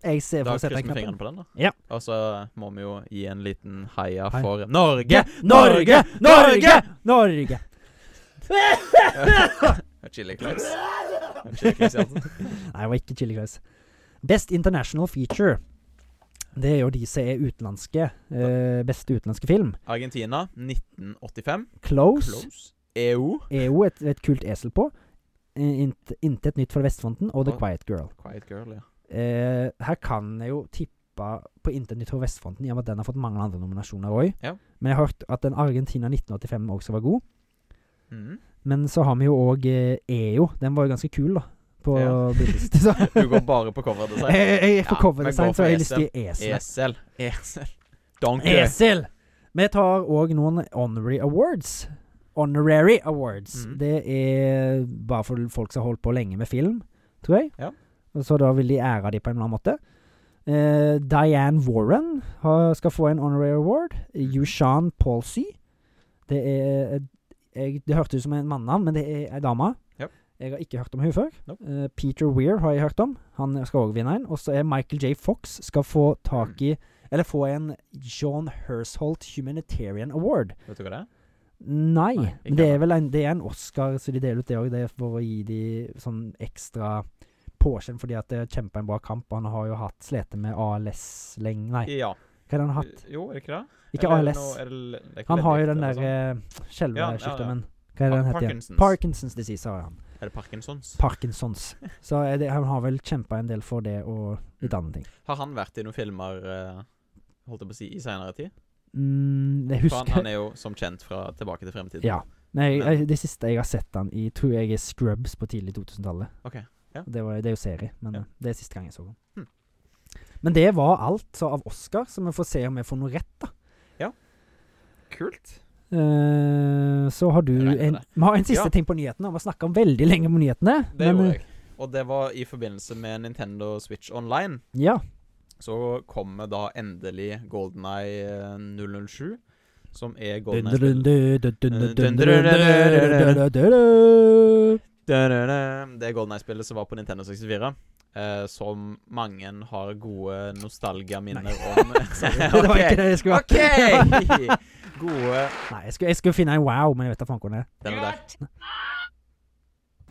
Speaker 1: jeg ser
Speaker 2: Da
Speaker 1: for å sette
Speaker 2: krysser
Speaker 1: den
Speaker 2: vi fingrene
Speaker 1: knappen.
Speaker 2: på den, da.
Speaker 1: Ja.
Speaker 2: Og så må vi jo gi en liten heia
Speaker 1: Hei.
Speaker 2: for Norge!
Speaker 1: Norge! Norge! Norge!
Speaker 2: Chili Claus. Chili Claus i hjertet.
Speaker 1: Nei, det var ikke Chili Claus. Best International Feature. Det er jo de som er utenlandske. eh, beste utenlandske film.
Speaker 2: Argentina E 1985.
Speaker 1: Close.
Speaker 2: Close. EO.
Speaker 1: er jo E et, et kult esel på. Eh, int- Intet nytt fra vestfronten og The
Speaker 2: Ja.
Speaker 1: Quiet Girl.
Speaker 2: Quiet Girl, ja.
Speaker 1: Eh, her kan jeg jo tippe på Intet nytt fra vestfronten, i og med at den har fått mange andre nominasjoner òg.
Speaker 2: Ja.
Speaker 1: Men jeg har hørt at den Argentina 1985 også var god.
Speaker 2: Mhm.
Speaker 1: Men så har vi jo òg eh, EO. Den var jo ganske kul, da. På
Speaker 2: Ja.
Speaker 1: bildest. Så
Speaker 2: Du går bare på coverdesign.
Speaker 1: jeg, jeg, jeg får
Speaker 2: Ja, men gå
Speaker 1: coverdesign,
Speaker 2: for
Speaker 1: så
Speaker 2: E
Speaker 1: jeg har lyst til E esel.
Speaker 2: Esel. Esel. Donkey.
Speaker 1: Esel! Vi tar òg noen honorary awards. Honorary awards.
Speaker 2: Mhm.
Speaker 1: Det er bare for folk som har holdt på lenge med film, tror jeg.
Speaker 2: Ja.
Speaker 1: Og Så da vil de ære dem på en eller annen måte. Eh, Diane Warren har, skal få en honorary award. Yushan Palsy. Det er et- jeg, Det hørtes ut som en mannenavn, men det er ei dame.
Speaker 2: Japp.
Speaker 1: Jeg har ikke hørt om hun før.
Speaker 2: Nope.
Speaker 1: Eh, Peter Weir har jeg hørt om. Han skal òg vinne en. Og så er Michael J. Fox skal få tak i Eller få en John Hersholt Humanitarian Award.
Speaker 2: Vet du hva det er?
Speaker 1: Nei,
Speaker 2: Nei, ikke
Speaker 1: men det er
Speaker 2: ennå.
Speaker 1: vel en, det er en Oscar, så de deler ut det òg. Det er for å gi de sånn ekstra påskjønn fordi at det er kjempa en bra kamp. og Han har jo hatt slete med ALS lenge Nei,
Speaker 2: Ja.
Speaker 1: hva er det han har hatt?
Speaker 2: Jo, er det ikke det?
Speaker 1: Ikke
Speaker 2: Eller er
Speaker 1: ALS.
Speaker 2: det noe- er det- det er ikke
Speaker 1: Han har jo
Speaker 2: leddgikt
Speaker 1: den
Speaker 2: eller
Speaker 1: der
Speaker 2: sånn?
Speaker 1: eh, skjelvesykdommen. Hva er det
Speaker 2: Pa-
Speaker 1: den heter igjen?
Speaker 2: Parkinsons.
Speaker 1: Parkinsons disease har han.
Speaker 2: Er det Parkinsons?
Speaker 1: Parkinsons. Så er det, han har vel kjempa en del for det
Speaker 2: Mm.
Speaker 1: og litt andre ting.
Speaker 2: Har han vært i noen filmer eh, Holdt jeg på å si i seinere tid?
Speaker 1: Mm, jeg
Speaker 2: For han, han
Speaker 1: husker
Speaker 2: er jo som kjent fra Tilbake til fremtiden.
Speaker 1: Ja. Nei, jeg, det siste jeg har sett han i, tror jeg er Scrubs på tidlig 2000-tallet.
Speaker 2: Ok, ja.
Speaker 1: Det, var, det er jo serie, men eh,
Speaker 2: Ja.
Speaker 1: det er siste gang jeg så han.
Speaker 2: Hmm.
Speaker 1: Men det var alt så av Oscar, så vi får se om vi får noe rett, da.
Speaker 2: Kult.
Speaker 1: Eh, så har du
Speaker 2: Jeg regner
Speaker 1: en
Speaker 2: det.
Speaker 1: Vi har en siste
Speaker 2: Ja.
Speaker 1: ting på nyhetene. Vi har snakka om veldig lenge om nyhetene.
Speaker 2: Det
Speaker 1: men, eh,
Speaker 2: gjorde jeg. Og det var i forbindelse med Nintendo Switch Online.
Speaker 1: Ja.
Speaker 2: Så kommer da endelig Golden Eye 007, som er Golden Eye-spillet.
Speaker 1: Ja,
Speaker 2: Det er Golden Eye-spillet som var på Nintendo 64. eh, som mange har gode nostalgiaminner om.
Speaker 1: Det var ikke det jeg skulle
Speaker 2: OK! OK! Gode
Speaker 1: Nei, jeg skulle, jeg skulle finne en wow, men jeg vet da faen hvor den er.
Speaker 2: Den var der.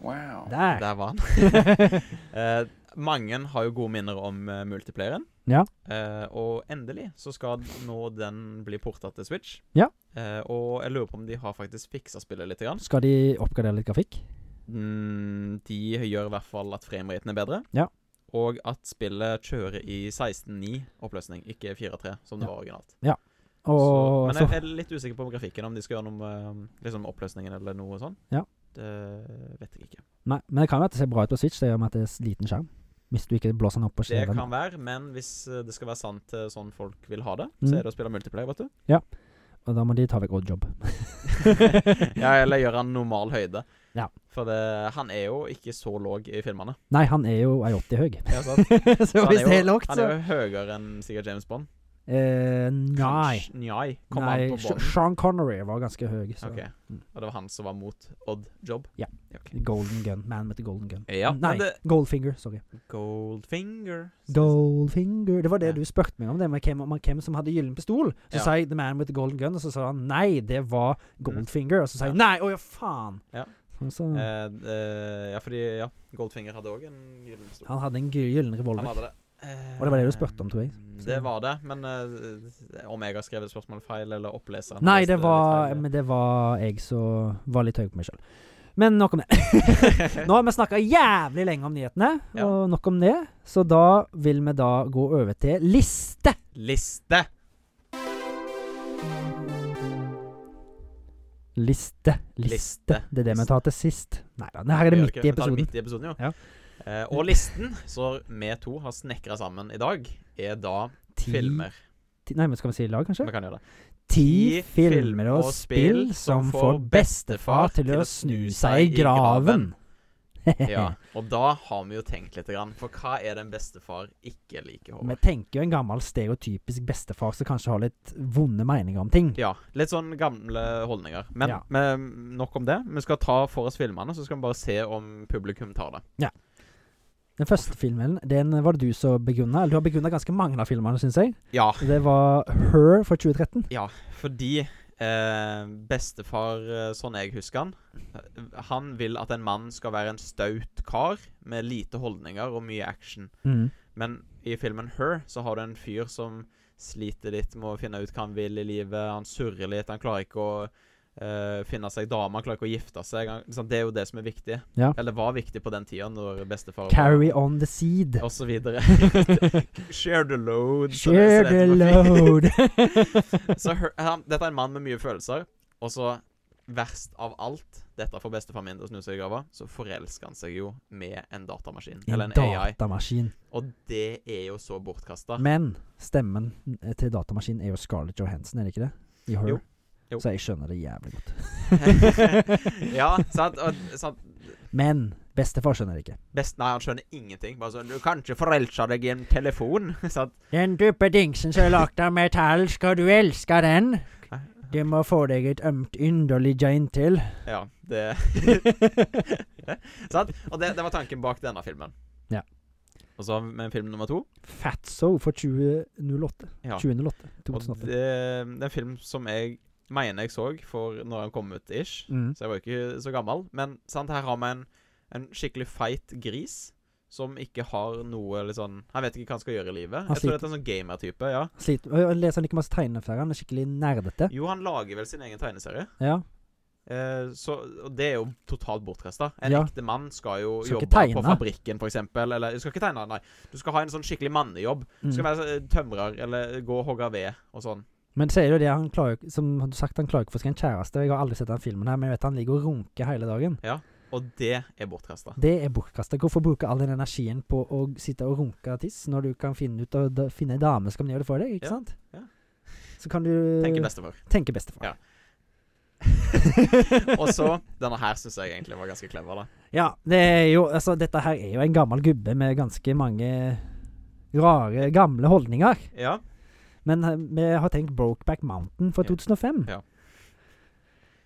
Speaker 3: Wow.
Speaker 1: Der.
Speaker 2: Der var den. Eh, mange har jo gode minner om eh, multiplayeren.
Speaker 1: Ja.
Speaker 2: Eh, og endelig så skal nå den bli porta til Switch.
Speaker 1: Ja.
Speaker 2: Eh, og jeg lurer på om de har faktisk fiksa spillet litt. Grann.
Speaker 1: Skal de oppgradere litt grafikk?
Speaker 2: Mm, de gjør i hvert fall at frameraten er bedre.
Speaker 1: Ja.
Speaker 2: Og at spillet kjører i 16.9 oppløsning, ikke 4.3, som det
Speaker 1: Ja.
Speaker 2: var originalt. så,
Speaker 1: Og
Speaker 2: men
Speaker 1: så,
Speaker 2: jeg jeg er litt usikker på om grafikken, om de skal gjøre noe med eh, liksom oppløsningen eller noe sånt.
Speaker 1: Ja.
Speaker 2: Det vet jeg ikke.
Speaker 1: Nei, men det kan jo at det ser bra ut på Switch. Det gjør med at det er liten skjerm. Hvis du ikke blåser den opp på
Speaker 2: Det
Speaker 1: skjermen.
Speaker 2: kan være, men hvis eh, det skal være sant eh, sånn folk vil ha det,
Speaker 1: Mm.
Speaker 2: så er det å spille multiplayer, vet du.
Speaker 1: Og da må de ta vekk odd job.
Speaker 2: ja, eller gjøre han normal høyde.
Speaker 1: Ja.
Speaker 2: For det, han er jo ikke så låg i filmene.
Speaker 1: Nei, han er jo 1,80 høy.
Speaker 2: Er det sant?
Speaker 1: så
Speaker 2: Så han,
Speaker 1: hvis
Speaker 2: er
Speaker 1: det er
Speaker 2: jo,
Speaker 1: lågt,
Speaker 2: han
Speaker 1: så
Speaker 2: er jo høyere enn sikkert James Bond.
Speaker 1: eh, Nei.
Speaker 2: Kanskje- Nei. Kom
Speaker 1: nei
Speaker 2: han på
Speaker 1: Sh-
Speaker 2: Bond?
Speaker 1: Sean Connery var ganske høy. Så.
Speaker 2: Ok.
Speaker 1: Mm.
Speaker 2: Og det var han som var mot Odd Job?
Speaker 1: Ja.
Speaker 2: ok.
Speaker 1: Golden Gun. Man with the golden gun.
Speaker 2: Ja, men
Speaker 1: nei,
Speaker 2: det-
Speaker 1: Goldfinger. Sorry.
Speaker 2: Goldfinger
Speaker 1: Goldfinger Det var det
Speaker 2: Ja.
Speaker 1: du spurte meg om, det med hvem, om hvem som hadde gyllen pistol. Så
Speaker 2: Ja. Mhm.
Speaker 1: sa jeg The Man with the Golden Gun, og så sa han nei, det var Goldfinger. Og så sa jeg
Speaker 2: Ja.
Speaker 1: nei, å ja, faen!
Speaker 2: Ja.
Speaker 1: Og Så,
Speaker 2: Eh, eh, ja, fordi ja, Goldfinger hadde òg en gyllen pistol.
Speaker 1: han hadde en gy- gyllen
Speaker 2: Han
Speaker 1: revolver.
Speaker 2: hadde det. Eh,
Speaker 1: Og det var det du spurte om, tror jeg. Så-
Speaker 2: Det var det, men eh, om jeg har skrevet spørsmålet feil, eller oppleseren har
Speaker 1: Nei,
Speaker 2: lest
Speaker 1: det var,
Speaker 2: litt feil,
Speaker 1: men det var jeg som var litt høy på meg sjøl. Men nok om det. Nå har vi snakka jævlig lenge om nyhetene,
Speaker 2: Ja.
Speaker 1: og nok om det. Så da vil vi da gå over til liste.
Speaker 2: Liste!
Speaker 1: Liste. Liste.
Speaker 2: Liste.
Speaker 1: Det er det vi
Speaker 2: Liste.
Speaker 1: tar til sist. Nei da, her er det
Speaker 2: Vi gjør
Speaker 1: midt
Speaker 2: ikke
Speaker 1: i
Speaker 2: Vi tar det
Speaker 1: episoden.
Speaker 2: Midt i episoden jo.
Speaker 1: Ja.
Speaker 2: Eh, og listen som vi to har snekra sammen i dag, er da
Speaker 1: Ti-
Speaker 2: filmer.
Speaker 1: ti- Nei, men skal vi si i lag, kanskje?
Speaker 2: Vi kan gjøre det.
Speaker 1: Ti filmer og spill som får bestefar til å snu seg i graven.
Speaker 2: Ja. Og da har vi jo tenkt litt, grann, for hva er det en bestefar ikke
Speaker 1: Vi
Speaker 2: liker? Håvard?
Speaker 1: tenker jo en gammel stereotypisk bestefar som kanskje har litt vonde meninger om ting.
Speaker 2: Ja, litt sånn gamle holdninger. Men
Speaker 1: Ja.
Speaker 2: men nok om det. Vi skal ta for oss filmene, så skal vi bare se om publikum tar det.
Speaker 1: Den første filmen den var det du som begrunna. Du har begrunna ganske mange av filmene, syns jeg.
Speaker 2: Ja,
Speaker 1: Det var Her fra 2013.
Speaker 2: fordi eh, bestefar, eh, sånn jeg husker han eh, Han vil at en mann skal være en staut kar med lite holdninger og mye action.
Speaker 1: Mm.
Speaker 2: Men i filmen Her så har du en fyr som sliter litt med å finne ut hva han vil i livet. Han surrer litt. Han klarer ikke å eh, finne seg dame. Han klarer ikke å gifte seg. Han, sant, det er jo det som er viktig.
Speaker 1: Ja.
Speaker 2: Eller var viktig på den tida når bestefar var-
Speaker 1: Carry On The Seed.
Speaker 2: og så videre. Share the load. så det- så
Speaker 1: Share
Speaker 2: det
Speaker 1: the
Speaker 2: heter på fint.
Speaker 1: load.
Speaker 2: så hø- han, dette er en mann med mye følelser, og så verst av alt Dette får bestefar min til å snu seg i grava, så forelsker han seg jo med en datamaskin. Eller
Speaker 1: En
Speaker 2: en AI.
Speaker 1: datamaskin.
Speaker 2: Og det er jo så bortkasta.
Speaker 1: Men stemmen til datamaskinen er jo Scarlett Johansen, er det ikke det? I Her.
Speaker 2: Jo. Jo.
Speaker 1: Så jeg skjønner det jævlig godt.
Speaker 2: ja, sant? Og, sant?
Speaker 1: Men bestefar skjønner det ikke.
Speaker 2: Best, nei, han skjønner ingenting. Bare sånn 'Du kan ikke forelske deg i en telefon.' sant?
Speaker 1: Den duppedingsen som er lagt av metall, skal du elske den?
Speaker 2: Nei.
Speaker 1: Du må få deg et ømt underlig joint til.
Speaker 2: Ja, det Sant? Og det, det var tanken bak denne filmen.
Speaker 1: Ja.
Speaker 2: Og så har vi med film nummer to.
Speaker 1: Fatso for 2008.
Speaker 2: Ja.
Speaker 1: 2008.
Speaker 2: Og
Speaker 1: 2008.
Speaker 2: det, det er en film som jeg mener jeg så for når han kom ut, ish.
Speaker 1: Mm.
Speaker 2: Så jeg var jo ikke så gammel. Men sant, her har vi en, en skikkelig feit gris som ikke har noe eller sånn Han vet ikke hva han skal gjøre i livet.
Speaker 1: Han
Speaker 2: Jeg tror det er en sånn gamer-type. ja.
Speaker 1: Sliter. Og jeg leser han ikke masse tegneferier, han er skikkelig nerdete.
Speaker 2: Jo, han lager vel sin egen tegneserie.
Speaker 1: Ja.
Speaker 2: Eh, så, og det er jo totalt bortkasta. En
Speaker 1: Ja.
Speaker 2: ekte mann skal jo
Speaker 1: Skal ikke
Speaker 2: jobbe på
Speaker 1: tegne.
Speaker 2: fabrikken, f.eks. Eller du skal ikke tegne, nei. Du skal ha en sånn skikkelig mannejobb. Du skal
Speaker 1: Mm.
Speaker 2: være eh, tømrer eller gå og hogge ved og sånn.
Speaker 1: Men sier du det, han klarer jo ikke- som du har sagt, han klarer ikke å få seg en kjæreste. Jeg har aldri sett den filmen her, men jeg vet han ligger og runker hele dagen.
Speaker 2: Og det er bortkasta.
Speaker 1: Det er bortkastet. Hvorfor bruke all den energien på å sitte og runke tiss, når du kan finne ut å da, finne ei dame som kan gjøre det for deg, ikke
Speaker 2: Ja,
Speaker 1: sant?
Speaker 2: ja.
Speaker 1: Så kan du
Speaker 2: Tenker bestefar.
Speaker 1: tenke bestefar.
Speaker 2: Ja. Og så Denne her syns jeg egentlig var ganske clever, da.
Speaker 1: Ja, det er jo Altså, dette her er jo en gammel gubbe med ganske mange rare, gamle holdninger.
Speaker 2: Ja.
Speaker 1: Men eh, vi har tenkt Brokeback Mountain fra
Speaker 2: Ja.
Speaker 1: 2005.
Speaker 2: Ja.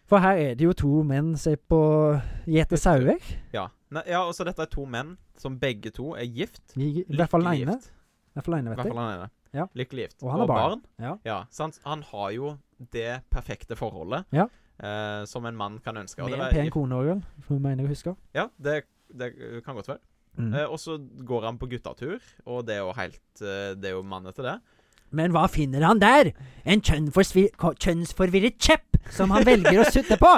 Speaker 1: For her er det jo to menn som er på gjeter sauer.
Speaker 2: Ja. Nei, ja, og så dette er to menn som begge to er gift.
Speaker 1: I i hvert fall den
Speaker 2: Lykkelig
Speaker 1: ene.
Speaker 2: gift.
Speaker 1: I hvert fall den ene,
Speaker 2: I hvert
Speaker 1: vet du.
Speaker 2: fall han ene.
Speaker 1: Ja.
Speaker 2: Lykkelig gift.
Speaker 1: Og han har barn. Ja.
Speaker 2: Ja, sant? Han har jo det perfekte forholdet
Speaker 1: Ja.
Speaker 2: eh, som en mann kan ønske. Og
Speaker 1: Med en
Speaker 2: det, var-
Speaker 1: pen kone òg, vel. Hun mener jeg husker.
Speaker 2: ja, det, det kan godt være.
Speaker 1: Mm.
Speaker 2: Eh, og så går han på guttatur, og det er jo helt eh, Det er jo mann etter det.
Speaker 1: Men hva finner han der? En kjønnforsvi- ko- kjønnsforvirret kjepp som han velger å sutte på!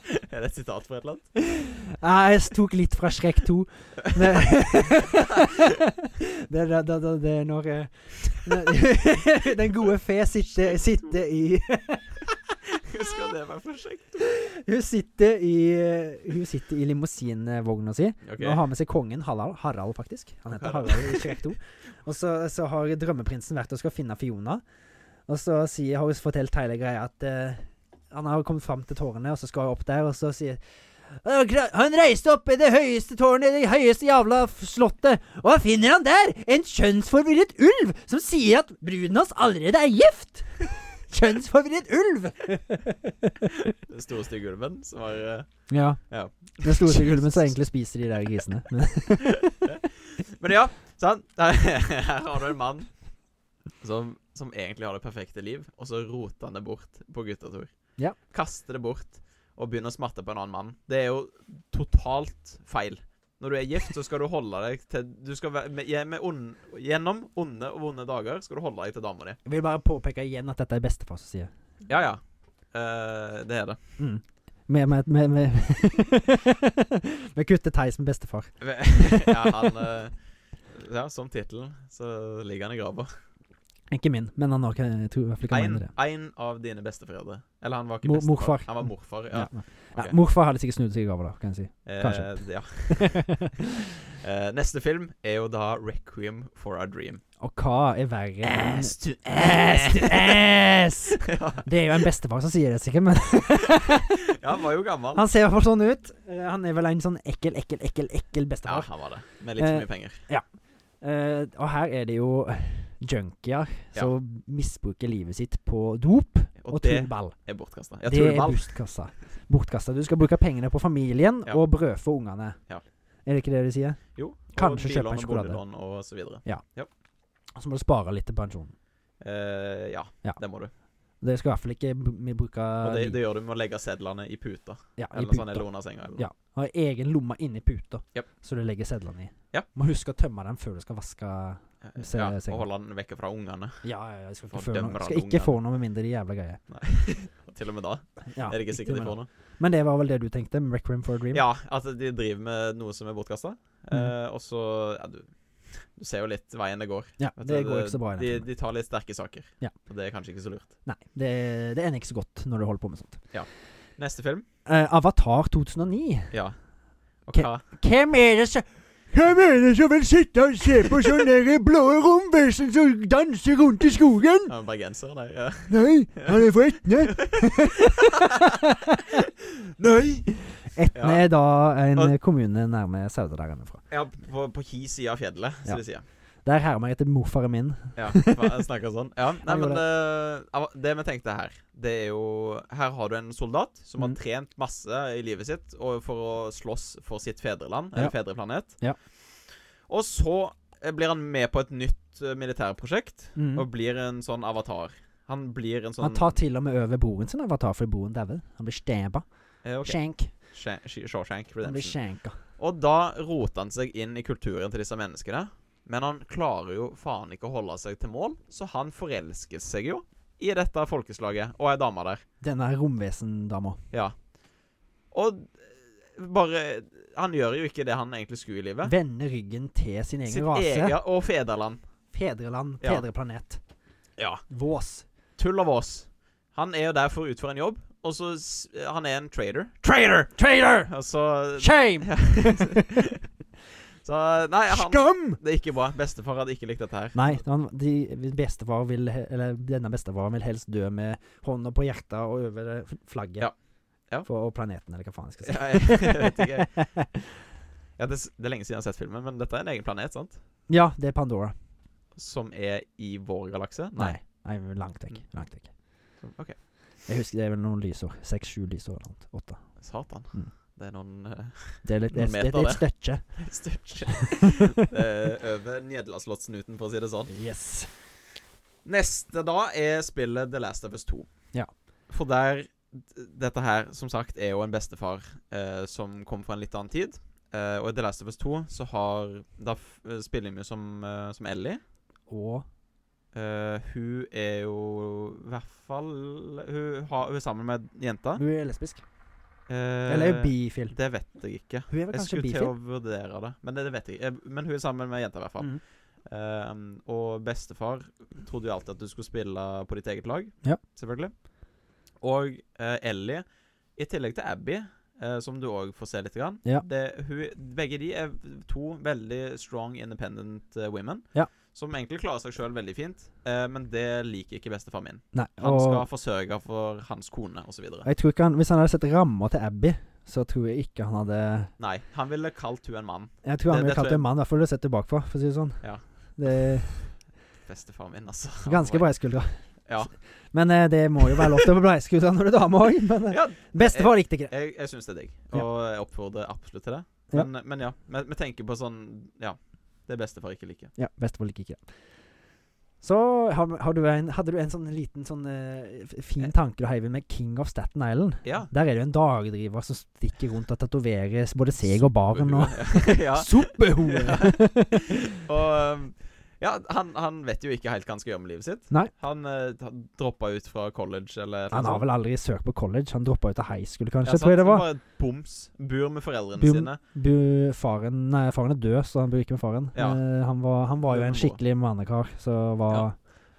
Speaker 2: Er det et sitat fra et eller annet?
Speaker 1: Ja, Ah, jeg tok litt fra Shrek 2. Men, det, er da- da- da- det er når eh, når- Den gode fe sitter, sitter i
Speaker 2: Husker det var for kjekt.
Speaker 1: Hun sitter i eh, Hun sitter i limousinvogna si
Speaker 2: Ok.
Speaker 1: og har med seg kongen Harald, Harald faktisk. Han heter
Speaker 2: Harald.
Speaker 1: Harald i Shrek 2. Og så, så har drømmeprinsen vært og skal finne Fiona. Og så sier, har hun fortalt hele greia at eh, han har kommet fram til tårnet, og så skal hun opp der, og så sier «Å, gra- han reiste opp i det høyeste tårnet i det høyeste jævla f- slottet, og hva finner han der? En kjønnsforvirret ulv som sier at bruden hans allerede er gift! Kjønnsforvirret ulv!
Speaker 2: Den store stygge ulven som var eh,
Speaker 1: Ja.
Speaker 2: Ja.
Speaker 1: Den store ulven som egentlig spiser de der grisene.
Speaker 2: Men ja, sant? Her har du en mann som, som egentlig har det perfekte liv, og så roter han det bort på guttatur.
Speaker 1: Ja.
Speaker 2: Kaster det bort og begynner å smatte på en annen mann. Det er jo totalt feil. Når du er gift, så skal du holde deg til Du skal være med, med ond- Gjennom onde og vonde dager skal du holde deg til dama di.
Speaker 1: Jeg vil bare påpeke igjen at dette er bestefar som sier.
Speaker 2: Ja, ja. Eh, det er det.
Speaker 1: Mm. Med, med, med, med Vi kutter Theis med bestefar.
Speaker 2: ja, han eh, Ja, som tittelen, så ligger han i grava.
Speaker 1: Ikke min, men han har ikke jeg tror i hvert fall ikke han mener det.
Speaker 2: Én av dine besteforeldre. Eller han var ikke
Speaker 1: Mor-
Speaker 2: bestefar.
Speaker 1: morfar.
Speaker 2: Han var morfar, ja.
Speaker 1: Ja. Ja,
Speaker 2: ok.
Speaker 1: morfar hadde sikkert snudd seg i grava da, kan jeg si.
Speaker 2: Eh,
Speaker 1: kanskje.
Speaker 2: ja. Eh, neste film er jo da 'Requiem for a Dream'.
Speaker 1: Og hva er verre enn
Speaker 2: to
Speaker 1: Ass to ass!
Speaker 2: ja,
Speaker 1: Det er jo en bestefar som sier det, sikkert, men
Speaker 2: Ja, han var jo gammel.
Speaker 1: han ser i hvert fall sånn ut. Eh, Han er vel en sånn ekkel, ekkel, ekkel, ekkel
Speaker 2: Ja,
Speaker 1: bestefar.
Speaker 2: han var det. Med litt for
Speaker 1: Eh,
Speaker 2: mye penger.
Speaker 1: Eh, og her er det jo junkier som misbruker livet sitt på dop
Speaker 2: Og,
Speaker 1: og
Speaker 2: det
Speaker 1: tullball.
Speaker 2: er bortkasta. Ja,
Speaker 1: det er
Speaker 2: tullball.
Speaker 1: bortkasta. Bortkasta. Du skal bruke pengene på familien
Speaker 2: Ja.
Speaker 1: og brødfø ungene.
Speaker 2: Ja.
Speaker 1: Er det ikke det de sier?
Speaker 2: Jo, og
Speaker 1: Kanskje kjøpe en
Speaker 2: billån og
Speaker 1: sjokolade.
Speaker 2: boliglån Og så videre.
Speaker 1: Og så må du spare litt til pensjonen.
Speaker 2: Eh, ja,
Speaker 1: Ja.
Speaker 2: det må du.
Speaker 1: Det skal i hvert fall ikke b- vi bruke
Speaker 2: Og det,
Speaker 1: liv-
Speaker 2: det gjør du med å legge sedlene i puta.
Speaker 1: ja, i
Speaker 2: Eller
Speaker 1: puta.
Speaker 2: sånn eller under senga. Eller.
Speaker 1: Ja. Ha egen lomme inni puta,
Speaker 2: Japp.
Speaker 1: så du legger sedlene i.
Speaker 2: Ja.
Speaker 1: Må huske å tømme dem før du skal vaske
Speaker 2: Eh,
Speaker 1: Se-
Speaker 2: ja,
Speaker 1: senga.
Speaker 2: og holde den vekke fra ungene.
Speaker 1: Ja, ja, ja. jeg Skal ikke, føre
Speaker 2: Fordømmer alle
Speaker 1: noe, skal ikke
Speaker 2: ungene.
Speaker 1: få noe med mindre de jævla greier.
Speaker 2: Og Til og med da.
Speaker 1: Ja,
Speaker 2: er det ikke sikkert de
Speaker 1: men-
Speaker 2: får noe.
Speaker 1: Men det var vel det du tenkte? Requiem for a Dream?
Speaker 2: Ja, at de driver med noe som er bortkasta.
Speaker 1: Mm.
Speaker 2: Eh, og så ja, du, du ser jo litt veien det går.
Speaker 1: Ja,
Speaker 2: Vet
Speaker 1: det
Speaker 2: du,
Speaker 1: går ikke så bra i den
Speaker 2: de,
Speaker 1: filmen.
Speaker 2: de tar litt sterke saker.
Speaker 1: Ja.
Speaker 2: Og det er kanskje ikke så lurt.
Speaker 1: Nei, det, det ender ikke så godt når du holder på med sånt.
Speaker 2: Neste film.
Speaker 1: Eh, Avatar 2009.
Speaker 2: Ja. Og
Speaker 1: Ok.
Speaker 2: hva
Speaker 1: Hvem er det som Hvem er det som vil sitte og se på sånne der blå romvesen som danser rundt i skogen?
Speaker 2: ja, Bergenser? Nei. Ja.
Speaker 1: Nei, han er fra Etne. Nei. Etne
Speaker 2: Ja.
Speaker 1: er da en
Speaker 2: Og-
Speaker 1: eh, kommune nærme Sauda der han er fra.
Speaker 2: ja, på, på hi side av fjellet,
Speaker 1: Ja.
Speaker 2: som de sier.
Speaker 1: Der hermer jeg etter morfaren min.
Speaker 2: Ja, hva- jeg snakker sånn. Ja, nei,
Speaker 1: Han
Speaker 2: men eh, av- Det vi tenkte her, det er jo Her har du en soldat som har
Speaker 1: Mm.
Speaker 2: trent masse i livet sitt og for å slåss for sitt fedreland,
Speaker 1: Ja.
Speaker 2: eller fedreplanet.
Speaker 1: Ja.
Speaker 2: Og så eh, blir han med på et nytt eh, militærprosjekt
Speaker 1: Mm.
Speaker 2: og blir en sånn avatar. Han blir en sånn
Speaker 1: Han tar til og med over broren sin avatar fordi broren dauer. Han blir stæba.
Speaker 2: eh, ok,
Speaker 1: Skjenk.
Speaker 2: Sha- Sh- Shawshank
Speaker 1: Han blir
Speaker 2: Redemption.
Speaker 1: skjenka.
Speaker 2: Og da roter han seg inn i kulturen til disse menneskene. Men han klarer jo faen ikke å holde seg til mål, så han forelsker seg jo i dette folkeslaget og ei dame der.
Speaker 1: Denne romvesendama.
Speaker 2: Ja. Og eh, bare Han gjør jo ikke det han egentlig skulle i livet.
Speaker 1: Vender ryggen til sin egen
Speaker 2: Sitt
Speaker 1: rase.
Speaker 2: eget og fedreland.
Speaker 1: Fedreland.
Speaker 2: Ja.
Speaker 1: Fedreplanet.
Speaker 2: Ja.
Speaker 1: Vås.
Speaker 2: Tull av oss. Han er jo der for å utføre en jobb, og så s- Han er en trader. Trader!
Speaker 1: Traitor!
Speaker 2: Og så
Speaker 1: Shame!
Speaker 2: Så nei, han,
Speaker 1: Skam!
Speaker 2: det er ikke bra. Bestefar hadde ikke likt dette her.
Speaker 1: Nei, han, de bestefar vil, he- eller denne bestefaren vil helst dø med hånda på hjertet og over eh, f- flagget.
Speaker 2: Ja. Ja.
Speaker 1: For, og planeten, eller hva faen jeg skal si.
Speaker 2: Ja, jeg, jeg vet ikke. Ja, det, s- det er lenge siden jeg har sett filmen, men dette er en egen planet, sant?
Speaker 1: ja, det er Pandora.
Speaker 2: Som er i vår galakse?
Speaker 1: Nei. Nei, langt vekk.
Speaker 2: Mm.
Speaker 1: Langt vekk.
Speaker 2: Som- OK.
Speaker 1: Jeg husker det er vel noen lysår. Seks-sju lysår eller noe. Åtte.
Speaker 2: Satan.
Speaker 1: Mm.
Speaker 2: Det er noen eh,
Speaker 1: Det er litt, det,
Speaker 2: Noen
Speaker 1: er- det,
Speaker 2: meter,
Speaker 1: er et støtje.
Speaker 2: større eh, Over Nederlandslottsen, for å si det sånn.
Speaker 1: Yes.
Speaker 2: Neste da er spillet The Last of Us 2.
Speaker 1: Ja.
Speaker 2: For der d- Dette her, som sagt, er jo en bestefar eh, som kom fra en litt annen tid. Eh, og i The Last of Us 2 så har Da f spiller vi jo som, eh, som Ellie.
Speaker 1: Og
Speaker 2: Eh, hun er jo I hvert fall hun, har, hun er sammen med jenta.
Speaker 1: hun er lesbisk.
Speaker 2: Eh,
Speaker 1: Eller er hun bifil.
Speaker 2: Det vet jeg ikke.
Speaker 1: Hun er vel
Speaker 2: Jeg
Speaker 1: kanskje
Speaker 2: skulle til å
Speaker 1: bifil?
Speaker 2: vurdere det, men det, det vet jeg ikke. Eh, Men hun er sammen med jenta, i hvert fall.
Speaker 1: Mm.
Speaker 2: Ehm, og bestefar trodde jo alltid at du skulle spille på ditt eget lag.
Speaker 1: Ja.
Speaker 2: Selvfølgelig. Og eh, Ellie, i tillegg til Abby, eh, som du òg får se litt grann,
Speaker 1: Ja.
Speaker 2: det, hun, Begge de er to veldig strong, independent eh, women.
Speaker 1: Ja.
Speaker 2: Som egentlig klarer seg sjøl veldig fint, eh, men det liker ikke bestefar min.
Speaker 1: Nei.
Speaker 2: Han
Speaker 1: og
Speaker 2: skal forsørge for hans kone, osv.
Speaker 1: jeg tror ikke han, hvis han hadde sett ramma til Abby, så tror jeg ikke han hadde
Speaker 2: Nei, han ville kalt hun en mann.
Speaker 1: Jeg tror han ville
Speaker 2: Det- det
Speaker 1: kalt
Speaker 2: tror
Speaker 1: det
Speaker 2: jeg-
Speaker 1: en mann, i hvert fall du setter bakfra, for å si det sånn.
Speaker 2: Ja.
Speaker 1: Det er
Speaker 2: Bestefar min, altså.
Speaker 1: ganske breie skuldre.
Speaker 2: Ja.
Speaker 1: Men eh, det må jo være lov til å breie skuldre når du er dame òg. Men eh,
Speaker 2: Ja,
Speaker 1: bestefar likte ikke det.
Speaker 2: Jeg, jeg syns det er digg,
Speaker 1: Ja.
Speaker 2: og jeg oppfordrer absolutt til det.
Speaker 1: Ja.
Speaker 2: Men ja, men ja vi, vi tenker på sånn Ja. Det bestefar ikke liker.
Speaker 1: Ja, bestefar liker ikke det. Så har, har du en, hadde du en sånn liten sånn eh, f- fin tanke du heiv inn med King of Staten Island.
Speaker 2: Ja.
Speaker 1: Der er det jo en dagdriver som stikker rundt og tatoverer både seg og baren og
Speaker 2: ja.
Speaker 1: Suppehore!
Speaker 2: Og um, ja, han, han vet jo ikke helt hva han skal gjøre med livet sitt.
Speaker 1: Nei.
Speaker 2: Han eh, droppa ut fra college eller
Speaker 1: Han har vel aldri søkt på college. Han droppa ut av high school, kanskje.
Speaker 2: kanskje,
Speaker 1: tror jeg det var.
Speaker 2: Bare boms. Bor med foreldrene
Speaker 1: Bor-
Speaker 2: sine.
Speaker 1: Bu, faren, nei, faren er død, så han bor ikke med faren.
Speaker 2: Ja.
Speaker 1: Eh, han, var, han var
Speaker 2: Bor
Speaker 1: jo en
Speaker 2: med mora.
Speaker 1: skikkelig mannekar som var,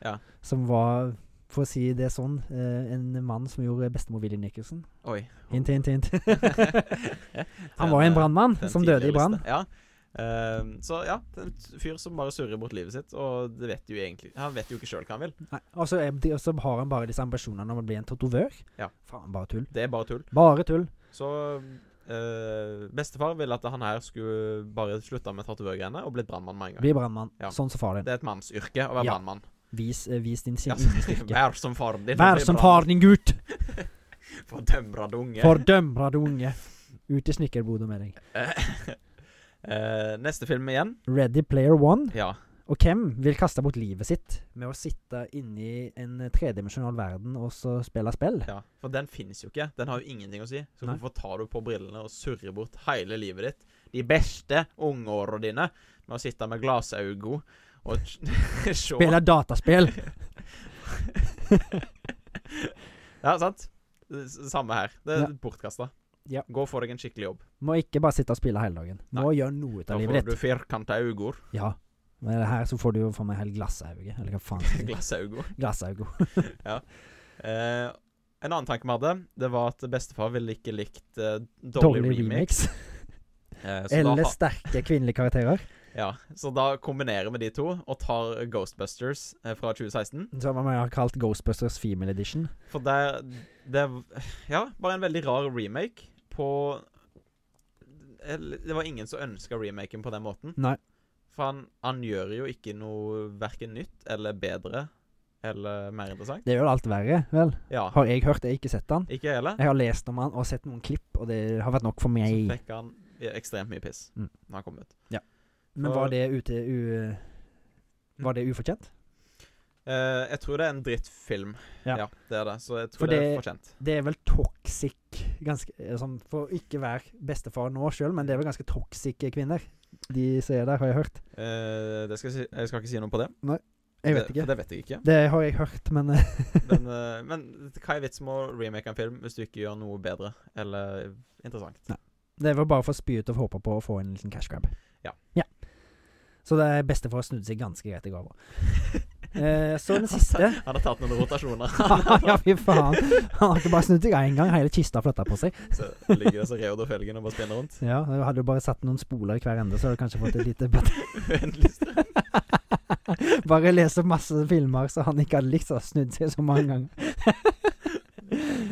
Speaker 2: Ja. Ja.
Speaker 1: som var for å si det sånn, eh, en mann som gjorde bestemor Willy Nicholson.
Speaker 2: Oi.
Speaker 1: Hint, hint, hint. Han var jo en brannmann
Speaker 2: Den
Speaker 1: som døde i
Speaker 2: tidligere
Speaker 1: brann.
Speaker 2: liste. Ja. Um, så ja, det er en fyr som bare surrer bort livet sitt, og det vet jo egentlig Han vet jo ikke sjøl hva han vil.
Speaker 1: Nei, Og så er de- og så har han bare disse ambisjonene om å bli en tatovør.
Speaker 2: Ja.
Speaker 1: Faen, bare tull.
Speaker 2: Det er bare tull.
Speaker 1: Bare tull.
Speaker 2: Så eh, bestefar ville at han her skulle bare slutta med tatovørgreiene og blitt brannmann med en gang.
Speaker 1: Bli brannmann.
Speaker 2: Ja.
Speaker 1: Sånn som far din.
Speaker 2: Det er et mannsyrke å være
Speaker 1: Ja.
Speaker 2: brannmann.
Speaker 1: Vis, eh, vis din sin
Speaker 2: Ja,
Speaker 1: egen styrke.
Speaker 2: Vær som faren din.
Speaker 1: Vær som faren din, gutt!
Speaker 2: Fordømra dunge.
Speaker 1: Fordøm, radunge. Ut i snekkerboda med deg.
Speaker 2: Eh, neste film igjen.
Speaker 1: Ready Player One.
Speaker 2: Ja.
Speaker 1: Og hvem vil kaste bort livet sitt med å sitte inni en tredimensjonal verden og så spille spill?
Speaker 2: ja. For den finnes jo ikke. Den har jo ingenting å si. Så
Speaker 1: Nei.
Speaker 2: hvorfor tar du på brillene og surrer bort hele livet ditt, de beste ungeåra dine, med å sitte med glasaugo og se
Speaker 1: Spille dataspill!
Speaker 2: Ja, sant? S- Samme her. Det er
Speaker 1: Ja.
Speaker 2: bortkasta.
Speaker 1: Ja.
Speaker 2: Gå og få deg en skikkelig jobb.
Speaker 1: Må ikke bare sitte og spille hele dagen. Må gjøre noe ut
Speaker 2: Da
Speaker 1: av
Speaker 2: får
Speaker 1: livet
Speaker 2: du
Speaker 1: ditt.
Speaker 2: firkanta øyne.
Speaker 1: Ja. Men her så får du jo for meg helt glassauge. Eller hva faen skal jeg
Speaker 2: Glassaugo.
Speaker 1: si. Glassauge.
Speaker 2: Eh, en annen tanke vi hadde, det var at bestefar ville ikke likt eh, dårlig,
Speaker 1: Dårlig
Speaker 2: remake.
Speaker 1: remix.
Speaker 2: Eh, så, da,
Speaker 1: Eller
Speaker 2: ha-
Speaker 1: sterke kvinnelige karakterer.
Speaker 2: ja, så da kombinerer vi de to og tar Ghostbusters eh, fra 2016.
Speaker 1: Som man har kalt Ghostbusters Female Edition.
Speaker 2: For der det, Ja, bare en veldig rar remake på eller, Det var ingen som ønska remaken på den måten.
Speaker 1: Nei.
Speaker 2: For han, han gjør jo ikke noe verken nytt eller bedre eller mer interessant.
Speaker 1: Det er jo alt verre, vel?
Speaker 2: Ja.
Speaker 1: Har jeg hørt, jeg har ikke sett den.
Speaker 2: Ikke jeg heller.
Speaker 1: Jeg har lest om han og sett noen klipp, og det har vært nok for
Speaker 2: Så
Speaker 1: meg.
Speaker 2: fikk han ekstremt mye piss
Speaker 1: Mm.
Speaker 2: når han kom ut.
Speaker 1: Men var det ute u... Var det ufortjent?
Speaker 2: Eh, jeg tror det er en drittfilm.
Speaker 1: Ja.
Speaker 2: Ja. det er det. Så jeg
Speaker 1: For
Speaker 2: tror det,
Speaker 1: det-
Speaker 2: er fortjent.
Speaker 1: Det er vel toxic ganske, eh, sånn, For ikke være bestefar nå sjøl, men det er vel ganske toxic kvinner, de som er der, har jeg hørt.
Speaker 2: Eh, det skal jeg, si, jeg skal ikke si noe på det.
Speaker 1: Jeg vet
Speaker 2: det,
Speaker 1: ikke.
Speaker 2: For det vet jeg ikke.
Speaker 1: Det har jeg hørt, men eh,
Speaker 2: Men, eh, men hva er vitsen med å remake en film hvis du ikke gjør noe bedre eller interessant?
Speaker 1: det var bare for å spy ut og håpe på å få en liten cash grab.
Speaker 2: Ja.
Speaker 1: Så det er bestefar snudde seg ganske greit i går. Eh, så den siste
Speaker 2: Han har tatt noen rotasjoner.
Speaker 1: Ja, fy faen. Han har ikke bare snudd seg én gang, hele kista har flytta på seg.
Speaker 2: Så ligger det så Reodor Felgen og bare spinner rundt.
Speaker 1: Ja, Hadde du bare satt noen spoler i hver ende, så hadde du kanskje fått et lite bedre
Speaker 2: Uendelig strøm.
Speaker 1: Bare lese masse filmer så han ikke hadde likt å ha snudd seg så mange ganger.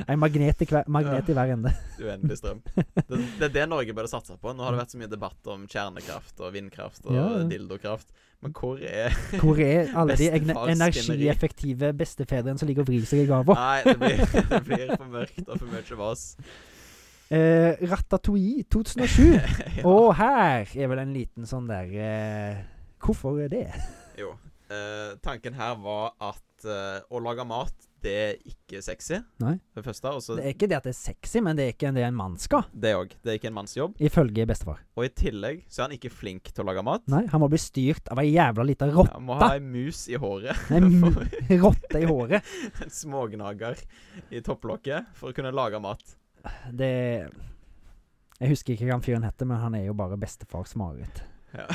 Speaker 1: En magnet i hver, magnet i hver ende.
Speaker 2: Uendelig strøm. Det, det er det Norge burde satse på. Nå har det vært så mye debatt om kjernekraft og vindkraft og
Speaker 1: Ja, ja.
Speaker 2: dildokraft. Men hvor er
Speaker 1: Hvor er alle de egne
Speaker 2: Bestefars
Speaker 1: energieffektive bestefedrene som ligger og vrir seg i grava?
Speaker 2: Nei, det blir, det blir for mørkt og for mye av oss.
Speaker 1: Eh, Ratatouille 2007.
Speaker 2: Ja.
Speaker 1: Og her er vel en liten sånn der eh, Hvorfor er det?
Speaker 2: Jo. Eh, tanken her var at eh, å lage mat, det er ikke sexy.
Speaker 1: Nei.
Speaker 2: For det første. Og så
Speaker 1: Det er ikke det at det er sexy, men det er ikke det en mann skal,
Speaker 2: det òg. Det er ikke en mannsjobb.
Speaker 1: ifølge bestefar.
Speaker 2: Og i tillegg så er han ikke flink til å lage mat.
Speaker 1: Nei, han må bli styrt av ei jævla lita rotte.
Speaker 2: Han må ha ei mus i håret.
Speaker 1: En mu-
Speaker 2: for-
Speaker 1: rotte i håret.
Speaker 2: En smågnager i topplokket for å kunne lage mat.
Speaker 1: Det Jeg husker ikke hva han fyren heter, men han er jo bare bestefars mareritt.
Speaker 2: Ja.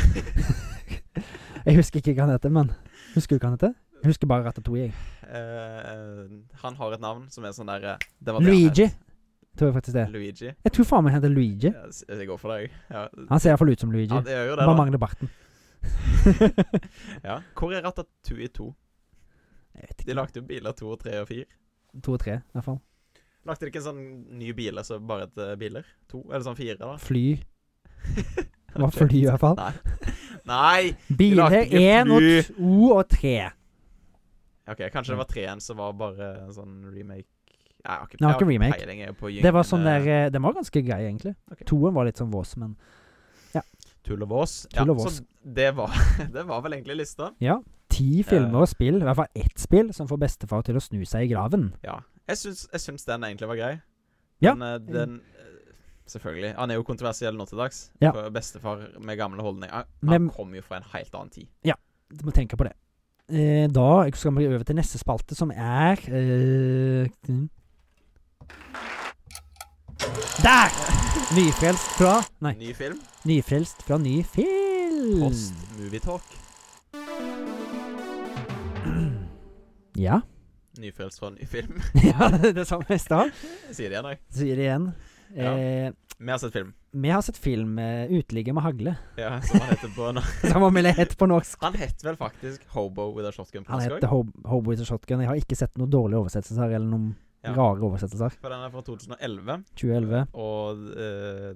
Speaker 1: Jeg husker ikke hva han heter, men Husker du hva han heter? Jeg husker bare Ratatouille. jeg.
Speaker 2: Eh, han har et navn som er sånn der eh, det var det han
Speaker 1: Luigi,
Speaker 2: het.
Speaker 1: tror jeg faktisk det er.
Speaker 2: Luigi.
Speaker 1: Jeg tror faen meg han heter Luigi.
Speaker 2: Ja, s- jeg går for det, jeg. Ja.
Speaker 1: Han ser iallfall ut som Luigi.
Speaker 2: ja, det gjør jo
Speaker 1: Bare
Speaker 2: det,
Speaker 1: mangler barten.
Speaker 2: da. Ja. Hvor er Ratatouille 2?
Speaker 1: Jeg vet
Speaker 2: De
Speaker 1: ikke.
Speaker 2: lagde jo biler 2, 3 og 4.
Speaker 1: To og tre, i hvert fall.
Speaker 2: Lagde de ikke en sånn ny bil, altså bare et eh, biler? To? Eller sånn fire, da?
Speaker 1: Fly. Det var fly, i hvert fall.
Speaker 2: Nei. Nei!
Speaker 1: Biler
Speaker 2: lagde ikke
Speaker 1: én og
Speaker 2: fly.
Speaker 1: to og tre.
Speaker 2: OK, kanskje det var treen som var bare en sånn remake Nei, jeg har ikke,
Speaker 1: Det var ikke
Speaker 2: jeg har
Speaker 1: remake.
Speaker 2: peiling, jeg er på
Speaker 1: Det var sånn
Speaker 2: gyngende
Speaker 1: der eh, Den var ganske grei, egentlig.
Speaker 2: Ok.
Speaker 1: Toen var litt sånn vås, men eh,
Speaker 2: Tull og vås. Ja,
Speaker 1: Tull og vås.
Speaker 2: så det var, det var vel egentlig lista.
Speaker 1: ja. Ti
Speaker 2: Eh.
Speaker 1: filmer og spill, i hvert fall ett spill, som får bestefar til å snu seg i graven.
Speaker 2: Ja. Jeg syns, jeg syns den egentlig var grei.
Speaker 1: Ja.
Speaker 2: Men eh, den eh, Selvfølgelig. Han er jo kontroversiell nå til dags.
Speaker 1: Ja.
Speaker 2: For Bestefar med gamle holdninger. Han, han
Speaker 1: Men-
Speaker 2: kom jo fra en helt annen tid.
Speaker 1: Du må tenke på det. Eh, da skal vi over til neste spalte, som er eh, mm. Der! Nyfrelst fra Nei. Mm.
Speaker 2: Ny film.
Speaker 1: Nyfrelst fra ny film.
Speaker 2: Post Movie Talk.
Speaker 1: Ja.
Speaker 2: Nyfrelst fra en ny film.
Speaker 1: ja, det samme i stad.
Speaker 2: Jeg Sier det igjen, jeg.
Speaker 1: Sier det igjen.
Speaker 2: Ja.
Speaker 1: Eh,
Speaker 2: Vi har sett film.
Speaker 1: vi har sett film eh, 'Uteligger med hagle',
Speaker 2: Ja, som han heter på nå.
Speaker 1: som om det het på norsk.
Speaker 2: Han het vel faktisk Hobo with a shotgun på
Speaker 1: Han
Speaker 2: norsk
Speaker 1: heter
Speaker 2: òg.
Speaker 1: Hob Hobo with a Shotgun. Jeg har ikke sett noen dårlige oversettelser eller noen
Speaker 2: Ja.
Speaker 1: rare oversettelser.
Speaker 2: For den er fra 2011.
Speaker 1: 2011.
Speaker 2: Og eh,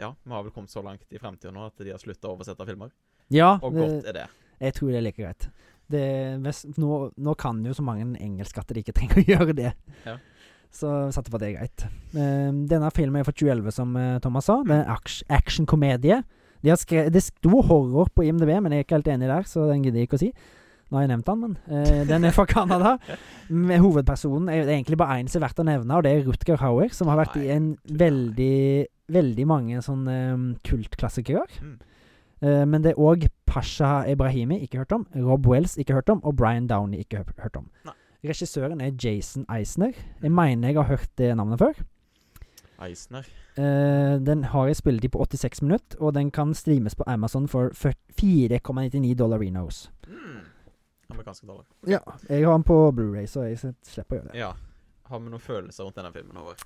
Speaker 2: ja, vi har vel kommet så langt i fremtiden nå at de har slutta å oversette filmer.
Speaker 1: Ja, eh,
Speaker 2: Og
Speaker 1: det-
Speaker 2: godt er det.
Speaker 1: Jeg tror det er like greit. Det, hvis, nå, nå kan jo så mange engelsk at de ikke trenger å gjøre det.
Speaker 2: Ja.
Speaker 1: Så satte på at det er greit. Ehm, denne filmen er fra 2011, som eh, Thomas sa. Det er en aks- actionkomedie. De har skre det sto horror på IMDb, men jeg er ikke helt enig der, så den gidder jeg ikke å si. Nå har jeg nevnt den, men eh, den er fra Canada. Med hovedpersonen er det er egentlig bare én som er verdt å nevne, og det er Rutger Hauer, som har vært
Speaker 2: Nei,
Speaker 1: i en
Speaker 2: tull.
Speaker 1: veldig, veldig mange sånne eh, kultklassikere.
Speaker 2: Mm.
Speaker 1: Eh, men det er òg Pasha Ibrahimi, ikke hørt om. Rob Wells, ikke hørt om. Og Brian Downey, ikke hø- hørt om.
Speaker 2: Nei. Mm.
Speaker 1: Regissøren er Jason Eisner. Jeg mener jeg har hørt det navnet før.
Speaker 2: Eisner.
Speaker 1: Eh, den har en spilletid på 86 minutter, og den kan streames på Amazon for 4,99 dollarinos.
Speaker 2: Mm. Amerikanske dollar.
Speaker 1: Ja. Jeg har den på Blu-ray, så jeg s- slipper å gjøre det.
Speaker 2: Ja. Har vi noen følelser rundt denne filmen? Over?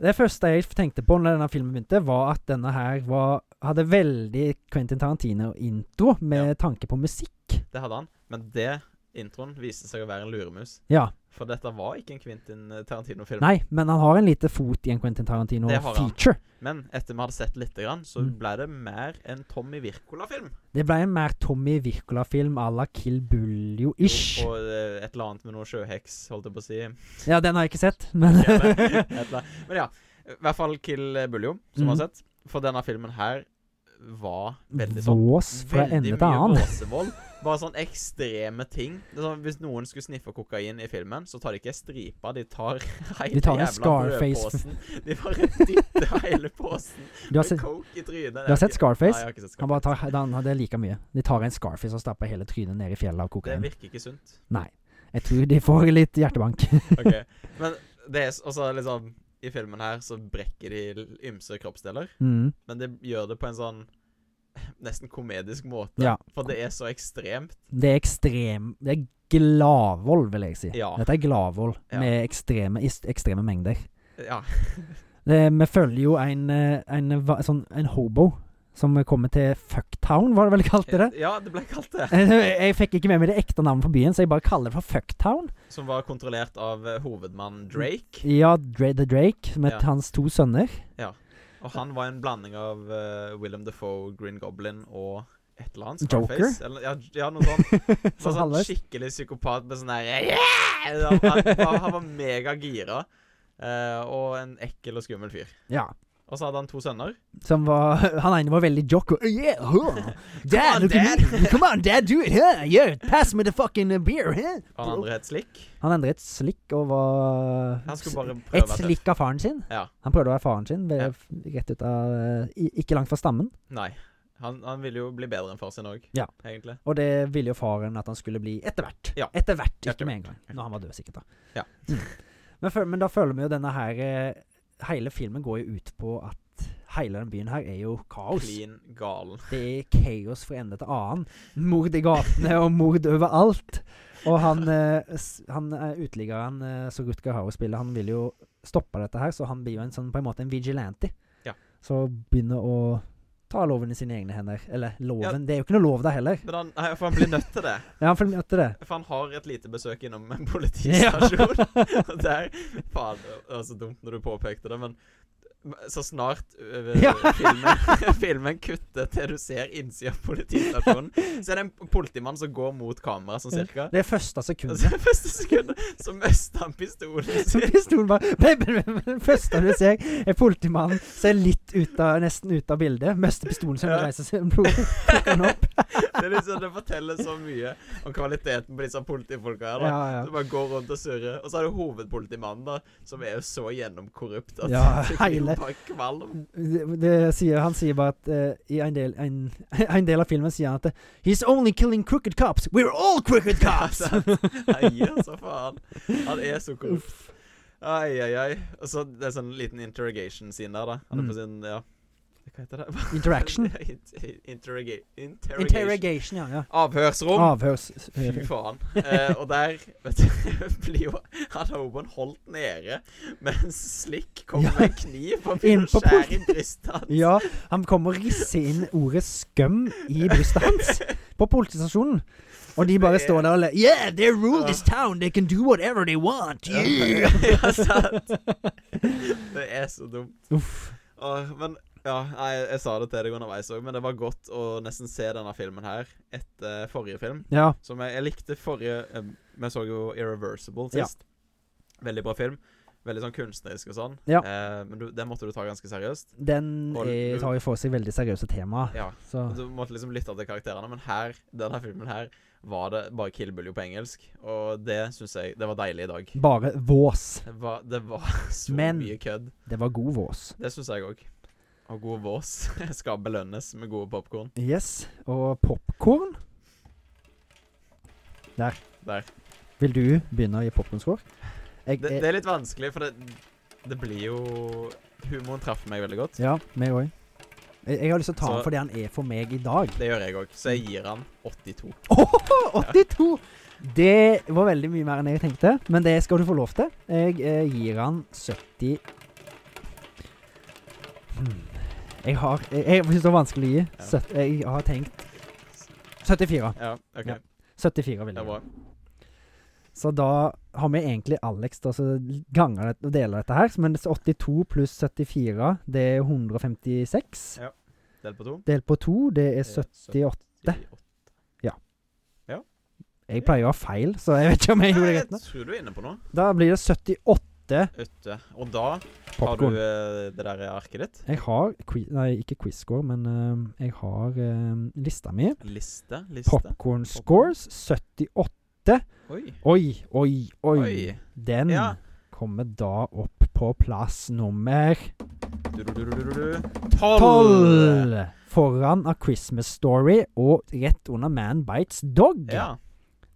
Speaker 1: Det første jeg tenkte på når denne filmen begynte, var at denne her var, hadde veldig Quentin Tarantino-intro med tanke på musikk.
Speaker 2: Det hadde han. Men det introen viste seg å være en luremus.
Speaker 1: Ja.
Speaker 2: For dette var ikke en Quentin Tarantino-film.
Speaker 1: Nei, men han har en lite fot i en Quentin
Speaker 2: Det har han.
Speaker 1: Tarantino-feature.
Speaker 2: Men etter vi hadde sett litt, grann, så
Speaker 1: Mm.
Speaker 2: ble det mer en Tommy Wirkola-film.
Speaker 1: Det ble en mer Tommy Wirkola-film à la Kill Buljo-ish.
Speaker 2: Og eh, et eller annet med noe sjøheks, holdt jeg på å si.
Speaker 1: Ja, den har jeg ikke sett, men
Speaker 2: Et eller annet. Men ja. I hvert fall Kill Buljo, som vi
Speaker 1: Mm.
Speaker 2: har sett. For denne filmen her var veldig sånn
Speaker 1: Vås fra
Speaker 2: Veldig
Speaker 1: ende til
Speaker 2: mye
Speaker 1: annen.
Speaker 2: våsevold. Bare sånn ekstreme ting. Det er sånn, hvis noen skulle sniffe kokain i filmen, så tar de ikke stripa, de tar hele
Speaker 1: De tar en
Speaker 2: jævla
Speaker 1: Scarface.
Speaker 2: brødposen. De bare dytter hele posen
Speaker 1: Du har
Speaker 2: med
Speaker 1: sett,
Speaker 2: coke i trynet.
Speaker 1: du har sett
Speaker 2: Nei,
Speaker 1: Scarface?
Speaker 2: jeg har ikke sett
Speaker 1: Han
Speaker 2: Scarface.
Speaker 1: bare tar, han, han- det er like mye. De tar en Scarface og stapper hele trynet ned i fjellet av
Speaker 2: Det
Speaker 1: kokain.
Speaker 2: virker ikke sunt.
Speaker 1: Nei. Jeg tror de får litt hjertebank.
Speaker 2: Ok, Men det er s- også liksom I filmen her så brekker de l- ymse kroppsdeler,
Speaker 1: Mm.
Speaker 2: men de gjør det på en sånn nesten komedisk måte.
Speaker 1: Ja.
Speaker 2: For det er så ekstremt.
Speaker 1: Det er ekstrem Det er gladvold, vil jeg si.
Speaker 2: Ja.
Speaker 1: Dette er gladvold
Speaker 2: Ja.
Speaker 1: med ekstreme, is- ekstreme mengder.
Speaker 2: Ja.
Speaker 1: Det, vi følger jo en, eh, en, va- sånn, en hobo som kommer til Fucktown, var det vel kalt det? Eh,
Speaker 2: ja, det ble kalt det.
Speaker 1: Jeg fikk ikke med meg det ekte navnet på byen, så jeg bare kaller det for Fucktown.
Speaker 2: Som var kontrollert av eh, hovedmann Drake.
Speaker 1: Ja, Dra The Drake med
Speaker 2: Ja.
Speaker 1: hans to sønner.
Speaker 2: Og han var en blanding av eh, Willem Defoe, Green Goblin og et eller annet.
Speaker 1: Joker?
Speaker 2: Scarface, Eller, ja, ja, noe sånt.
Speaker 1: Sånn
Speaker 2: sånn
Speaker 1: halvveis.
Speaker 2: skikkelig psykopat med sånn der yeah! han, han, han var megagira. eh, og en ekkel og skummel fyr.
Speaker 1: Ja.
Speaker 2: Og så hadde han to sønner.
Speaker 1: Som var Han ene var veldig jock og yeah, huh. Dad,
Speaker 2: on,
Speaker 1: look at
Speaker 2: Dad."
Speaker 1: me. Come on, dad, do it. Huh? Yeah, pass me the fucking uh, beer. Huh?
Speaker 2: Og han andre het Slick.
Speaker 1: Han endret slikk og var
Speaker 2: Han skulle bare prøve
Speaker 1: Et
Speaker 2: at-
Speaker 1: slikk av faren sin.
Speaker 2: Ja.
Speaker 1: Han prøvde å være faren sin, ved-
Speaker 2: Ja.
Speaker 1: rett ut av eh, i- Ikke langt fra stammen.
Speaker 2: Nei. Han, han ville jo bli bedre enn far sin òg,
Speaker 1: Ja.
Speaker 2: egentlig.
Speaker 1: Og det ville jo faren at han skulle bli etter hvert.
Speaker 2: Ja.
Speaker 1: Etter hvert, ikke
Speaker 2: Etter
Speaker 1: med en gang.
Speaker 2: hvert.
Speaker 1: Når han var død, sikkert. da.
Speaker 2: Ja.
Speaker 1: Mm. Men, føl- men da føler vi jo denne her eh, Hele filmen går jo ut på at hele den byen her er jo kaos.
Speaker 2: Klin galen.
Speaker 1: Det er kaos fra ende til annen. Mord i gatene og mord overalt. Og han, eh, s- han eh, uteliggeren eh, som Rutger Hauer spiller, han vil jo stoppe dette her, så han blir jo en sånn, på en måte en vigilante.
Speaker 2: Ja.
Speaker 1: Så begynner å ta loven i sine egne hender. Eller loven
Speaker 2: Ja.
Speaker 1: Det er jo ikke noe lov der heller.
Speaker 2: Men han, nei, for han blir nødt til det.
Speaker 1: Ja, han følger etter det.
Speaker 2: For han har et lite besøk innom en politistasjon. Og der Faen, det var så dumt når du påpekte det, men så snart øh,
Speaker 1: Ja.
Speaker 2: filmen, filmen kutter til du ser innsida av politistasjonen, så er det en politimann som går mot kamera, sånn cirka.
Speaker 1: Det er første
Speaker 2: Og
Speaker 1: sekundet.
Speaker 2: så første sekundet så mister han pistolen
Speaker 1: Så
Speaker 2: sin.
Speaker 1: pistolen bare men, men, men, men, Det første du ser, er politimannen som er litt ut av, nesten ut av bildet. Mister pistolen sin og
Speaker 2: Ja.
Speaker 1: reiser seg. Blod, plukker den opp.
Speaker 2: Det, er liksom, det forteller så mye om kvaliteten på disse politifolka her. da.
Speaker 1: Ja, ja.
Speaker 2: Som bare går rundt og surrer. Og så er det hovedpolitimannen, da, som er jo så gjennomkorrupt at
Speaker 1: Ja,
Speaker 2: du blir jo
Speaker 1: hele-
Speaker 2: bare kvalm.
Speaker 1: Det, det sier, han sier bare at eh, i en del, en, en del av filmen sier han at eh, He's only killing crooked cops. We're all crooked cops!
Speaker 2: Ja, sant. Han gir så faen. Han er så korrupt. Ai, ai, ai. Og så det er sånn liten interrogation scene der, da. Han er
Speaker 1: Mm.
Speaker 2: på sin Ja, hva heter det?
Speaker 1: Interaction.
Speaker 2: Inter- interroga interrogation.
Speaker 1: Interrogation, ja. ja.
Speaker 2: Avhørsrom.
Speaker 1: Avhørs...
Speaker 2: Fy faen. Eh, og der vet du, blir jo han hoboen holdt nede mens Slick kommer
Speaker 1: Ja.
Speaker 2: med en kniv og
Speaker 1: Inn
Speaker 2: begynner
Speaker 1: på
Speaker 2: å skjære i brystet hans.
Speaker 1: Ja, han kom og risse inn ordet skum i brystet hans på politistasjonen. Og de bare står der og ler. Yeah, they rule this town. They can do whatever they want. Yeah.
Speaker 2: ja, sant. Det er så dumt.
Speaker 1: Uff.
Speaker 2: Åh, men ja, nei, jeg sa det til deg underveis òg, men det var godt å nesten se denne filmen her etter forrige film.
Speaker 1: Ja.
Speaker 2: Som jeg, jeg likte forrige eh, Vi så jo 'Irreversible' sist. Veldig bra film. Veldig sånn kunstnerisk og sånn.
Speaker 1: Ja.
Speaker 2: Eh, men du, den måtte du ta ganske seriøst.
Speaker 1: Den
Speaker 2: Og-
Speaker 1: eh, tar jo for seg veldig seriøse temaer.
Speaker 2: Ja.
Speaker 1: Så
Speaker 2: Og Du måtte liksom lytte til karakterene, men her, denne filmen her var det bare 'Kill Bill' jo på engelsk. Og det syns jeg Det var deilig i dag.
Speaker 1: bare vås.
Speaker 2: Det var, det var så
Speaker 1: Men-
Speaker 2: mye kødd.
Speaker 1: Det var god vås.
Speaker 2: Det syns jeg òg. Og god vås skal belønnes med gode popkorn.
Speaker 1: Yes. Og popkorn. Der.
Speaker 2: Der.
Speaker 1: Vil du begynne å gi popkornskår? Jeg,
Speaker 2: Det,
Speaker 1: jeg,
Speaker 2: det er litt vanskelig, for det, det blir jo Humoren traff meg veldig godt.
Speaker 1: ja, meg òg. Jeg, jeg har lyst til å ta
Speaker 2: Så-
Speaker 1: den fordi han er for meg i dag.
Speaker 2: Det gjør jeg òg, så jeg gir han 82.
Speaker 1: Åh, 82! Det var veldig mye mer enn jeg tenkte, men det skal du få lov til. Jeg eh, gir han 70 hmm. Jeg har Jeg, jeg syns det var vanskelig å gi.
Speaker 2: Ja.
Speaker 1: Søt- jeg har tenkt 74.
Speaker 2: Ja, OK.
Speaker 1: Ja. 74 vil
Speaker 2: Det er
Speaker 1: jeg gi.
Speaker 2: bra.
Speaker 1: Så da har vi egentlig Alex da, så ganger det, og deler dette her. Men 82 pluss 74, det er 156.
Speaker 2: Ja. Delt på to. Eh,
Speaker 1: Delt på to, det er 70 Jeg pleier å ha feil, så jeg vet ikke om jeg gjorde det
Speaker 2: Jeg
Speaker 1: rett nå.
Speaker 2: tror du er inne på noe.
Speaker 1: Da blir det 78
Speaker 2: Ute. Og da har du
Speaker 1: popkorn.
Speaker 2: eh, det der arket ditt.
Speaker 1: Jeg har qui- Nei, ikke quiz-score, men eh, jeg har eh, lista mi.
Speaker 2: Liste. Liste.
Speaker 1: Popcorn scores 78.
Speaker 2: Oi.
Speaker 1: Oi, oi, oi.
Speaker 2: Oi.
Speaker 1: Den
Speaker 2: Ja.
Speaker 1: kommer da opp på plass nummer
Speaker 2: Du, du, du, du, du, du. Tolv!
Speaker 1: tolv! Foran A Christmas Story og rett under Man Bites Dog.
Speaker 2: Ja.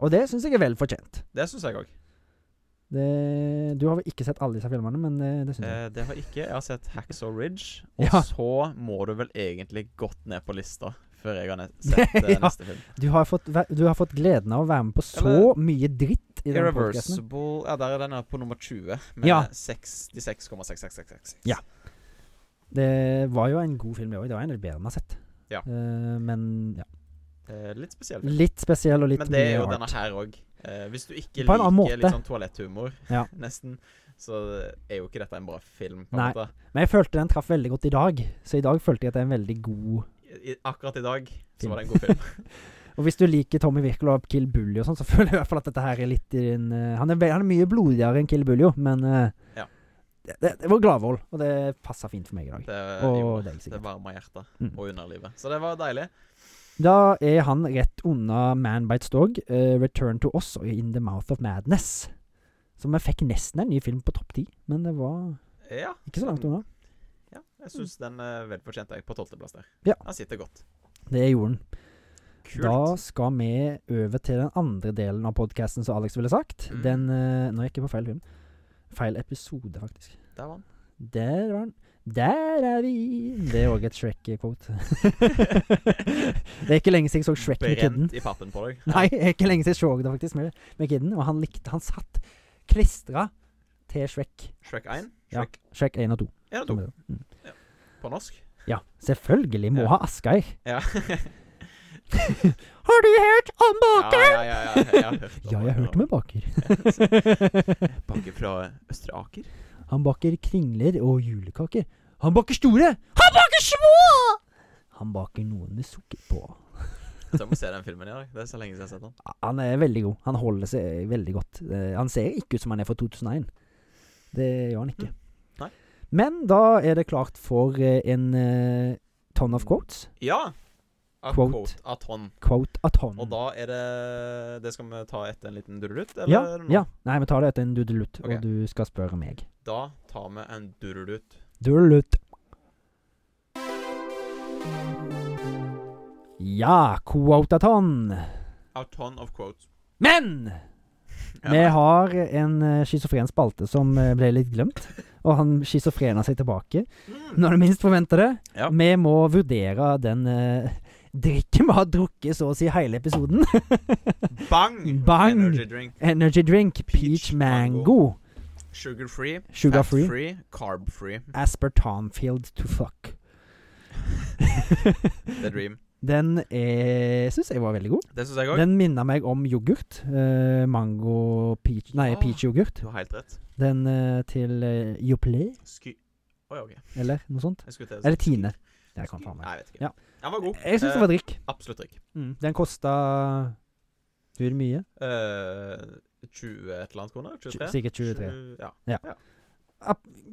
Speaker 1: Og det syns jeg er vel fortjent.
Speaker 2: Det syns jeg òg.
Speaker 1: Det, du har vel ikke sett alle disse filmene, men eh, det syns jeg.
Speaker 2: Eh, det har jeg ikke. Jeg har sett Hacksaw Ridge. Og
Speaker 1: Ja.
Speaker 2: så må du vel egentlig godt ned på lista før jeg har ne sett eh,
Speaker 1: Ja.
Speaker 2: neste film.
Speaker 1: Du har, fått, væ- du har fått gleden av å være med på så
Speaker 2: Eller-
Speaker 1: mye dritt i denne podkasten.
Speaker 2: Irreversible Ja, der er den her på nummer 20, med
Speaker 1: Ja.
Speaker 2: 66,6666.
Speaker 1: Ja. Det var jo en god film i år. Det var en av de bedre vi har sett.
Speaker 2: Ja.
Speaker 1: Eh, men ja.
Speaker 2: Eh, litt spesiell film.
Speaker 1: litt spesiell og litt
Speaker 2: Men det er
Speaker 1: mye
Speaker 2: jo
Speaker 1: rart.
Speaker 2: denne her òg. Eh, hvis du ikke
Speaker 1: På en annen
Speaker 2: liker litt
Speaker 1: måte.
Speaker 2: sånn toaletthumor,
Speaker 1: Ja.
Speaker 2: nesten, så er jo ikke dette en bra film. på en
Speaker 1: Nei.
Speaker 2: måte.
Speaker 1: Men jeg følte den traff veldig godt i dag, så i dag følte jeg at det er en veldig god
Speaker 2: I, akkurat i dag så
Speaker 1: Film.
Speaker 2: var det en god film.
Speaker 1: Og hvis du liker Tommy Wirkola og Kill Bully og sånn, så føler jeg i hvert fall at dette her er litt i din eh, han, er, ve- han er mye blodigere enn Kill Bully, jo, men eh,
Speaker 2: Ja.
Speaker 1: det, det, det var gladvold, og det passa fint for meg i dag.
Speaker 2: Det,
Speaker 1: Og
Speaker 2: gjorde
Speaker 1: deg,
Speaker 2: det
Speaker 1: sikkert.
Speaker 2: varma hjertet
Speaker 1: Mm.
Speaker 2: og underlivet. Så det var deilig.
Speaker 1: Da er han rett unna Man Bites Dog, eh, Return to Us og In the Mouth of Madness. Så vi fikk nesten en ny film på topp ti, men det var
Speaker 2: Ja,
Speaker 1: ikke så langt unna.
Speaker 2: ja jeg syns den eh, er velfortjent jeg, på tolvteplass der.
Speaker 1: Ja.
Speaker 2: Den sitter godt.
Speaker 1: Det gjorde den.
Speaker 2: Mm. Kult.
Speaker 1: Da skal vi over til den andre delen av podkasten, som Alex ville sagt.
Speaker 2: Mm.
Speaker 1: Den eh, Nå gikk jeg på feil film. Feil episode, faktisk.
Speaker 2: Der var den.
Speaker 1: Der var den. Der er vi! Det er òg et Shrek-quote. det er ikke lenge siden jeg så Shrek med kidden.
Speaker 2: Brent i pappen på deg.
Speaker 1: Nei, det er ikke lenge siden jeg så det faktisk med, med kidden. Og han likte Han satt klistra til Shrek.
Speaker 2: Shrek 1.
Speaker 1: Ja.
Speaker 2: Shrek
Speaker 1: Shrek 1 og 2.
Speaker 2: 1 og 2
Speaker 1: Mm.
Speaker 2: på norsk.
Speaker 1: Ja, selvfølgelig må
Speaker 2: Ja.
Speaker 1: ha Asgeir.
Speaker 2: Ja.
Speaker 1: Har du hørt om baker?
Speaker 2: Ja, ja, ja, ja, jeg har hørt om
Speaker 1: Ja, jeg har hørt om en baker.
Speaker 2: Baker fra Østre Aker.
Speaker 1: Han baker kringler og julekaker. Han baker store! Han baker små! Han baker noen med sukker på.
Speaker 2: Så jeg må se den filmen i dag. Det er så lenge siden jeg har sett den.
Speaker 1: Han er veldig god. Han holder seg veldig godt. Eh, Han ser ikke ut som han er fra 2001. Det gjør han ikke.
Speaker 2: Mm. Nei.
Speaker 1: Men da er det klart for eh, en eh, ton of quotes.
Speaker 2: Ja! A
Speaker 1: Quote.
Speaker 2: quote. av tonn.
Speaker 1: Quote a ton.
Speaker 2: Og da er det Det skal vi ta etter en liten durrutt, eller?
Speaker 1: ja,
Speaker 2: nå?
Speaker 1: ja. Nei, vi tar det etter en dudelutt,
Speaker 2: Ok.
Speaker 1: og du skal spørre meg.
Speaker 2: Da tar vi en durrutt.
Speaker 1: Durlut. Ja, quotaton.
Speaker 2: A ton of quotes.
Speaker 1: Men
Speaker 2: Ja.
Speaker 1: vi har en eh, schizofren spalte som eh, ble litt glemt. Og han schizofrena seg tilbake
Speaker 2: Mm.
Speaker 1: når du minst forventer det.
Speaker 2: Ja.
Speaker 1: Vi må vurdere den eh, drikken vi har drukket så å si hele episoden.
Speaker 2: Bang!
Speaker 1: Bang!
Speaker 2: Energy drink.
Speaker 1: Energy drink, peach,
Speaker 2: Peach
Speaker 1: mango,
Speaker 2: Sugar free.
Speaker 1: sugar
Speaker 2: fat
Speaker 1: free,
Speaker 2: free. Carb free.
Speaker 1: aspartamfield to fuck.
Speaker 2: The dream.
Speaker 1: Den syns jeg var veldig god.
Speaker 2: Det syns jeg òg.
Speaker 1: Den minner meg om yoghurt. eh, mango peach Nei,
Speaker 2: Ah.
Speaker 1: peach yoghurt.
Speaker 2: Du har helt rett.
Speaker 1: Den eh, til uh, Yoplait,
Speaker 2: Sky... Å ja, OK.
Speaker 1: eller noe sånt.
Speaker 2: Jeg skulle til å si
Speaker 1: Eller Tine.
Speaker 2: sky-
Speaker 1: Jeg kan faen meg.
Speaker 2: Nei, jeg vet ikke.
Speaker 1: Ja.
Speaker 2: Den var god.
Speaker 1: Jeg syns det var drikk. Mm.
Speaker 2: Eh, absolutt drikk.
Speaker 1: Den kosta Hvor mye?
Speaker 2: Eh, 20 et eller annet kroner? 23?
Speaker 1: Sikkert 23.
Speaker 2: Ja.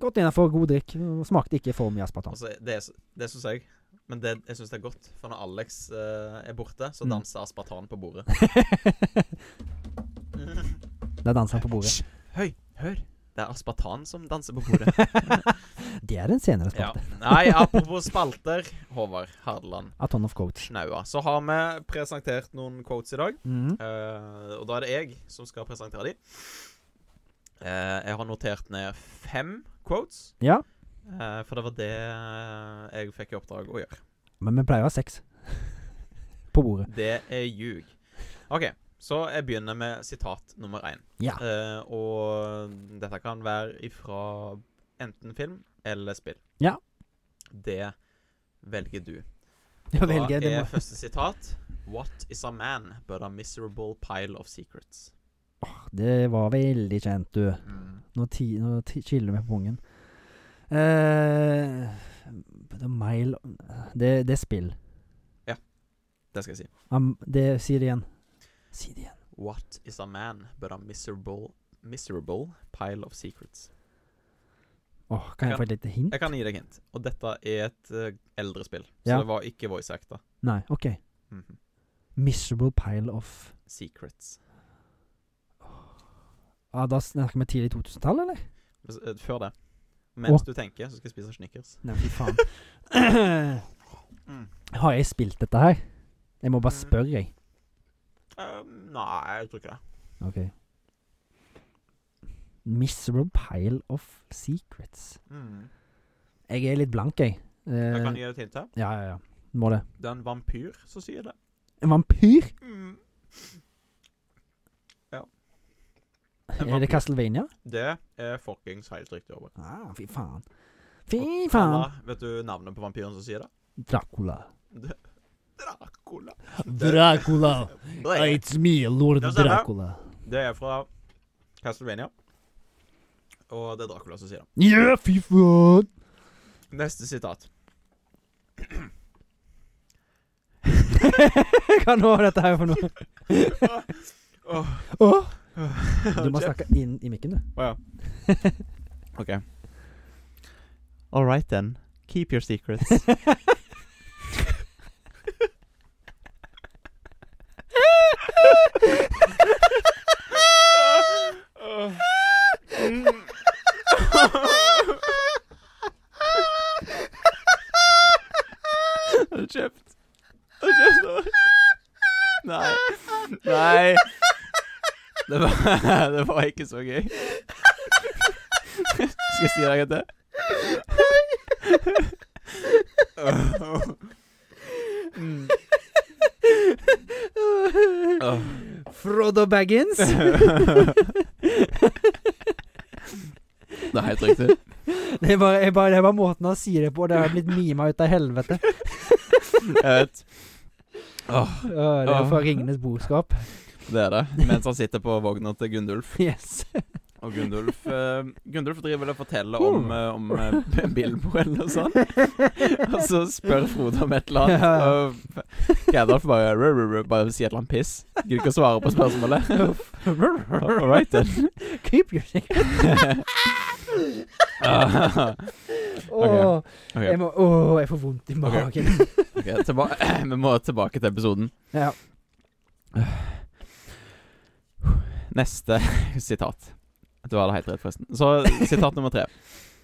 Speaker 1: Godt innafor god drikk. Smakte ikke for mye aspartam.
Speaker 2: Altså, det er s- det syns jeg. Men det, jeg syns det er godt. For når Alex eh, er borte, så
Speaker 1: Mm.
Speaker 2: danser aspartan på bordet.
Speaker 1: Der danser han på bordet.
Speaker 2: Hysj! Høy, hør! Det er aspartan som danser på bordet.
Speaker 1: Det er den senere
Speaker 2: ja.
Speaker 1: spalte.
Speaker 2: Nei, apropos spalter, Håvard Hardeland
Speaker 1: A ton of coach.
Speaker 2: Knaua. Så har vi presentert noen quotes i dag.
Speaker 1: Mm.
Speaker 2: Eh, og da er det jeg som skal presentere de. Eh, jeg har notert ned fem quotes.
Speaker 1: Ja,
Speaker 2: Eh, for det var det jeg fikk i oppdrag å gjøre.
Speaker 1: men vi pleier å ha seks. På bordet.
Speaker 2: Det er ljug. OK, så jeg begynner med sitat nummer én.
Speaker 1: Ja.
Speaker 2: Eh, og dette kan være ifra enten film eller spill.
Speaker 1: Ja.
Speaker 2: Det velger du.
Speaker 1: Jeg velger
Speaker 2: da
Speaker 1: det.
Speaker 2: er første sitat What is a man but a miserable pile of secrets?
Speaker 1: Det var veldig kjent, du. Nå, ti, nå ti, chiller vi på pungen. Eh, the mile Det, det er spill.
Speaker 2: Det skal jeg si.
Speaker 1: Am- det, si det igjen. Si det igjen.
Speaker 2: What is a man but a miserable Miserable pile of secrets.
Speaker 1: Åh, kan jeg
Speaker 2: Jeg
Speaker 1: få et lite hint?
Speaker 2: Jeg kan gi deg hint, og dette er et eh, eldre spill, så
Speaker 1: Ja.
Speaker 2: det var ikke voice acta.
Speaker 1: Nei, OK.
Speaker 2: Mhm.
Speaker 1: Miserable pile of
Speaker 2: Secrets.
Speaker 1: ah, Da snakker vi tidlig 2000-tall, eller?
Speaker 2: Hvis- eh, Før det. Mens du tenker, så skal jeg spise Snickers.
Speaker 1: Nei, fy faen. Har jeg spilt dette her? Jeg må bare
Speaker 2: Mm.
Speaker 1: spørre, jeg.
Speaker 2: Eh, nei, jeg tror ikke det.
Speaker 1: OK. Miserable pile of secrets. Jeg er litt blank, jeg. Eh,
Speaker 2: Mhm. Jeg kan gi deg et hint her.
Speaker 1: ja, ja, ja. Må det.
Speaker 2: Det er en vampyr som sier det.
Speaker 1: En vampyr?
Speaker 2: Mm. En
Speaker 1: Er det
Speaker 2: vampyr.
Speaker 1: Castlevania?
Speaker 2: Det er fuckings helt riktig over.
Speaker 1: Ah, fy faen. Fy faen.
Speaker 2: Eller, vet du navnet på vampyren som sier det?
Speaker 1: Dracula.
Speaker 2: Det- Dracula.
Speaker 1: Dracula. Ah,
Speaker 2: Blade.
Speaker 1: me, lord
Speaker 2: Det sånn, stemmer. Det er fra Castlevania. Og det er Dracula som sier det.
Speaker 1: Ja, fy faen.
Speaker 2: Neste sitat.
Speaker 1: Hva nå er dette her for noe?
Speaker 2: Åh,
Speaker 1: Åh, du må
Speaker 2: Jeff.
Speaker 1: snakke inn i mikken, du.
Speaker 2: Å ja. OK. All right then. Keep your secrets. Hold kjeft. Hold kjeft nå. Nei. Nei. Det var, det var ikke så gøy. Skal jeg si deg etter?
Speaker 1: Frodo Baggins.
Speaker 2: Det er helt riktig.
Speaker 1: Det er bare, jeg bare, det er bare måten han sier det på. Det har blitt mima ut av helvete.
Speaker 2: Jeg vet.
Speaker 1: Åh, det er fra Ringenes boskap.
Speaker 2: Det er det. Mens han sitter på vogna til Gundulf.
Speaker 1: Yes.
Speaker 2: Og Gundulf, eh, Gundulf driver vel og forteller om, eh, om eh, Bilbo eller noe sånt. Og så spør Frode om et eller annet, og Gandalf bare, rr, rr, rr, bare sier et eller annet piss. Gidder ikke å svare på spørsmålet. All right then.
Speaker 1: Keep your secret.
Speaker 2: Ah.
Speaker 1: Åh,
Speaker 2: Ok,
Speaker 1: jeg, må, åh, jeg får vondt i magen.
Speaker 2: ok, tilba vi må tilbake til episoden.
Speaker 1: Ja.
Speaker 2: Neste sitat. Du hadde helt rett, forresten. Så sitat nummer tre.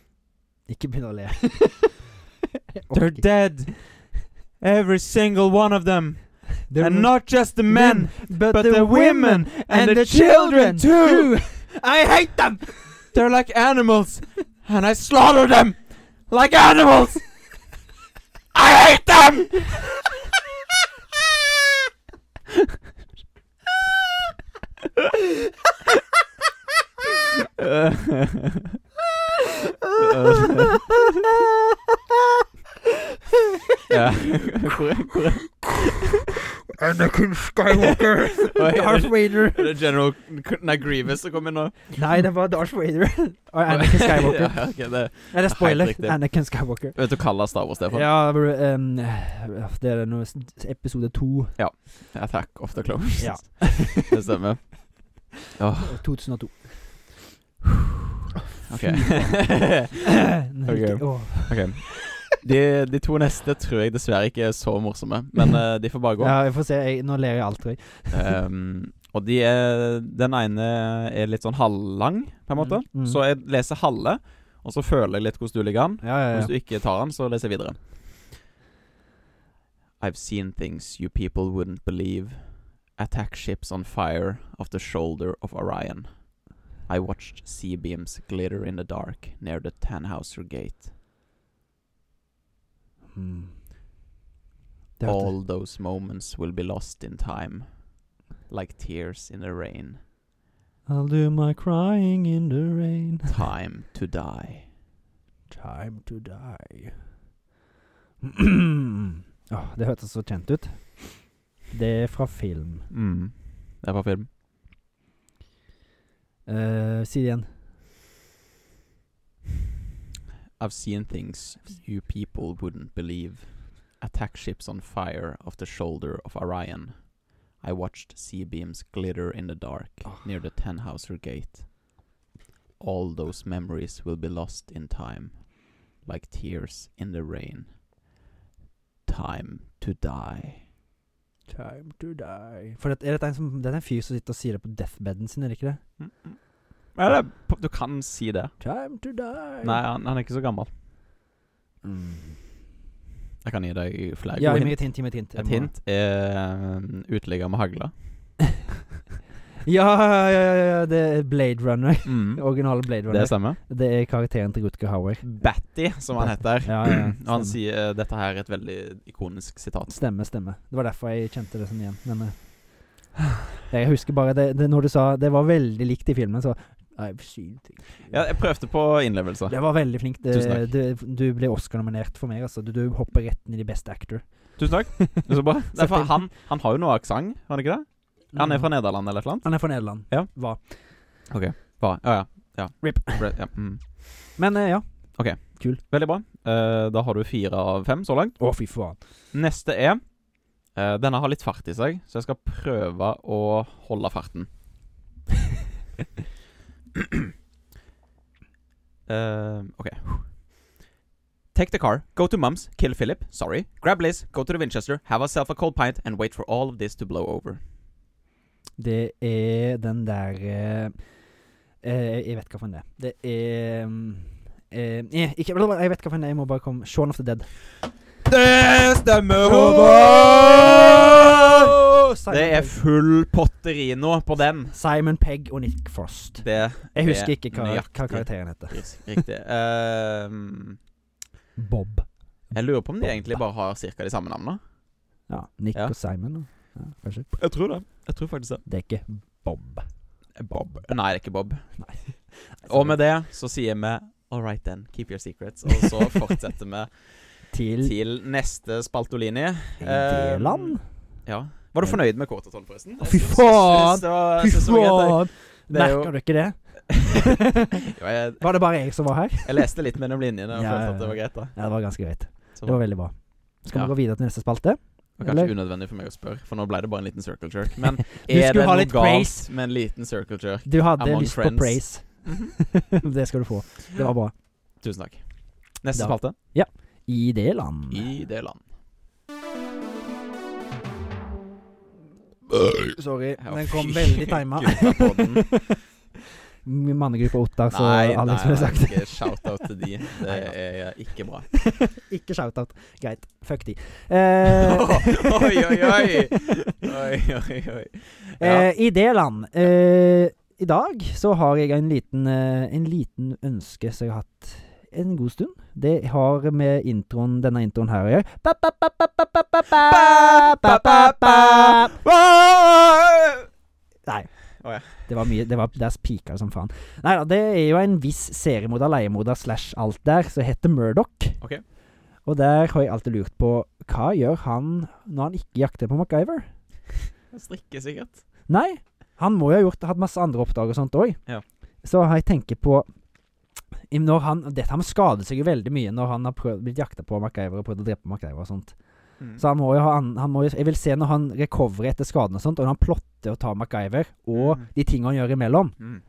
Speaker 1: Ikke begynn å le. Jeg orker
Speaker 2: They're
Speaker 1: ikke.
Speaker 2: dead. Every single one of them.
Speaker 1: The
Speaker 2: and not just the men,
Speaker 1: but,
Speaker 2: but the women and the children too.
Speaker 1: I hate them!
Speaker 2: They're like animals. And I slaughter them like animals. I hate them! ja. Hvor, hvor
Speaker 1: Anakin Skywalker!
Speaker 2: Oi,
Speaker 1: Darth Vader.
Speaker 2: er det General Nei, Grievous som kommer nå?
Speaker 1: Nei, det var Darth Vader. Og Anakin Skywalker.
Speaker 2: ja, ok, det,
Speaker 1: Nei, det er spoiler.
Speaker 2: Helt riktig.
Speaker 1: Anakin Skywalker.
Speaker 2: vet du hva kaller Star Wars det for?
Speaker 1: Ja, um, det er noe s- episode to.
Speaker 2: Attack of the Clones.
Speaker 1: Ja.
Speaker 2: det stemmer. Åh,
Speaker 1: 2002.
Speaker 2: ok.
Speaker 1: okay.
Speaker 2: ok. De, de to neste tror jeg dessverre ikke er så morsomme, men eh, de får bare gå.
Speaker 1: Ja, jeg får se. Jeg, nå ler jeg alt, tror jeg.
Speaker 2: Ehm, og de er, den ene er litt sånn halvlang, på en måte.
Speaker 1: Mm, mm.
Speaker 2: Så jeg leser halve, og så føler jeg litt hvordan du ligger an.
Speaker 1: Ja, ja, ja.
Speaker 2: Hvis du ikke tar den, så leser jeg videre. I've seen things you people wouldn't believe. Attack ships on fire off the shoulder of Orion. I watched sea beams glitter in the dark near the Tannhauser Gate.
Speaker 1: Mm. Det hørte-
Speaker 2: All those moments will be lost in time, like tears in the rain.
Speaker 1: I'll do my crying in the rain.
Speaker 2: Time to die.
Speaker 1: Time to die. Åh, det hørtes så kjent ut. Det er fra film.
Speaker 2: Mm. Det er fra film.
Speaker 1: Eh, si det igjen.
Speaker 2: I've seen things you people wouldn't believe. Attack ships on fire off the shoulder of Orion. I watched sea beams glitter in the dark near the Tannhauser Gate. All those memories will be lost in time, like tears in the rain. Time to die.
Speaker 1: Time to die. For det, er dette en, som, dette er en fyr som sitter og sier det på deathbeden sin, er det ikke det?
Speaker 2: er du kan si det.
Speaker 1: Time to die.
Speaker 2: Nei, han, han er ikke så gammel.
Speaker 1: Mm.
Speaker 2: Jeg kan gi deg flere
Speaker 1: Ja,
Speaker 2: gode
Speaker 1: gi meg
Speaker 2: hint.
Speaker 1: et hint. Gi meg et hint. Jeg
Speaker 2: Et
Speaker 1: må-
Speaker 2: hint er um, uteligger med hagla.
Speaker 1: Ja, ja, ja, ja, ja, det er Blade Runner.
Speaker 2: Mm.
Speaker 1: Originale Blade
Speaker 2: Det
Speaker 1: Runner.
Speaker 2: stemmer.
Speaker 1: Det er, karakteren til Rutger Hauer.
Speaker 2: Batty, som han heter.
Speaker 1: Ja, ja,
Speaker 2: Og
Speaker 1: stemmer.
Speaker 2: han sier eh, Dette her er et veldig ikonisk sitat.
Speaker 1: Stemme, stemme. Det var derfor jeg kjente det sånn igjen. Men eh, jeg husker bare det, det når du sa det var veldig likt i filmen, så I've seen things.
Speaker 2: Ja, jeg prøvde på innlevelse.
Speaker 1: Det var veldig flink. Det,
Speaker 2: Tusen takk.
Speaker 1: du, du ble Oscar-nominert for meg, altså. Du, du hopper rett inn i de beste actor.
Speaker 2: Tusen takk. Det er så bra. Det er for
Speaker 1: Sett inn.
Speaker 2: han, han har jo noe aksent, har han ikke det?
Speaker 1: Mm.
Speaker 2: Han er fra Nederland eller et eller annet?
Speaker 1: Han er fra Nederland.
Speaker 2: Ja.
Speaker 1: Hva?
Speaker 2: Bare, ja, ja, ja.
Speaker 1: Rip.
Speaker 2: Bre- Ja. Mm.
Speaker 1: Men eh, ja.
Speaker 2: Veldig bra. Eh, da har du fire av fem så langt.
Speaker 1: Å, fy faen.
Speaker 2: Neste er eh, Denne har litt fart i seg, så jeg skal prøve å holde farten. Eh, OK. Take the car, go to mom's, kill Philip, sorry, grab Liz, go to the Winchester, have ourselves a cold pint, and wait for all of this to blow over.
Speaker 1: Det er den der eh, eh, Jeg vet hva for en det er. Det er mm, eh, eh, ikke, Jeg vet hva for en det er, jeg må bare komme Shaun of the Dead.
Speaker 2: Det stemmer,
Speaker 1: Håvard!
Speaker 2: Det er full potteri nå på den.
Speaker 1: Simon Pegg og Nick Frost.
Speaker 2: Det
Speaker 1: Jeg husker ikke
Speaker 2: Det er
Speaker 1: hva, hva
Speaker 2: nøyaktig.
Speaker 1: karakteren heter.
Speaker 2: Riktig. Ehm,
Speaker 1: Bob.
Speaker 2: jeg lurer på om de egentlig bare har ca. de samme navnene.
Speaker 1: Ja, Nick
Speaker 2: Ja.
Speaker 1: og Simon. Ja, kanskje.
Speaker 2: Jeg tror det. Jeg tror faktisk det.
Speaker 1: Det er ikke Bob.
Speaker 2: Eh, Bob. Nei, det er ikke Bob.
Speaker 1: Nei.
Speaker 2: Og med det så sier vi All right then, keep your secrets. Og så fortsetter vi
Speaker 1: Til
Speaker 2: til neste Spaltolini. eh,
Speaker 1: Nederland?
Speaker 2: Ja. Var du fornøyd med kort og tolv, forresten?
Speaker 1: Å, fy
Speaker 2: Jeg syns-
Speaker 1: faen!
Speaker 2: syns det var-
Speaker 1: Fy
Speaker 2: syns det var
Speaker 1: faen!
Speaker 2: greit, Det er jo-
Speaker 1: Merker du ikke det?
Speaker 2: jeg. Jo, jeg,
Speaker 1: Var det bare jeg som var her?
Speaker 2: jeg leste litt mellom linjene og
Speaker 1: Ja,
Speaker 2: følte
Speaker 1: ja,
Speaker 2: at det var greit, da.
Speaker 1: Ja, det var ganske greit.
Speaker 2: Så
Speaker 1: Det var veldig bra. Skal
Speaker 2: Ja.
Speaker 1: vi gå videre til neste spalte?
Speaker 2: Det var kanskje unødvendig for meg å spørre, for nå ble det bare en liten circle jerk. Men
Speaker 1: skulle
Speaker 2: er det
Speaker 1: ha
Speaker 2: noe
Speaker 1: litt
Speaker 2: galt
Speaker 1: praise.
Speaker 2: med en liten circle jerk?
Speaker 1: Du hadde
Speaker 2: Among
Speaker 1: lyst
Speaker 2: friends. Mhm.
Speaker 1: på praise. det skal du få. Det var bra.
Speaker 2: Tusen takk. Neste
Speaker 1: Da-
Speaker 2: spalte.
Speaker 1: I det land.
Speaker 2: I det land.
Speaker 1: Sorry,
Speaker 2: Ja,
Speaker 1: den kom
Speaker 2: fy
Speaker 1: veldig tima.
Speaker 2: guttapodden.
Speaker 1: Mannegruppa Ottar, så
Speaker 2: Nei, nei,
Speaker 1: Alex ville
Speaker 2: nei,
Speaker 1: Altså, sagt
Speaker 2: ikke shout-out til de. Det
Speaker 1: Neida.
Speaker 2: er ikke bra.
Speaker 1: Ikke shout-out. Greit. Fuck de. Eh,
Speaker 2: oi, oi, oi! Oi, oi, oi. Ja.
Speaker 1: eh, I det land. Eh, I dag så har jeg en liten, eh, en liten ønske som jeg har hatt en god stund. Det har med introen, denne introen her å gjøre. Ba, ba, ba, ba, ba, ba, ba, ba, ba, ba, ba. Nei.
Speaker 2: Å ja.
Speaker 1: Det var mye det var, Der spika det som faen. Nei da, det er jo en viss seriemoder, leiemoder slash alt der, som heter Murdoch.
Speaker 2: Ok.
Speaker 1: Og der har jeg alltid lurt på Hva gjør han når han ikke jakter på MacGyver?
Speaker 2: Strikke, sikkert.
Speaker 1: Nei, han må jo ha gjort, hatt masse andre oppdrag og sånt òg.
Speaker 2: Ja.
Speaker 1: Så jeg tenker på i- når han, Dette han skader seg jo veldig mye når han har prøvd, blitt jakta på av MacGyver og prøvd å drepe MacGyver og sånt.
Speaker 2: Mm.
Speaker 1: Så han må jo ha an, han må jo, Jeg vil se når han recoverer etter skaden og sånt, og når han plotter å ta MacGyver, og
Speaker 2: Mm.
Speaker 1: de tingene han gjør imellom.
Speaker 2: Mm.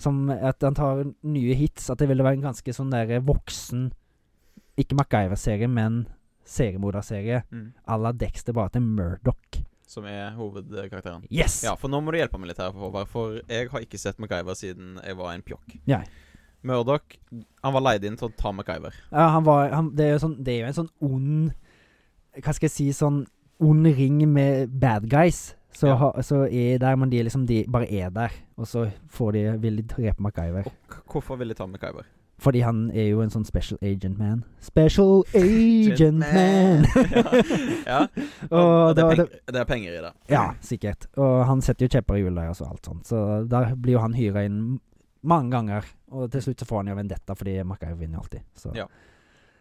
Speaker 1: Som at han tar nye hits. At det ville være en ganske sånn der voksen Ikke MacGyver-serie, men seriemorderserie
Speaker 2: Mm.
Speaker 1: à la Dexter, bare til Murdoch.
Speaker 2: Som er hovedkarakteren.
Speaker 1: Yes!
Speaker 2: Ja, for nå må du hjelpe meg litt her, Håvard. For jeg har ikke sett MacGyver siden jeg var en pjokk.
Speaker 1: Nei.
Speaker 2: Murdoch han var leid inn til å ta MacGyver.
Speaker 1: Ja, han var, han, det, er jo sånn, det er jo en sånn ond Hva skal jeg si Sånn ond ring med bad guys. Så,
Speaker 2: Ja.
Speaker 1: ha, så er der, men de er liksom De bare er der. Og så får de, vil de drepe MacGyver.
Speaker 2: Og k- hvorfor ville de ta MacGyver?
Speaker 1: Fordi han er jo en sånn special agent man. Special agent man!
Speaker 2: ja. ja.
Speaker 1: Og,
Speaker 2: Og det,
Speaker 1: da- da-
Speaker 2: er penger, det er penger i det.
Speaker 1: Ja, sikkert. Og han setter jo kjepper i hjula og så alt sånt. Så da blir jo han hyra inn mange ganger. Og til slutt så får han jo vendetta, fordi Makkaiv vinner jo alltid. Så
Speaker 2: Ja.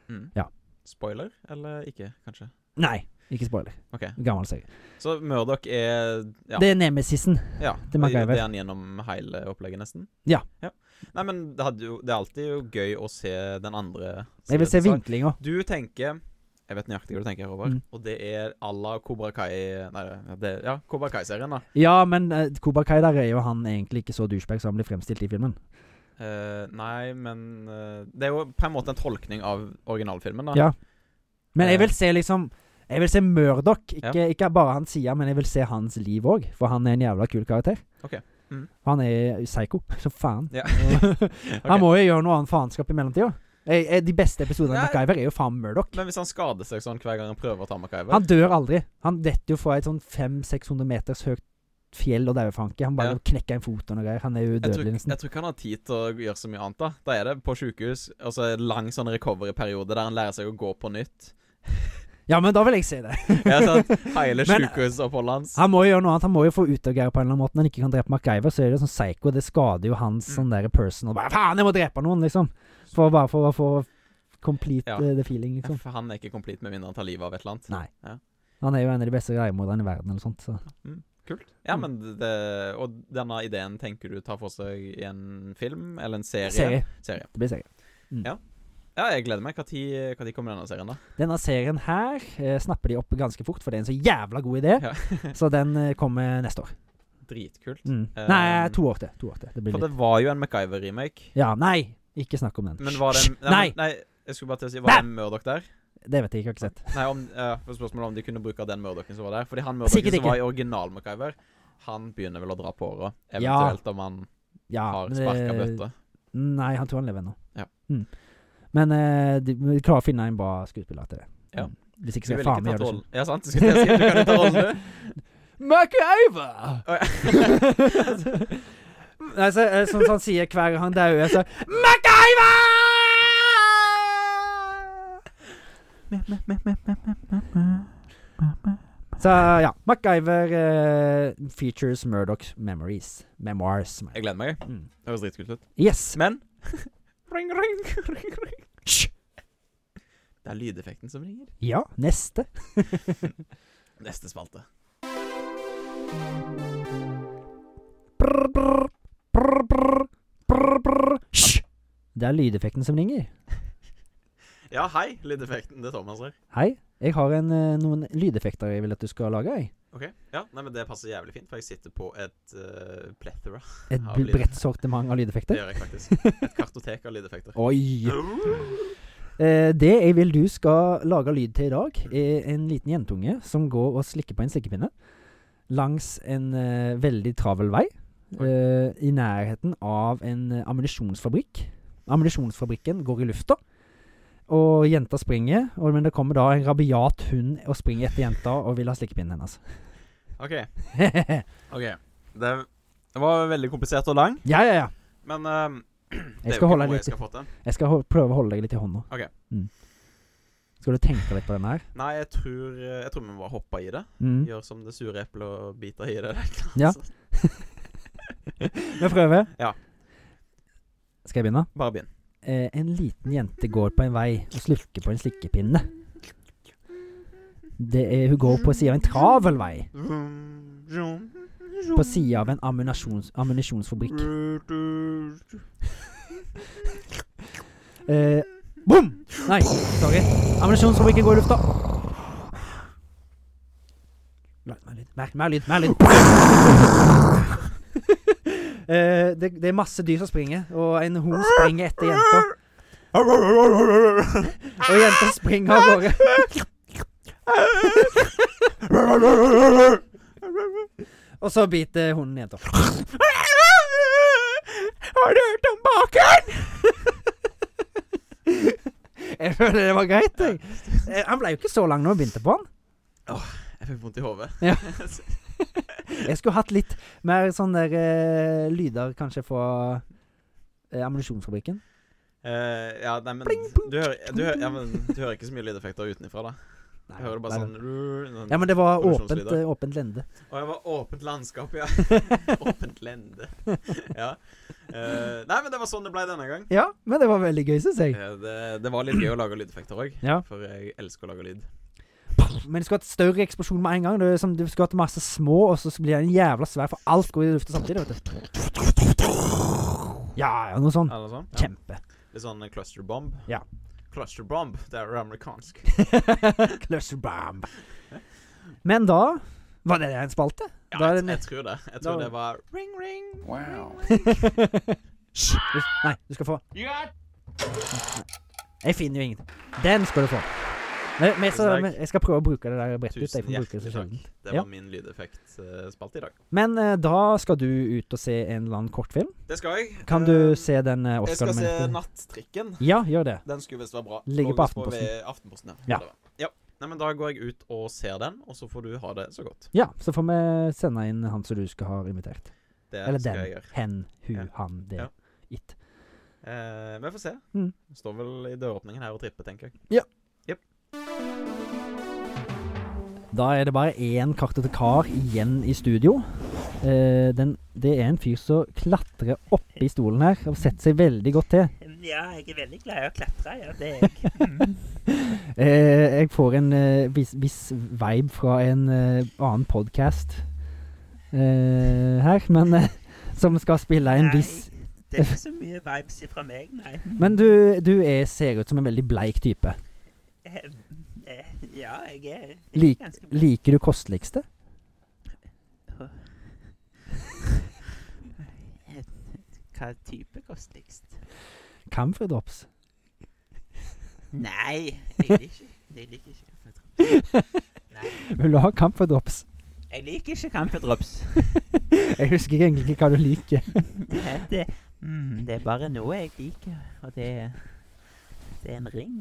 Speaker 2: Mm.
Speaker 1: Ja.
Speaker 2: Spoiler eller ikke, kanskje?
Speaker 1: Nei, ikke spoiler.
Speaker 2: Ok,
Speaker 1: Gammel serie.
Speaker 2: Så Murdoch er ja,
Speaker 1: Det er nemesisen.
Speaker 2: ja,
Speaker 1: det merker jeg vel.
Speaker 2: er han gjennom hele opplegget, nesten?
Speaker 1: Ja.
Speaker 2: Nei, men det, hadde jo, det er alltid jo gøy å se den andre
Speaker 1: Jeg vil se
Speaker 2: siden.
Speaker 1: vinklinga.
Speaker 2: Du tenker Jeg vet nøyaktig hva du tenker, Håvard.
Speaker 1: Mm.
Speaker 2: Og det er à la Kobra Kai Nei, det, ja, Kobra Kai-serien, da.
Speaker 1: Ja, men uh, Koba Kai der er jo han egentlig ikke så douchebag som han blir fremstilt i filmen.
Speaker 2: Eh, nei, men eh, Det er jo på en måte en tolkning av originalfilmen, da.
Speaker 1: Ja. Men jeg
Speaker 2: Eh.
Speaker 1: vil se liksom Jeg vil se Murdoch. Ikke, ikke bare hans side, men jeg vil se hans liv òg. For han er en jævla kul karakter.
Speaker 2: Ok. Mm.
Speaker 1: Han er psycho. Så faen.
Speaker 2: Ja. Ok.
Speaker 1: Han må jo gjøre noe annet faenskap i mellomtida. Eh, eh, De beste episodene av
Speaker 2: Nei.
Speaker 1: MacGyver er jo faen Murdoch.
Speaker 2: Men hvis han skader seg sånn hver gang han prøver å ta MacGyver
Speaker 1: Han dør aldri. Han detter jo fra et sånn 500-600 meters høyt fjell og dauefanke. Han bare
Speaker 2: Ja.
Speaker 1: knekker en fot og noe greier. Han er
Speaker 2: Jeg tror,
Speaker 1: udødelig,
Speaker 2: jeg
Speaker 1: nesten.
Speaker 2: tror ikke han har tid til å gjøre så mye annet. Da Da er det på sykehus, og så en lang sånn recovery-periode der han lærer seg å gå på nytt.
Speaker 1: Ja, men da vil jeg se det.
Speaker 2: Ja, sant? Hele
Speaker 1: Men- eh,
Speaker 2: sykehusoppholdet hans.
Speaker 1: Han må jo gjøre noe annet. Han må jo få utagere på en eller annen måte. Når han ikke kan drepe MacGyver, så er det sånn psycho. Det skader jo hans
Speaker 2: Mm.
Speaker 1: sånn der personal Bare faen, jeg må drepe noen, liksom. For bare for å få complete
Speaker 2: Ja.
Speaker 1: eh, the feeling,
Speaker 2: Ja,
Speaker 1: liksom.
Speaker 2: for han er ikke komplett med mindre han tar livet av et eller annet.
Speaker 1: Nei.
Speaker 2: Ja.
Speaker 1: Han er jo en av de beste leiemorderne i verden, eller sånt. Så.
Speaker 2: Kult. Ja,
Speaker 1: Mm.
Speaker 2: men det, Og denne ideen tenker du tar for seg i en film eller en serie?
Speaker 1: Serie.
Speaker 2: Serie.
Speaker 1: Det blir serie.
Speaker 2: Ja, jeg gleder meg. Når kommer denne serien, da?
Speaker 1: Denne serien her eh, snapper de opp ganske fort, for det er en så jævla god idé.
Speaker 2: Ja.
Speaker 1: så den eh, kommer neste år.
Speaker 2: Dritkult.
Speaker 1: Mm.
Speaker 2: Eh,
Speaker 1: Nei, to år til. To år til. Det blir
Speaker 2: For
Speaker 1: litt
Speaker 2: det var jo en MacGyver-remake.
Speaker 1: Ja, nei! Ikke snakk om den.
Speaker 2: Men var det
Speaker 1: Hysj,
Speaker 2: nei,
Speaker 1: Nei!
Speaker 2: men- nei! Jeg skulle bare til å si, Var det en Murdoch der?
Speaker 1: Det vet jeg ikke, jeg har ikke sett.
Speaker 2: Nei, om, eh, for spørsmålet om de kunne bruke den Murdochen som var der. Fordi han Murdochen
Speaker 1: Sikkert
Speaker 2: som
Speaker 1: ikke.
Speaker 2: var i original MacGyver, han begynner vel å dra på åra.
Speaker 1: Ja.
Speaker 2: Eventuelt om han
Speaker 1: Ja,
Speaker 2: har
Speaker 1: men eh, det-
Speaker 2: sparka bøtta.
Speaker 1: Nei, han tror han lever ennå.
Speaker 2: Ja.
Speaker 1: Mm. Men eh, de, vi klarer å finne en bra skuespiller til det.
Speaker 2: Ja.
Speaker 1: Mm. Hvis ikke
Speaker 2: Du
Speaker 1: så
Speaker 2: vil
Speaker 1: er
Speaker 2: ikke
Speaker 1: faen meg
Speaker 2: ta
Speaker 1: gjør det
Speaker 2: rollen. Ja, sant? Du, skulle til å si, du kan jo ta rollen, du.
Speaker 1: MacGyver!
Speaker 2: Å,
Speaker 1: Nei, så, eh, sånn som han sier hver gang han dauer, så MacGyver! Så ja. MacGyver eh, features Murdochs memories. Memoirs.
Speaker 2: Jeg gleder meg.
Speaker 1: Mm.
Speaker 2: Det høres dritkult ut.
Speaker 1: Yes.
Speaker 2: Men Ring, ring, ring, ring. Det er lydeffekten som ringer.
Speaker 1: Ja, neste.
Speaker 2: Neste spalte.
Speaker 1: Brr, brr, brr, brr, brr, brr. Hysj! Det er lydeffekten som ringer.
Speaker 2: Ja, hei, lydeffekten. Det er Thomas her.
Speaker 1: Hei, jeg har en, eh, noen lydeffekter jeg vil at du skal lage. Jeg.
Speaker 2: Ok, ja, nei, men Det passer jævlig fint, for jeg sitter på et uh, plethora.
Speaker 1: Et
Speaker 2: Av
Speaker 1: bl-
Speaker 2: lyd.
Speaker 1: bredt sortiment av
Speaker 2: Det
Speaker 1: lydeffekter.
Speaker 2: gjør jeg faktisk. Et kartotek av lydeffekter.
Speaker 1: Oi! Eh, det jeg vil du skal lage lyd til i dag, er en liten jentunge som går og slikker på en slikkepinne langs en eh, veldig travel vei
Speaker 2: Oi.
Speaker 1: eh, i nærheten av en eh, ammunisjonsfabrikk. Ammunisjonsfabrikken går i lufta, og jenta springer. Og, men det kommer da en rabiat hund og springer etter jenta og vil ha slikkepinnen hennes.
Speaker 2: Ok,
Speaker 1: ja,
Speaker 2: ok. Det var veldig komplisert og lang,
Speaker 1: ja, ja.
Speaker 2: men eh, det
Speaker 1: Jeg
Speaker 2: er jo
Speaker 1: skal
Speaker 2: ikke
Speaker 1: holde
Speaker 2: noe jeg
Speaker 1: litt
Speaker 2: skal få til.
Speaker 1: Jeg skal ho- prøve å holde deg litt i hånda.
Speaker 2: Ok.
Speaker 1: Mm. Skal du tenke litt på den her?
Speaker 2: Nei, jeg tror, eh, jeg tror vi må bare hoppe i det.
Speaker 1: Mm.
Speaker 2: Gjør som det sure eplet og bite i det. eller
Speaker 1: Ja.
Speaker 2: noe sånt.
Speaker 1: Vi prøver.
Speaker 2: Ja.
Speaker 1: Skal jeg begynne?
Speaker 2: Bare begynn.
Speaker 1: Eh, en liten jente går på en vei og slukker på en slikkepinne. Det er, hun går på sida av en travel vei. På sida av en ammunisjons, ammunisjonsfabrikk. Eh, bom! Nei, sorry. Ammunisjonsfabrikken går i lufta. La- Mer lyd. Mer, mer lyd. Mer lyd. Eh, det, det er masse dyr som springer, og en hund springer etter jenta. Og jenta springer av gårde. Og så biter hunden jenta.
Speaker 2: Har du hørt om bakeren?
Speaker 1: Jeg føler det var greit. Jeg. Eh, Han ble jo ikke så lang når vi begynte på han.
Speaker 2: Jeg fikk vondt i hodet.
Speaker 1: Ja. Jeg skulle hatt litt mer sånne der, eh, lyder kanskje fra eh, ammunisjonsfabrikken.
Speaker 2: Eh, ja, nei, men
Speaker 1: Pling,
Speaker 2: du hører, du, hører, ja, men du hører ikke så mye lydeffekter utenfra, da.
Speaker 1: Nei,
Speaker 2: Du hører bare
Speaker 1: nei.
Speaker 2: sånn sånn-
Speaker 1: Ja, men det var åpent,
Speaker 2: ammunisjonslyder.
Speaker 1: eh, åpent lende.
Speaker 2: Å, jeg var åpent landskap, ja. åpent lende. ja. Eh, nei, men det var sånn det ble denne gang.
Speaker 1: Ja, men det var veldig gøy, syns jeg.
Speaker 2: Eh, det, det var litt gøy å lage lydeffekter òg,
Speaker 1: Ja.
Speaker 2: for jeg elsker å lage lyd.
Speaker 1: Men du skulle hatt større eksplosjon med en gang. Du, som, du skulle hatt masse små, og så blir den jævla svær, for alt går i lufta samtidig, vet du. Ja, ja, noe sånn.
Speaker 2: Eller sånn? Ja.
Speaker 1: Kjempe.
Speaker 2: Litt sånn cluster bomb.
Speaker 1: Ja.
Speaker 2: Cluster bomb, det er amerikansk.
Speaker 1: Cluster bomb. Men da Var det en spalte?
Speaker 2: Ja,
Speaker 1: Da er
Speaker 2: jeg,
Speaker 1: det
Speaker 2: jeg tror det. Jeg tror
Speaker 1: da-
Speaker 2: det var ring, ring.
Speaker 3: Wow.
Speaker 1: Hysj! Du- Nei, du skal få.
Speaker 3: You got
Speaker 1: Jeg finner jo ingenting. Den skal du få. Men, men jeg,
Speaker 2: Tusen
Speaker 1: skal,
Speaker 2: takk.
Speaker 1: men jeg skal prøve å bruke det der brettet ditt. Jeg
Speaker 2: Tusen
Speaker 1: får bruke det
Speaker 2: hjertelig
Speaker 1: så
Speaker 2: takk.
Speaker 1: sjelden.
Speaker 2: Det
Speaker 1: Ja.
Speaker 2: var min lydeffektspalte i dag.
Speaker 1: Men eh, da skal du ut og se en eller annen kortfilm.
Speaker 2: Det skal jeg.
Speaker 1: Kan
Speaker 2: Eh,
Speaker 1: du se den eh,
Speaker 2: Jeg skal se
Speaker 1: Oscar-nominerte?
Speaker 2: Nattrikken.
Speaker 1: Ja, gjør det.
Speaker 2: Den skulle visst være bra.
Speaker 1: Ligger
Speaker 2: Lå
Speaker 1: på
Speaker 2: visst
Speaker 1: Aftenposten.
Speaker 2: ved Aftenposten ja.
Speaker 1: Ja.
Speaker 2: Det var- ja. Nei, men Da går jeg ut og ser den, og så får du ha det så godt.
Speaker 1: Ja, så får vi sende inn han som du skal ha invitert.
Speaker 2: Det
Speaker 1: Eller
Speaker 2: skal
Speaker 1: den.
Speaker 2: jeg gjøre.
Speaker 1: Hen, hu,
Speaker 2: Ja.
Speaker 1: han, det,
Speaker 2: Ja.
Speaker 1: it.
Speaker 2: Eh, vi får se.
Speaker 1: Mm.
Speaker 2: Står vel i døråpningen her og tripper, tenker jeg.
Speaker 1: Da er det bare én kartotekar igjen i studio. Eh, den, det er en fyr som klatrer oppi stolen her og setter seg veldig godt til.
Speaker 3: Ja, jeg er veldig glad i å klatre. Ja, det er jeg.
Speaker 1: Eh, jeg får en eh, viss, viss vibe fra en eh, annen podkast her, men eh, som skal spille en
Speaker 3: Nei.
Speaker 1: viss
Speaker 3: Det er ikke så mye vibes fra meg, nei.
Speaker 1: Men du, du er, ser ut som en veldig bleik type.
Speaker 3: Eh, eh, Ja, jeg er
Speaker 1: Lik-
Speaker 3: ganske
Speaker 1: Liker du kosteligste?
Speaker 3: Eh, Hva type kosteligst?
Speaker 1: Camphor drops.
Speaker 3: Nei, jeg liker ikke. Jeg liker ikke kampedrops. Nei,
Speaker 1: Vil du ha camphor drops?
Speaker 3: jeg liker ikke kampedrops.
Speaker 1: Jeg husker ikke egentlig ikke hva du liker.
Speaker 3: Det, er- det, mm, det er bare noe jeg liker, og det er, det er en ring.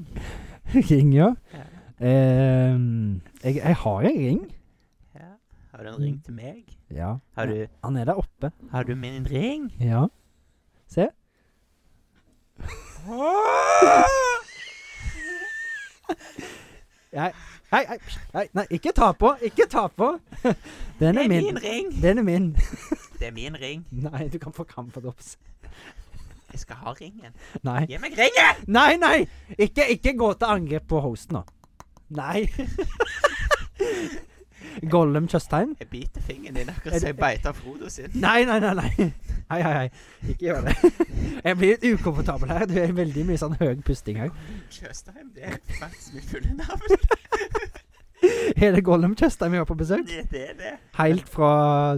Speaker 1: ring, ja.
Speaker 3: Ja.
Speaker 1: Eh, jeg, jeg har en ring.
Speaker 3: Ja. Har du en ring til meg?
Speaker 1: Ja.
Speaker 3: Har du,
Speaker 1: Han er der oppe.
Speaker 3: har du min ring?
Speaker 1: Ja. Se. Nei, nei, nei, nei, nei, ikke ta på! Ikke ta på! Den
Speaker 3: Det
Speaker 1: er
Speaker 3: er
Speaker 1: min.
Speaker 3: min ring!
Speaker 1: Den er min.
Speaker 3: Det er min ring.
Speaker 1: Nei, du kan få kamferdrops.
Speaker 3: Jeg skal ha ringen.
Speaker 1: Nei.
Speaker 3: Gi meg ringen!
Speaker 1: Nei, nei! Ikke, ikke gå til angrep på hosten nå. Nei. Gollum Tjøstheim?
Speaker 3: Jeg biter fingeren din akkurat
Speaker 1: Er
Speaker 3: som
Speaker 1: det-
Speaker 3: jeg beita Frodo sin.
Speaker 1: Nei, nei, nei. nei. Hei, hei, hei. Ikke gjør det. Jeg blir litt ukomfortabel her. Du er veldig mye sånn høy pusting her.
Speaker 3: Tjøstheim, det er faktisk mitt fulle navn.
Speaker 1: Er det Gollum Tjøstheim vi har på besøk?
Speaker 3: Det, det er det.
Speaker 1: Helt fra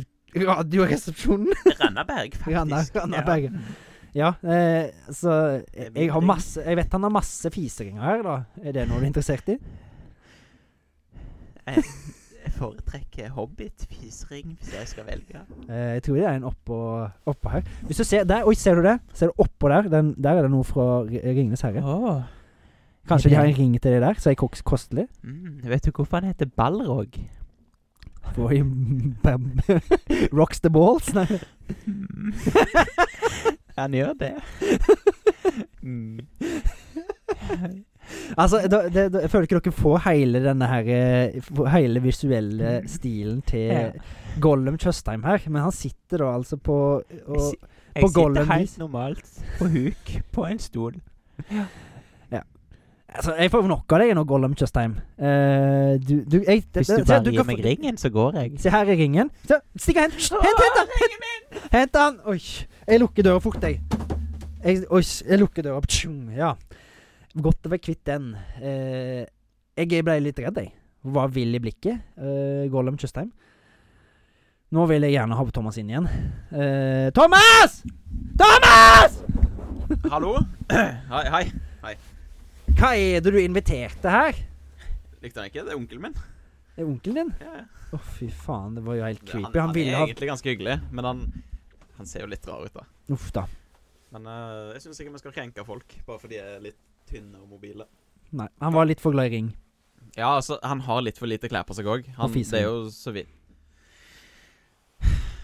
Speaker 1: Radioresepsjonen.
Speaker 3: Randaberg, faktisk.
Speaker 1: Ranna, Ranna Bergen. Ja, eh, så jeg, jeg har masse Jeg vet han har masse fiseringer her, da. Er det noe du er interessert i?
Speaker 3: Ja. Jeg, jeg foretrekker Hobbit, fisring, hvis jeg skal velge.
Speaker 1: Eh, jeg tror det er en oppå, oppå her. Hvis du ser der, Oi, ser du det? Ser du oppå der? Den, der er det noe fra Ri- Ringenes herre.
Speaker 3: Oh.
Speaker 1: Kanskje de har en ring til det der, så er jeg koks- kostelig?
Speaker 3: Mm, vet du hvorfor han heter Balrog?
Speaker 1: For i- bam- Rocks the balls? Nei.
Speaker 3: Mm. han gjør det. Mm.
Speaker 1: Altså, da, det, da, jeg føler ikke dere får hele denne her eh, får Hele visuelle stilen til
Speaker 3: Ja.
Speaker 1: Gollum Tjøstheim her, men han sitter da altså på
Speaker 3: Jeg,
Speaker 1: og,
Speaker 3: si- jeg sitter
Speaker 1: Gollum
Speaker 3: helt
Speaker 1: vis.
Speaker 3: normalt på huk på en stol.
Speaker 1: altså, Jeg får nok av deg nå, Gollum Tjøstheim. Eh, du, du, jeg,
Speaker 3: Hvis
Speaker 1: se,
Speaker 3: du bare
Speaker 1: kan
Speaker 3: gir
Speaker 1: få-
Speaker 3: meg ringen, så går jeg.
Speaker 1: Se, her er ringen. Se, stikk og hent. Hent, hent, den! hent, hent den! Oi, jeg lukker døra fort, jeg. jeg oi, jeg lukker døra. Ptjung, Ja. Godt å være kvitt den. Eh, jeg ble litt redd, jeg. Hun Var vill i blikket. Eh, Gollum Tjøstheim. Nå vil jeg gjerne ha Thomas inn igjen. Eh, Thomas! Thomas!
Speaker 2: Hallo? Hei, hei.
Speaker 1: Hva er det du inviterte her?
Speaker 2: Likte han ikke? Det er onkelen min.
Speaker 1: Er onkelen din?
Speaker 2: Ja, ja.
Speaker 1: Å, fy faen, det var jo helt
Speaker 2: Det- Han,
Speaker 1: creepy. Han
Speaker 2: han er
Speaker 1: ville ha
Speaker 2: egentlig ganske hyggelig, men han, han ser jo litt rar ut, da.
Speaker 1: Uff da.
Speaker 2: Men eh, jeg syns ikke vi skal krenke folk bare fordi de er litt tynne og mobile.
Speaker 1: Nei, han var litt for glad i ring.
Speaker 2: Ja, altså, han har litt for lite klær på seg òg.
Speaker 1: Og fiser.
Speaker 2: Det er jo så vidt.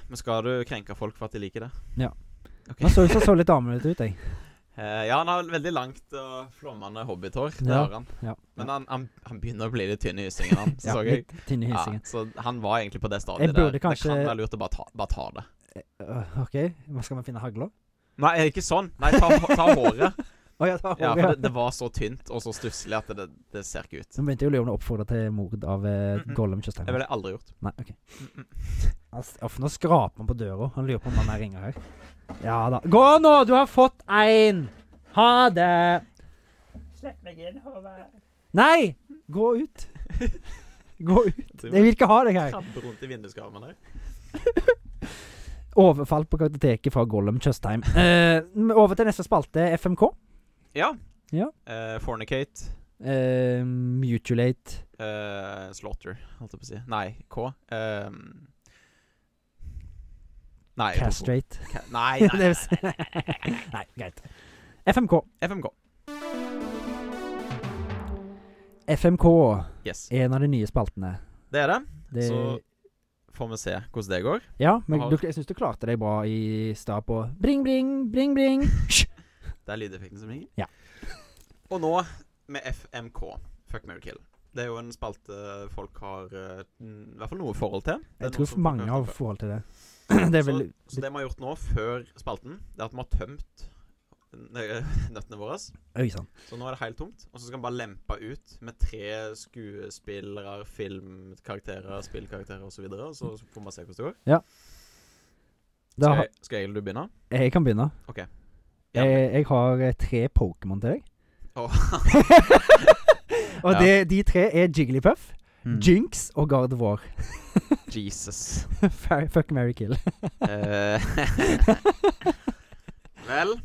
Speaker 2: Men skal du krenke folk for at de liker det?
Speaker 1: Han så ut som så litt damete ut, jeg.
Speaker 2: Eh, ja, han har veldig langt og flommende hobbithår. Det
Speaker 1: Ja.
Speaker 2: har han.
Speaker 1: Ja.
Speaker 2: Men han, han, han begynner å bli litt tynn i hyssingen, han. Så
Speaker 1: Ja,
Speaker 2: så jeg.
Speaker 1: litt tynn i
Speaker 2: Ja,
Speaker 1: hilsingen.
Speaker 2: så han var egentlig på det
Speaker 1: Jeg
Speaker 2: stadiet
Speaker 1: burde
Speaker 2: der.
Speaker 1: kanskje-
Speaker 2: Det kan være lurt å bare ta, bare ta det.
Speaker 1: Øh, OK, hva skal man finne hagla?
Speaker 2: Nei, ikke sånn. Nei, ta, ta håret.
Speaker 1: Å ja, ta håret.
Speaker 2: Ja, for det, det var så tynt og så stusslig at det, det ser ikke ut.
Speaker 1: Nå begynte jeg å lure om det oppfordra til mord av eh,
Speaker 2: Mm-mm.
Speaker 1: Gollum
Speaker 2: Det
Speaker 1: Tjøstheim.
Speaker 2: ville jeg aldri gjort.
Speaker 1: Nei, OK.
Speaker 2: Mm, mm.
Speaker 1: Altså, ja, for nå skraper han på døra. Han lurer på om han er ringer her. Ja da. Gå nå! Du har fått én! Ha det!
Speaker 3: Slipp meg inn, Håvard.
Speaker 1: Nei! Gå ut. Gå ut.
Speaker 2: Det
Speaker 1: Jeg vil ikke ha deg her.
Speaker 2: Krabbe rundt i vinduskarmen der.
Speaker 1: Overfall på kartoteket fra Gollum Tjøstheim. Eh, over til neste spalte, FMK.
Speaker 2: Ja.
Speaker 1: Ja.
Speaker 2: Eh, fornicate.
Speaker 1: Eh, mutulate.
Speaker 2: eh, slaughter, holdt jeg på å si. Nei, K. Eh, nei, jeg tok på-
Speaker 1: Castrate.
Speaker 2: Ca nei, nei,
Speaker 1: Det vil si- Nei, greit. FMK.
Speaker 2: FMK.
Speaker 1: FMK,
Speaker 2: Yes.
Speaker 1: er en av de nye spaltene.
Speaker 2: Det er det.
Speaker 1: Det,
Speaker 2: Så får vi se hvordan det går.
Speaker 1: ja, men
Speaker 2: har-
Speaker 1: du, jeg syns du klarte deg bra i stad på bring, bring, bring, bring.
Speaker 2: Det er lydeffekten som ringer.
Speaker 1: Ja.
Speaker 2: Og nå med FMK, Fuck Mary Kill. Det er jo en spalte folk har eh, mm, i hvert fall noe forhold til. Det er
Speaker 1: Jeg
Speaker 2: noe
Speaker 1: tror
Speaker 2: som folk
Speaker 1: mange
Speaker 2: hørt om
Speaker 1: har
Speaker 2: før.
Speaker 1: forhold til det. Det er vel
Speaker 2: så, så det vi har gjort nå, før spalten, det er at vi har tømt nø- nøttene våre.
Speaker 1: Oi sann.
Speaker 2: Så nå er det helt tomt. Og så skal vi bare lempe ut med tre skuespillere, filmkarakterer, spillkarakterer osv. Så, videre, og så så får vi bare se hvordan det går.
Speaker 1: Da
Speaker 2: Skal,
Speaker 1: har-
Speaker 2: jeg- skal Egil du begynne?
Speaker 1: Jeg kan begynne.
Speaker 2: Ok. Ja.
Speaker 1: Jeg, jeg har eh, tre Pokémon til deg.
Speaker 2: Åh.
Speaker 1: og
Speaker 2: Ja.
Speaker 1: det, de tre er Jigglypuff,
Speaker 2: Mm.
Speaker 1: Jinx og Gardevoir.
Speaker 2: Jesus.
Speaker 1: Fuck, fuck, marry, kill.
Speaker 2: Eh, Vel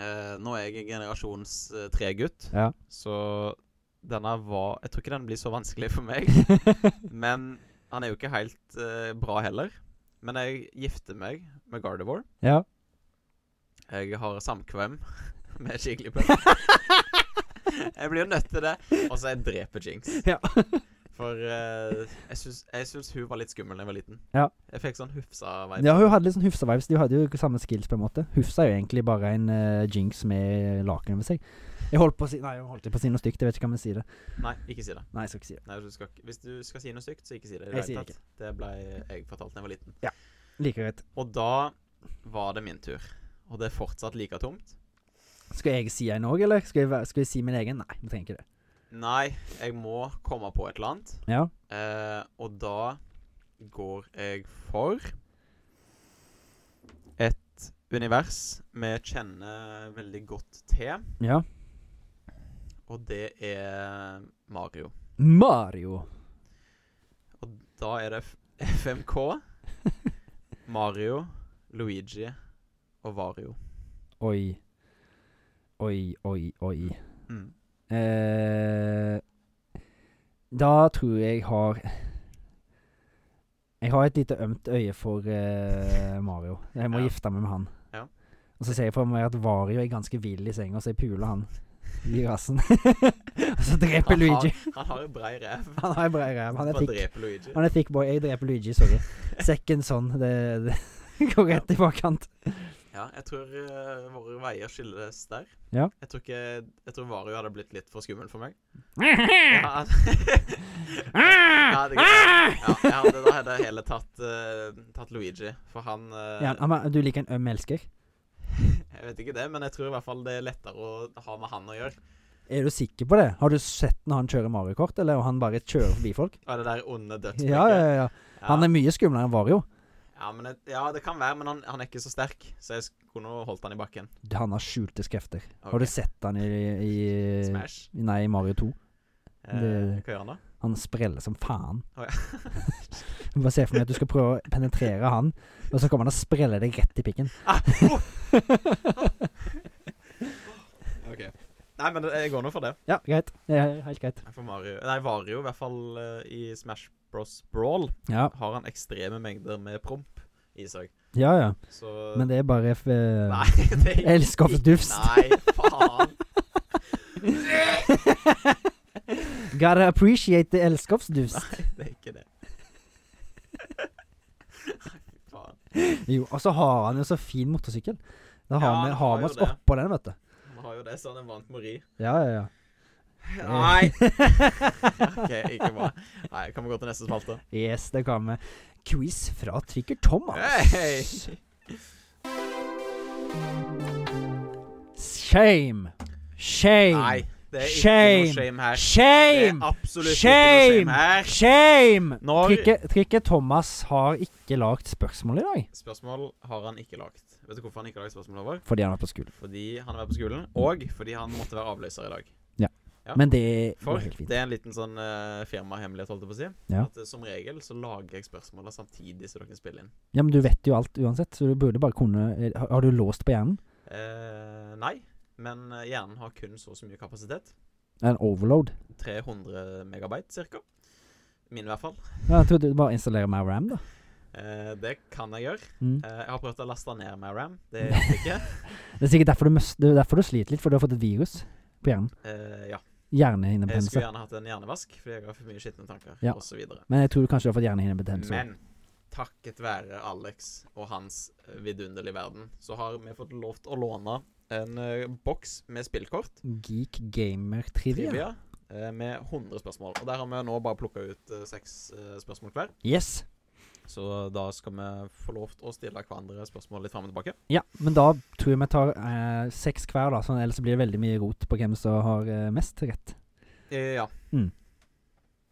Speaker 2: eh, Nå er jeg generasjons eh, tre-gutt,
Speaker 1: Ja.
Speaker 2: så denne var Jeg tror ikke den blir så vanskelig for meg. Men han er jo ikke helt eh, bra heller. Men jeg gifter meg med Gardevoir.
Speaker 1: ja.
Speaker 2: Jeg har samkvem med Jigglypuff. jeg blir jo nødt til det. Og så jeg dreper Jinx.
Speaker 1: Ja.
Speaker 2: For eh, jeg syns- jeg syns hun var litt skummel da jeg var liten.
Speaker 1: Ja.
Speaker 2: Jeg fikk sånn Hufsa-vibe.
Speaker 1: ja, hun hadde litt sånn Hufsa-vibes. De hadde jo ikke samme skills, på en måte. Hufsa er jo egentlig bare en eh, Jinx med laken over seg. Jeg holdt på å si Nei, jeg holdt på å si noe stygt. Jeg vet ikke om jeg sier det.
Speaker 2: Nei, ikke si det.
Speaker 1: Nei, jeg skal ikke si det.
Speaker 2: Nei, du skal, ikke- hvis du skal si noe stygt, så ikke si det. i
Speaker 1: Jeg
Speaker 2: det
Speaker 1: sier
Speaker 2: hele tatt. Det ble jeg fortalt da jeg var liten.
Speaker 1: Like greit.
Speaker 2: Og da var det min tur. Og det er fortsatt like tomt.
Speaker 1: Skal jeg si en òg, eller? Skal jeg, væ- skal jeg si min egen? Nei, jeg trenger ikke det.
Speaker 2: Nei, jeg må komme på et eller annet.
Speaker 1: Ja.
Speaker 2: Eh, og da går jeg for et univers vi kjenner veldig godt til,
Speaker 1: ja.
Speaker 2: og det er Mario.
Speaker 1: Mario.
Speaker 2: Og da er det F- FMK, Mario, Luigi og Vario.
Speaker 1: Oi. Oi, oi, oi.
Speaker 2: Mm.
Speaker 1: Eh, da tror jeg jeg har Jeg har et lite ømt øye for eh, Mario. Jeg må
Speaker 2: Ja.
Speaker 1: gifte meg med han.
Speaker 2: Ja.
Speaker 1: Og så ser jeg for meg at Vario er ganske vill i senga, så jeg puler han i rassen. og så dreper
Speaker 2: Han har-
Speaker 1: Luigi.
Speaker 2: Han har jo brei rev.
Speaker 1: Han har en bred ræv. Han er
Speaker 2: Bare
Speaker 1: thick.
Speaker 2: dreper Luigi.
Speaker 1: Han er thick boy. Jeg dreper Luigi, sorry. Second son. Det, det går rett i bakkant.
Speaker 2: Ja, jeg tror eh, våre veier skilles der.
Speaker 1: Ja.
Speaker 2: Jeg tror ikke Jeg tror Vario hadde blitt litt for skummel for meg.
Speaker 1: Ja.
Speaker 2: Ja, ja, det er greit. ja, jeg hadde, da hadde jeg heller tatt, eh, tatt Luigi, for han eh,
Speaker 1: han er- du liker en øm elsker?
Speaker 2: Jeg vet ikke det, men jeg tror i hvert fall det er lettere å ha med han å gjøre.
Speaker 1: Er du sikker på det? Har du sett når han kjører Mario Kart, eller og han bare kjører forbi folk?
Speaker 2: Og det der onde dødsblikket.
Speaker 1: Ja, ja, ja.
Speaker 2: Ja.
Speaker 1: Han er mye skumlere enn Vario.
Speaker 2: ja, men jeg, ja, det kan være, men han, han er ikke så sterk, så jeg sk- kunne holdt han i bakken.
Speaker 1: Han har skjulte krefter.
Speaker 2: Ok.
Speaker 1: Har du sett han i, i
Speaker 2: Smash.
Speaker 1: Nei, i Mario 2.
Speaker 2: Eh,
Speaker 1: det-
Speaker 2: hva gjør han da?
Speaker 1: Han spreller som faen.
Speaker 2: Å,
Speaker 1: Jeg Bare se for meg at du skal prøve å penetrere han, og så kommer han og spreller deg rett i pikken.
Speaker 2: Ah, oh. OK. Nei, men det- jeg går nå for det.
Speaker 1: Ja, greit. Det er helt greit.
Speaker 2: For Mario Nei, Vario, i hvert fall eh, i Smash Bros. Brawl,
Speaker 1: Ja,
Speaker 2: har han ekstreme mengder med promp i seg.
Speaker 1: ja. ja.
Speaker 2: Så
Speaker 1: Men det er bare f... eh,
Speaker 2: Nei,
Speaker 1: Nei.
Speaker 2: det er
Speaker 1: Elskofferdufst.
Speaker 2: Nei, faen.
Speaker 1: Gotta appreciate the elskovsdufst.
Speaker 2: Nei, det er ikke det. Nei, faen.
Speaker 1: Jo, og så har han jo så fin motorsykkel. Da har
Speaker 2: Ja,
Speaker 1: vi
Speaker 2: han
Speaker 1: har
Speaker 2: har
Speaker 1: vi oss
Speaker 2: jo det.
Speaker 1: oppå den, vet du.
Speaker 2: Han har jo det, så han er vant med å ri.
Speaker 1: Ja, ja, ja.
Speaker 2: Nei! OK, ikke bra. Nei, kan vi gå til neste spalte?
Speaker 1: Yes, det kan vi. Quiz fra Tricker Thomas.
Speaker 2: Hey!
Speaker 1: Shame. Shame.
Speaker 2: Nei, det er ikke
Speaker 1: Shame.
Speaker 2: noe shame her. Det er
Speaker 1: Shame.
Speaker 2: absolutt ikke noe shame
Speaker 1: Shame.
Speaker 2: her.
Speaker 1: Shame.
Speaker 2: Når-
Speaker 1: Tricker, Tricker Thomas har ikke lagd spørsmål i dag.
Speaker 2: Spørsmål har han ikke lagt. Vet du hvorfor han ikke har lagt spørsmål over?
Speaker 1: Fordi han er på skolen.
Speaker 2: Fordi han har vært på skolen, og fordi han måtte være avløser i dag. Ja.
Speaker 1: Men det går
Speaker 2: For
Speaker 1: helt fint.
Speaker 2: det er en liten sånn eh, firmahemmelighet, holdt jeg på å si.
Speaker 1: Ja.
Speaker 2: At eh, som regel så lager jeg spørsmåla samtidig som dere spiller inn.
Speaker 1: Ja, men du vet jo alt uansett, så du burde bare kunne eh, Har har du låst på hjernen?
Speaker 2: Eh, nei, men eh, hjernen har kun så og så mye kapasitet.
Speaker 1: En overload?
Speaker 2: 300 megabyte cirka. Min i hvert fall.
Speaker 1: Ja, jeg trodde du bare installerer mer RAM, da.
Speaker 2: Eh, det kan jeg gjøre.
Speaker 1: Mm.
Speaker 2: Eh, jeg har prøvd å laste ned med RAM. Det hjelper ikke.
Speaker 1: Det er sikkert derfor du, møs- det er derfor du sliter litt, for du har fått et virus på hjernen.
Speaker 2: Eh, ja. Jeg skulle
Speaker 1: Hjernehinnebetennelse.
Speaker 2: gjerne hatt en hjernevask, fordi jeg har for mye skitne tanker,
Speaker 1: Ja.
Speaker 2: og så videre
Speaker 1: Men jeg tror du kanskje du har fått hjernehinnebetennelse.
Speaker 2: Men takket være Alex og hans eh, vidunderlige verden, så har vi fått lov til å låne en eh, boks med spillkort.
Speaker 1: Geek gamer trivia.
Speaker 2: Trivia. eh, Med 100 spørsmål. Og der har vi nå bare plukka ut eh, seks eh, spørsmål hver.
Speaker 1: Yes.
Speaker 2: Så da skal vi få lov til å stille hverandre spørsmål litt fram og tilbake.
Speaker 1: Ja, men da tror jeg vi tar eh, seks hver, da. Sånn, ellers blir det veldig mye rot på hvem som har eh, mest rett.
Speaker 2: Eh, Ja.
Speaker 1: Mm.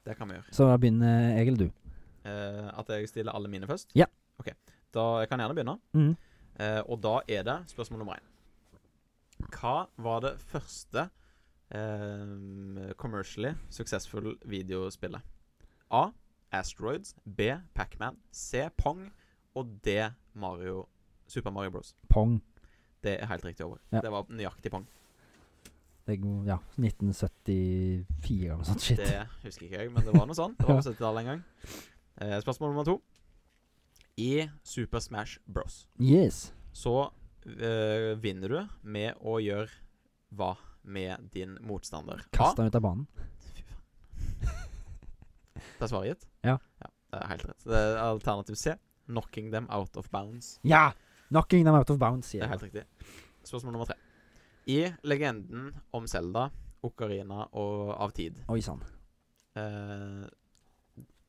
Speaker 2: Det kan vi gjøre.
Speaker 1: Så da begynner jeg eller du.
Speaker 2: Eh, at jeg stiller alle mine først?
Speaker 1: Ja.
Speaker 2: OK. Da jeg kan gjerne begynne.
Speaker 1: Mm.
Speaker 2: Eh, og da er det spørsmål nummer én. Hva var det første eh, commercially successful videospillet? A. Asteroids. B. Pacman. C. Pong. Og D. Mario Super Mario Bros.
Speaker 1: Pong.
Speaker 2: Det er helt riktig over.
Speaker 1: Ja.
Speaker 2: Det var nøyaktig pong.
Speaker 1: Det er, god- ja, 1974 eller noe sånt shit.
Speaker 2: Det husker ikke jeg, men det var noe sånn. Det
Speaker 1: Ja.
Speaker 2: var på 70-tallet en gang. Eh, spørsmål nummer to. I Super Smash Bros.
Speaker 1: Yes.
Speaker 2: så eh, vinner du med å gjøre hva med din motstander? A.
Speaker 1: Kast den ut av banen.
Speaker 2: Fy faen. Det er svaret gitt?
Speaker 1: Ja.
Speaker 2: Det er helt rett. Det er alternativ C. Knocking them out of bounds.
Speaker 1: Ja! Knocking them out of bounds,
Speaker 2: Det
Speaker 1: sier
Speaker 2: er
Speaker 1: jeg.
Speaker 2: helt riktig. Spørsmål nummer tre. I legenden om Selda, Okarina og Av tid,
Speaker 1: Oi sann.
Speaker 2: eh,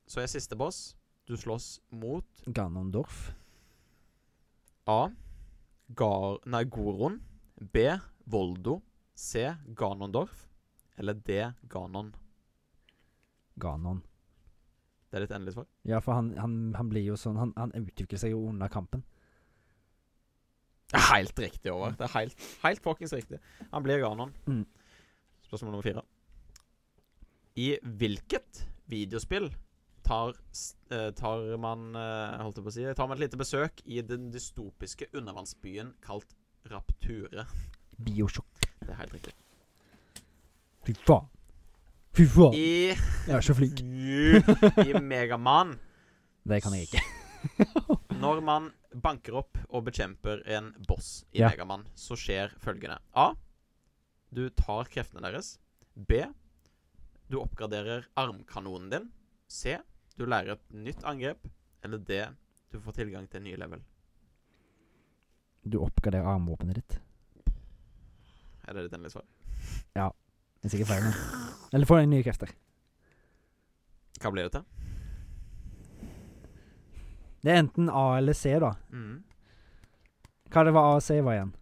Speaker 2: så er siste boss Du slåss mot
Speaker 1: Ganondorf.
Speaker 2: A. Gar nei, Goron. B. Voldo. C. Ganondorf. Eller D. Ganon.
Speaker 1: Ganon.
Speaker 2: Det er ditt endelige svar.
Speaker 1: Ja, for han, han, han blir jo sånn han, han utvikler seg jo under kampen.
Speaker 2: Det er Helt riktig, over. Det er helt, helt fuckings riktig. Han blir Ganon.
Speaker 1: Mm.
Speaker 2: Spørsmål nummer fire. I hvilket videospill tar, s- eh, tar man eh, Holdt jeg på å si Tar man et lite besøk i den dystopiske undervannsbyen kalt Rapture?
Speaker 1: Biosjokk.
Speaker 2: Det er helt riktig.
Speaker 1: Fy faen. Fy faen.
Speaker 2: I,
Speaker 1: Jeg er så flink.
Speaker 2: i Megaman
Speaker 1: Det kan jeg ikke.
Speaker 2: Når man banker opp og bekjemper en boss i
Speaker 1: Ja.
Speaker 2: Megaman, så skjer følgende. A. Du tar kreftene deres. B. Du oppgraderer armkanonen din. C. Du lærer et nytt angrep. Eller D. Du får tilgang til nye level.
Speaker 1: Du oppgraderer armvåpenet ditt.
Speaker 2: Er det ditt endelige svar?
Speaker 1: Det er sikkert feil. men- Eller får deg nye krefter.
Speaker 2: Hva blir det til?
Speaker 1: Det er enten A eller C, da.
Speaker 2: Mhm.
Speaker 1: Hva det var A og C var igjen?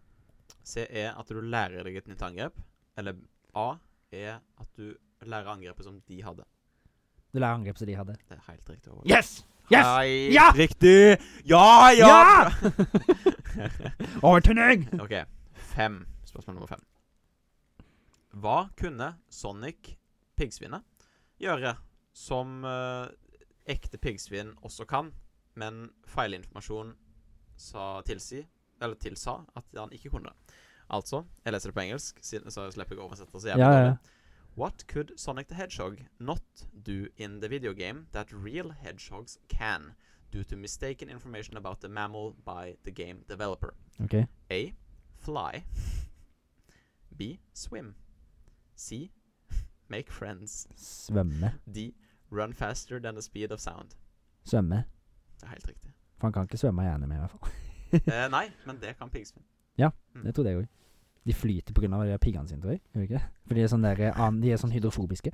Speaker 2: C er at du lærer deg et nytt angrep. Eller A er at du lærer angrepet som de hadde.
Speaker 1: Du lærer angrep som de hadde.
Speaker 2: Det er helt riktig. over.
Speaker 1: Yes! Yes!
Speaker 2: Helt
Speaker 1: Ja!
Speaker 2: Riktig! Ja, Ah, ja! ja!
Speaker 1: Overtenning!
Speaker 2: OK. Fem. Spørsmål nummer fem. Hva kunne Sonic piggsvinet gjøre som eh, ekte piggsvin også kan, men feilinformasjon sa tilsi Eller tilsa at han ikke kunne det. Altså Jeg leser det på engelsk, siden- så slipper jeg å oversette så jævlig
Speaker 1: Ja, ja, ja.
Speaker 2: dårlig. What could Sonic the Hedgehog not do in the video game that real hedgehogs can, due to mistaken information about the mammal by the game developer?
Speaker 1: Ok.
Speaker 2: A. Fly. B. Swim. C. Make friends.
Speaker 1: Svømme.
Speaker 2: D. Run faster than the speed of sound.
Speaker 1: Svømme.
Speaker 2: Det er helt riktig.
Speaker 1: For han kan ikke svømme gjerne med, i hvert fall.
Speaker 2: Eh, nei, men det kan piggsvin.
Speaker 1: Det trodde jeg òg. De flyter pga. piggene sine, tror jeg. Gjør de ikke? det? For de er sånn der, eh, an- de er sånn hydrofobiske.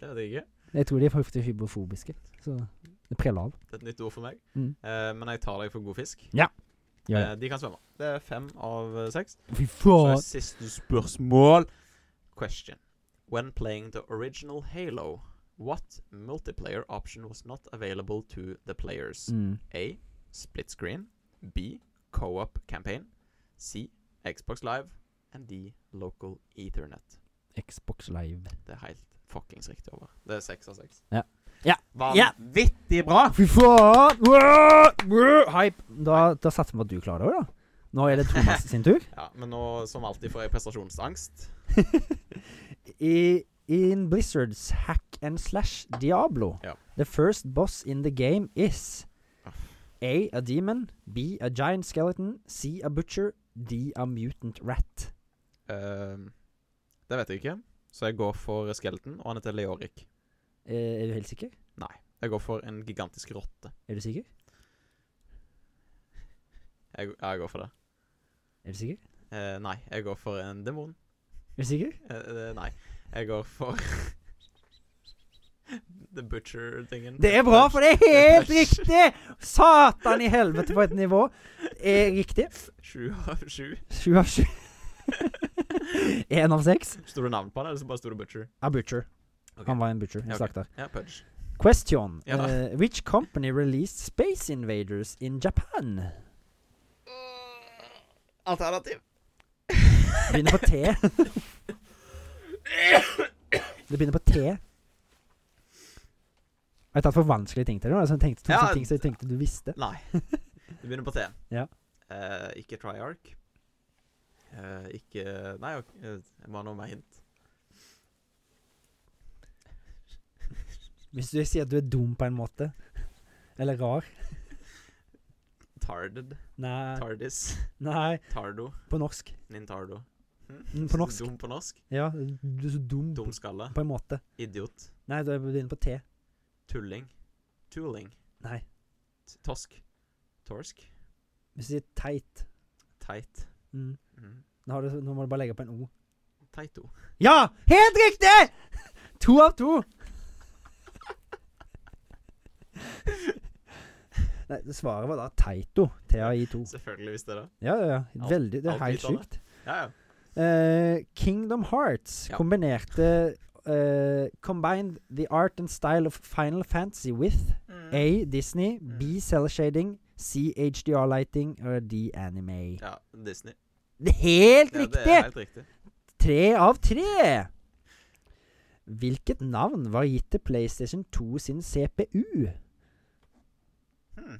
Speaker 2: Det vet jeg ikke.
Speaker 1: Jeg tror de er faktisk hydrofobiske. Så det preller av.
Speaker 2: Det er et nytt ord for meg.
Speaker 1: Mm.
Speaker 2: Eh, men jeg tar deg for god fisk.
Speaker 1: Gjør det.
Speaker 2: Eh, de kan svømme. Det er fem av eh, seks.
Speaker 1: Fy
Speaker 2: Så er
Speaker 1: faen!
Speaker 2: siste spørsmål. Question. When playing the original Halo, what multiplayer option was not available to the players?
Speaker 1: Mm.
Speaker 2: A. Split screen. B. Co-op campaign. C. Xbox Live. And D. Local Ethernet.
Speaker 1: Xbox Live.
Speaker 2: Det er helt fuckings riktig over. Det er seks av seks.
Speaker 1: Ja. Ja. Ja.
Speaker 2: Vanvittig bra!
Speaker 1: Fy faen! Wow! Wow! Hype! Da, da satser vi på at du klarer det òg, da. Nå er det Thomas sin tur.
Speaker 2: Ja, men nå, som alltid, får jeg prestasjonsangst.
Speaker 1: I, in Blizzards hack and slash Diablo,
Speaker 2: Ja.
Speaker 1: the first boss in the game is A. A demon, B. A giant skeleton, C. A butcher, D. A mutant rat.
Speaker 2: Ehm, det vet jeg ikke. Så jeg går for skeleton, og han heter Leoric.
Speaker 1: Eh, er du helt sikker?
Speaker 2: Jeg går for en gigantisk rotte.
Speaker 1: Er du sikker?
Speaker 2: Jeg, ja, jeg går for det.
Speaker 1: Er du sikker?
Speaker 2: Eh, nei, jeg går for en demon.
Speaker 1: Er du sikker?
Speaker 2: Eh, eh, nei, jeg går for The Butcher-tingen.
Speaker 1: Det er bra, for det er helt riktig! Satan i helvete på et nivå. Det er riktig.
Speaker 2: Sju av sju.
Speaker 1: Sju av sju. Én av seks
Speaker 2: Sto det navn på han, eller så bare sto det Butcher?
Speaker 1: er butcher.
Speaker 2: Ok.
Speaker 1: Han var en butcher. En
Speaker 2: Ja, ok.
Speaker 1: slakter.
Speaker 2: Ja, Pudge.
Speaker 1: Question.
Speaker 2: Ja.
Speaker 1: eh, which company released Space Invaders in Japan?
Speaker 2: Alternativ.
Speaker 1: Begynner på T. Det begynner på T. Jeg har tatt for vanskelige ting til deg. nå, Altså, jeg tenkte, tok
Speaker 2: Ja,
Speaker 1: sånne ting som jeg tenkte du visste.
Speaker 2: Nei. Det begynner på T.
Speaker 1: Ja.
Speaker 2: Eh, ikke Triarch. Eh, ikke Nei, ok, eh, jeg må ha noe mer hint.
Speaker 1: Hvis du sier at du er dum på en måte, eller rar
Speaker 2: Tarded.
Speaker 1: Nei,
Speaker 2: Tardis.
Speaker 1: nei
Speaker 2: Tardo.
Speaker 1: på norsk.
Speaker 2: Nintardo. Hm?
Speaker 1: Mm, På norsk.
Speaker 2: Dum på norsk.
Speaker 1: Ja, du er så dum på,
Speaker 2: Dumskalle.
Speaker 1: på en måte.
Speaker 2: Idiot.
Speaker 1: Nei, du begynner på T.
Speaker 2: Tulling. Tulling.
Speaker 1: Nei.
Speaker 2: T- Tosk. Torsk.
Speaker 1: Hvis du sier teit
Speaker 2: Teit.
Speaker 1: mm.
Speaker 2: Mhm.
Speaker 1: nå, har du, nå må du bare legge på en O.
Speaker 2: Teito.
Speaker 1: Ja! Helt riktig! To av to. Nei, det svaret var da Taito. TAI2.
Speaker 2: Selvfølgelig visste jeg det.
Speaker 1: Ja, ja, ja.
Speaker 2: Alt-
Speaker 1: Veldig, det er
Speaker 2: alt
Speaker 1: helt
Speaker 2: gitt av
Speaker 1: sjukt.
Speaker 2: Ja, ja.
Speaker 1: Eh, Kingdom Hearts
Speaker 2: Ja.
Speaker 1: kombinerte eh, Combined the art and style of Final Fantasy with
Speaker 3: Mm.
Speaker 1: A. Disney, B. Cell Shading, C. HDR Lighting og D. Anime.
Speaker 2: ja Disney.
Speaker 1: Det er helt
Speaker 2: Ja,
Speaker 1: riktig!
Speaker 2: det er helt riktig.
Speaker 1: Tre av tre! Hvilket navn var gitt til PlayStation 2 sin CPU?
Speaker 2: Hm.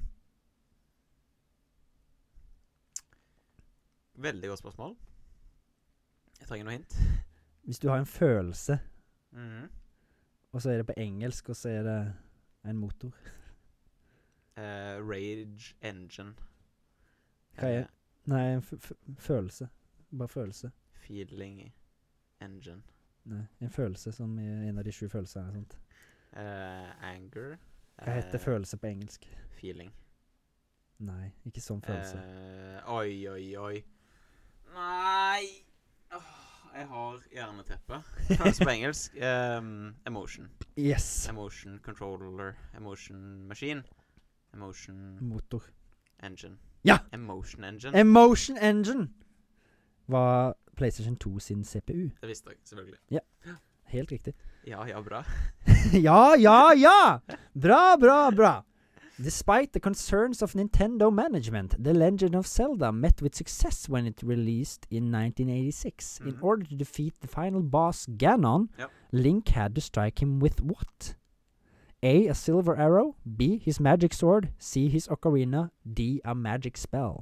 Speaker 2: Veldig godt spørsmål. Jeg trenger noe hint.
Speaker 1: Hvis du har en følelse,
Speaker 2: Mhm.
Speaker 1: og så er det på engelsk, og så er det en motor.
Speaker 2: Eh, Rage Engine.
Speaker 1: Hva er-
Speaker 2: Eh,
Speaker 1: Nei, en f f følelse. Bare følelse.
Speaker 2: Feeling Engine.
Speaker 1: Nei, en følelse som i en av de sju følelsene. eller sånt.
Speaker 2: Eh, anger.
Speaker 1: Hva
Speaker 3: Eh.
Speaker 1: heter følelse på engelsk?
Speaker 2: Eh, Feeling.
Speaker 1: Nei, ikke sånn følelse.
Speaker 2: Eh, oi, oi, oi. Nei Åh, Jeg har hjerneteppe. Følelse Altså, på engelsk. ehm, emotion.
Speaker 1: Yes!
Speaker 2: Emotion controller. Emotion machine. Emotion
Speaker 1: Motor.
Speaker 2: engine.
Speaker 1: Ja!
Speaker 2: Emotion engine.
Speaker 1: Emotion Engine var PlayStation 2 sin CPU.
Speaker 2: det visste jeg, selvfølgelig.
Speaker 1: Helt riktig.
Speaker 2: Ja, ja, bra.
Speaker 1: ja, ja, ja! Bra, bra, bra. Despite the concerns of Nintendo management, The Legend of Zelda met with success when it released in 1986. In
Speaker 2: Mhm.
Speaker 1: order to defeat the final boss Ganon,
Speaker 2: Yep.
Speaker 1: Link had to strike him with what? A. A silver arrow. B. His magic sword. C. His ocarina. D. A magic spell.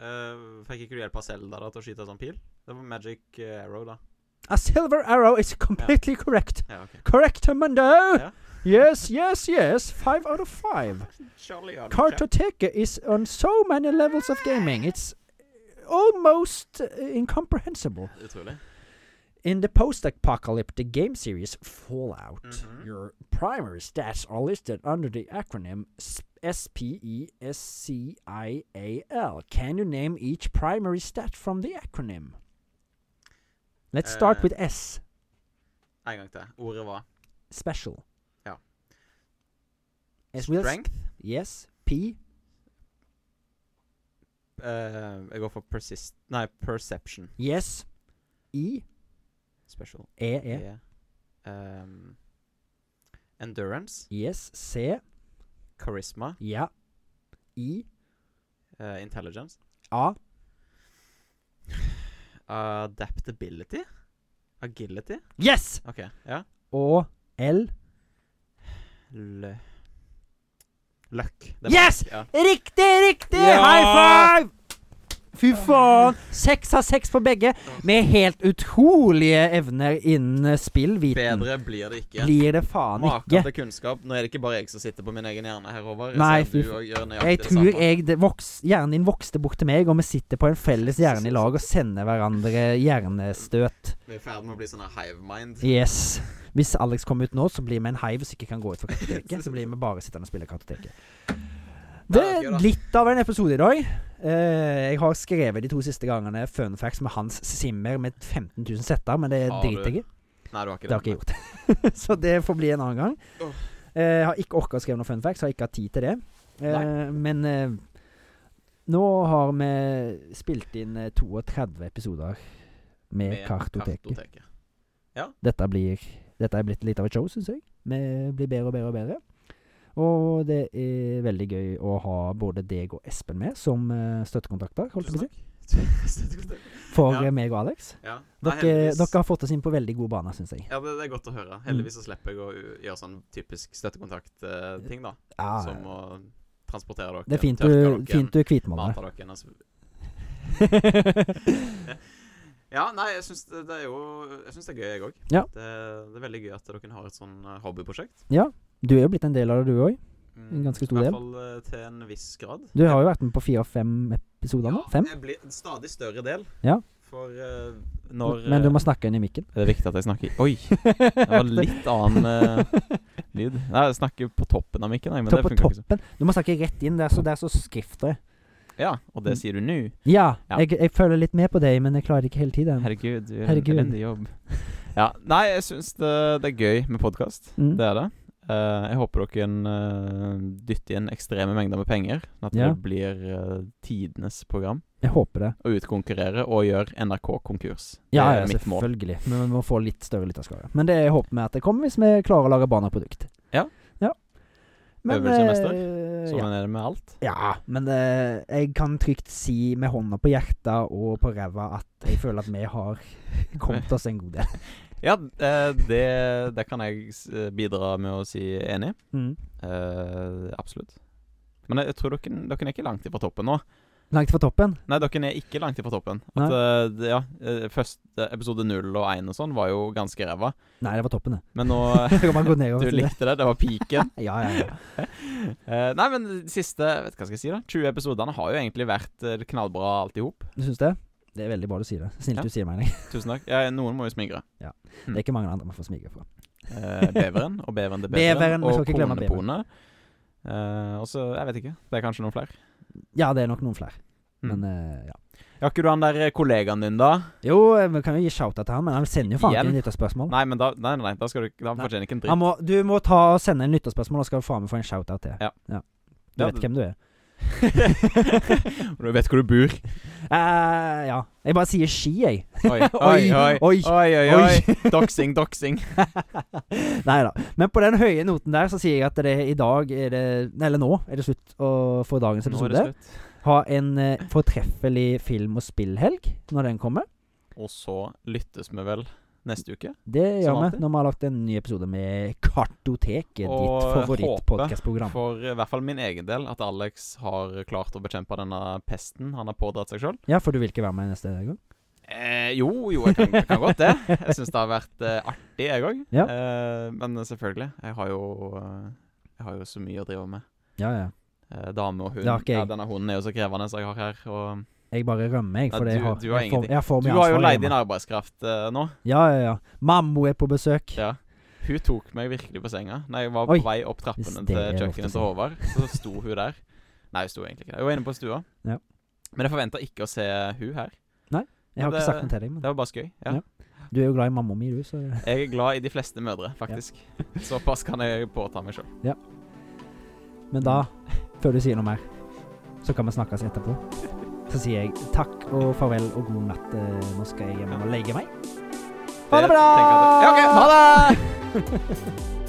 Speaker 2: Eh, fikk ikke du hjelp av Selda da, til å skyte en sånn pil? Det var Magic eh, Arrow, da.
Speaker 1: A silver arrow is completely correct.
Speaker 2: Ja, ok.
Speaker 1: Correct, Mundo!
Speaker 2: Ja.
Speaker 1: Yes, yes, yes. Five out of five.
Speaker 2: Charlie Adamchap.
Speaker 1: Kartoteket is on so many levels of gaming. It's almost uh, incomprehensible.
Speaker 2: Utrolig.
Speaker 1: In the post-apocalyptic game series Fallout,
Speaker 2: Mhm.
Speaker 1: your primary stats are listed under the acronym S- E SPESCIAL. Can you name each primary stat from the acronym? Let's start
Speaker 2: Uh,
Speaker 1: with S,
Speaker 2: En gang til. Ordet var
Speaker 1: special.
Speaker 2: Ja.
Speaker 1: S will s-
Speaker 2: oh. strength.
Speaker 1: Yes. P.
Speaker 2: Eh, jeg går for persist... Nei, perception
Speaker 1: Yes. E.
Speaker 2: special.
Speaker 1: E. E.
Speaker 2: er, ehm, endurance,
Speaker 1: Yes. C.
Speaker 2: charisma,
Speaker 1: Ja. I.
Speaker 2: eh, intelligence.
Speaker 1: A.
Speaker 2: Adaptability? Agility?
Speaker 1: Yes!
Speaker 2: OK. Ja.
Speaker 1: Og L.
Speaker 2: L Luck.
Speaker 1: Yes!
Speaker 2: luck, Ja.
Speaker 1: Riktig, riktig!
Speaker 2: Ja!
Speaker 1: High five! Fy faen! Seks av seks på begge, med helt utrolige evner innen eh, spill. Viten
Speaker 2: Bedre blir det ikke.
Speaker 1: blir det faen
Speaker 2: Maken
Speaker 1: ikke.
Speaker 2: til kunnskap. Nå er det ikke bare jeg som sitter på min egen hjerne her, Håvard.
Speaker 1: Nei,
Speaker 2: Jeg ser
Speaker 1: fy
Speaker 2: du også gjør nøyaktig
Speaker 1: Jeg
Speaker 2: det
Speaker 1: tror
Speaker 2: samme.
Speaker 1: jeg det voks, Hjernen din vokste bort til meg, og vi sitter på en felles hjerne i lag og sender hverandre hjernestøt.
Speaker 2: Vi er i ferd med å bli sånne hive-mind.
Speaker 1: Yes. Hvis Alex kommer ut nå, så blir vi en hive som ikke kan gå ut fra kartoteket. Så blir vi bare sittende og spille kartoteket. Det er litt av en episode i dag. Eh, jeg har skrevet de to siste gangene fun facts med Hans Zimmer med 15 000 setter, men det
Speaker 2: Har du?
Speaker 1: driter jeg i.
Speaker 2: Nei, du har ikke
Speaker 1: Det har ikke jeg gjort. så det får bli en annen gang.
Speaker 2: Åh.
Speaker 1: Eh, jeg har ikke orka å skrive noen fun facts, har ikke hatt tid til det. Eh,
Speaker 2: Nei.
Speaker 1: men eh, nå har vi spilt inn eh, 32 episoder med,
Speaker 2: Med
Speaker 1: Kartoteket.
Speaker 2: kartoteket.
Speaker 1: Dette blir Dette er blitt litt av et show, syns jeg. Vi blir bedre og bedre og bedre. Og det er veldig gøy å ha både deg og Espen med som eh, støttekontakter, holdt jeg på å si.
Speaker 2: Tusen takk.
Speaker 1: For
Speaker 2: Ja.
Speaker 1: eh, meg og Alex.
Speaker 2: ja. Nei,
Speaker 1: Dere,
Speaker 2: heldigvis-
Speaker 1: dere har Mm. fått oss inn på veldig god bane, syns jeg.
Speaker 2: Ja, det, det er godt å høre. Heldigvis så slipper jeg å u- gjøre sånn typisk støttekontakt-ting, da.
Speaker 1: Ja,
Speaker 2: Som å transportere dere,
Speaker 1: det er fint
Speaker 2: tørke
Speaker 1: du, fint du er hvitmåler.
Speaker 2: mate dere altså. Ja, nei, jeg syns det, det er jo Jeg syns det er gøy, jeg òg.
Speaker 1: Ja.
Speaker 2: Det, det er veldig gøy at dere har et sånn eh, hobbyprosjekt.
Speaker 1: du er jo blitt en del av det, du òg.
Speaker 2: Mm,
Speaker 1: En ganske stor
Speaker 2: I
Speaker 1: del.
Speaker 2: hvert fall eh, til en viss grad.
Speaker 1: Du har jo vært med på fire-fem episoder nå. Fem.
Speaker 2: Jeg blir en stadig større del.
Speaker 1: Ja.
Speaker 2: For eh, når
Speaker 1: Men du
Speaker 2: eh,
Speaker 1: må snakke inn i mikken.
Speaker 2: Det er viktig at jeg snakker Oi! Det var litt annen eh, lyd. Nei, jeg snakker på toppen av mikken, jeg, men
Speaker 1: Ta
Speaker 2: det
Speaker 1: på
Speaker 2: funker ikke
Speaker 1: toppen. Du må snakke rett inn. Det er så, det er så skrift det.
Speaker 2: så Ja, og det sier du nå.
Speaker 1: Ja,
Speaker 2: Ja.
Speaker 1: Jeg, jeg føler litt med på deg, men jeg klarer det ikke hele tiden.
Speaker 2: Herregud, du gjør en
Speaker 1: Herregud.
Speaker 2: elendig jobb. Ja, nei, jeg syns det, det er gøy med podkast.
Speaker 1: Mm.
Speaker 2: Det er det. Eh, jeg håper dere kan eh, dytte inn ekstreme mengder med penger. sånn At
Speaker 1: Ja.
Speaker 2: det blir eh, tidenes program.
Speaker 1: Jeg håper det.
Speaker 2: Å utkonkurrere og gjøre NRK konkurs. Det
Speaker 1: Ja,
Speaker 2: er
Speaker 1: ja
Speaker 2: mitt mål.
Speaker 1: selvfølgelig. Men vi må få litt større lytterskare. Men det håper vi at det kommer hvis vi klarer å lage barneprodukt.
Speaker 2: Ja.
Speaker 1: ja. Men,
Speaker 2: Øvelse mester,
Speaker 1: eh,
Speaker 2: Sånn
Speaker 1: ja.
Speaker 2: er det med alt.
Speaker 1: ja, men eh, jeg kan trygt si med hånda på hjertet og på ræva at jeg føler at vi har kommet oss en god del.
Speaker 2: Ja, eh, det, det kan jeg s- eh, bidra med å si enig i.
Speaker 1: Mm.
Speaker 2: Eh, absolutt. Men jeg, jeg tror dere, dere er ikke langt ifra toppen nå.
Speaker 1: Langt fra toppen.
Speaker 2: Nei, dere er ikke langt ifra toppen.
Speaker 1: Nei.
Speaker 2: At, eh, det- ja, eh, først eh, episode null og én og sånn var jo ganske ræva.
Speaker 1: Nei, det var toppen, det.
Speaker 2: Men nå eh,
Speaker 1: Så kan man gå nedover
Speaker 2: Du
Speaker 1: til det.
Speaker 2: likte det. Det var piken.
Speaker 1: Ja, ja, ja.
Speaker 2: Eh, nei, men de siste vet ikke hva skal jeg si da 20 episodene har jo egentlig vært eh, knallbra alt i hop.
Speaker 1: Du syns det? Det er veldig bra du sier det. Snilt
Speaker 2: Ja. Mm.
Speaker 1: du sier meg det.
Speaker 2: Tusen takk. Ja, noen må jo smigre.
Speaker 1: Det er ikke mange andre man får smige fra.
Speaker 2: Eh, beveren og beveren til
Speaker 1: Beveren,
Speaker 2: beveren.
Speaker 1: vi skal
Speaker 2: og
Speaker 1: ikke glemme beveren.
Speaker 2: konepone. Eh, og så Jeg vet ikke. Det er kanskje noen flere.
Speaker 1: Ja, det er nok noen flere,
Speaker 2: Mm.
Speaker 1: men eh, ja.
Speaker 2: Har ikke du han der eh, kollegaen din, da?
Speaker 1: Jo, eh, vi kan jo gi shout-out til han, men han sender jo faen
Speaker 2: Igjen?
Speaker 1: ikke lytterspørsmål.
Speaker 2: Nei, men da Nei, nei, nei da, skal du, da
Speaker 1: Nei.
Speaker 2: fortjener ikke en dritt.
Speaker 1: Han må, du må ta og sende en lytterspørsmål, og skal du faen meg få en shout-out til.
Speaker 2: Ja.
Speaker 1: Du
Speaker 2: Ja,
Speaker 1: vet
Speaker 2: det-
Speaker 1: hvem du er.
Speaker 2: Og du vet hvor du bor.
Speaker 1: eh, ja. Jeg bare sier Ski, jeg.
Speaker 2: Oi, oi, oi.
Speaker 1: oi.
Speaker 2: Oi, oi, oi. Doxing, doxing.
Speaker 1: Nei da. Men på den høye noten der så sier jeg at det er i dag er det Eller nå er det slutt å- for dagens
Speaker 2: Nå er
Speaker 1: episode.
Speaker 2: det slutt.
Speaker 1: Ha en eh, fortreffelig film- og spillhelg når den kommer.
Speaker 2: Og så lyttes vi vel neste uke.
Speaker 1: Det gjør vi
Speaker 2: alltid.
Speaker 1: når vi har lagt en ny episode med Kartoteket,
Speaker 2: Og
Speaker 1: ditt
Speaker 2: håper
Speaker 1: favorittpodkastprogram.
Speaker 2: For eh, i hvert fall min egen del at Alex har klart å bekjempe denne pesten han har pådratt seg sjøl.
Speaker 1: Ja, for du vil ikke være med neste gang?
Speaker 2: Eh, jo, jo, jeg kan, jeg kan godt det. Jeg syns det har vært eh, artig, jeg òg.
Speaker 1: Ja.
Speaker 2: Eh, men selvfølgelig. Jeg har jo eh, Jeg har jo så mye å drive med.
Speaker 1: Ja, ja.
Speaker 2: Eh, dame og hund.
Speaker 1: Det har ikke jeg.
Speaker 2: Ja, denne hunden er jo så krevende som jeg har her. Og
Speaker 1: Jeg bare rømmer, jeg.
Speaker 2: Nei,
Speaker 1: For
Speaker 2: du-
Speaker 1: jeg har,
Speaker 2: du har
Speaker 1: jeg får-
Speaker 2: ingenting.
Speaker 1: jeg får
Speaker 2: du
Speaker 1: mye
Speaker 2: har jo
Speaker 1: ansvar
Speaker 2: leid
Speaker 1: hjemme.
Speaker 2: inn arbeidskraft eh, nå.
Speaker 1: Ja, ja, ja. Mammo er på besøk.
Speaker 2: Ja. Hun tok meg virkelig på senga. Når jeg var
Speaker 1: Oi.
Speaker 2: på vei opp
Speaker 1: Hvis
Speaker 2: trappene
Speaker 1: det
Speaker 2: til
Speaker 1: er lov til å
Speaker 2: kjøkkenet til Håvard, så sto hun der. Nei, hun sto egentlig ikke der. Hun var inne på stua.
Speaker 1: Ja.
Speaker 2: Men jeg forventa ikke å se hun her.
Speaker 1: Jeg har
Speaker 2: Men
Speaker 1: ikke
Speaker 2: det-
Speaker 1: sagt noe til deg, men
Speaker 2: Det var bare skøy. Ja.
Speaker 1: Ja. du er jo glad i mamma mi, du, så
Speaker 2: Jeg er glad i de fleste mødre, faktisk. Såpass kan jeg påta meg sjøl.
Speaker 1: Men da, før du sier noe mer, så kan vi snakkes etterpå. Så sier jeg takk og farvel og god natt. Eh, Nå skal jeg hjem og legge meg. Ha det bra!
Speaker 2: Ja, ok, ha det!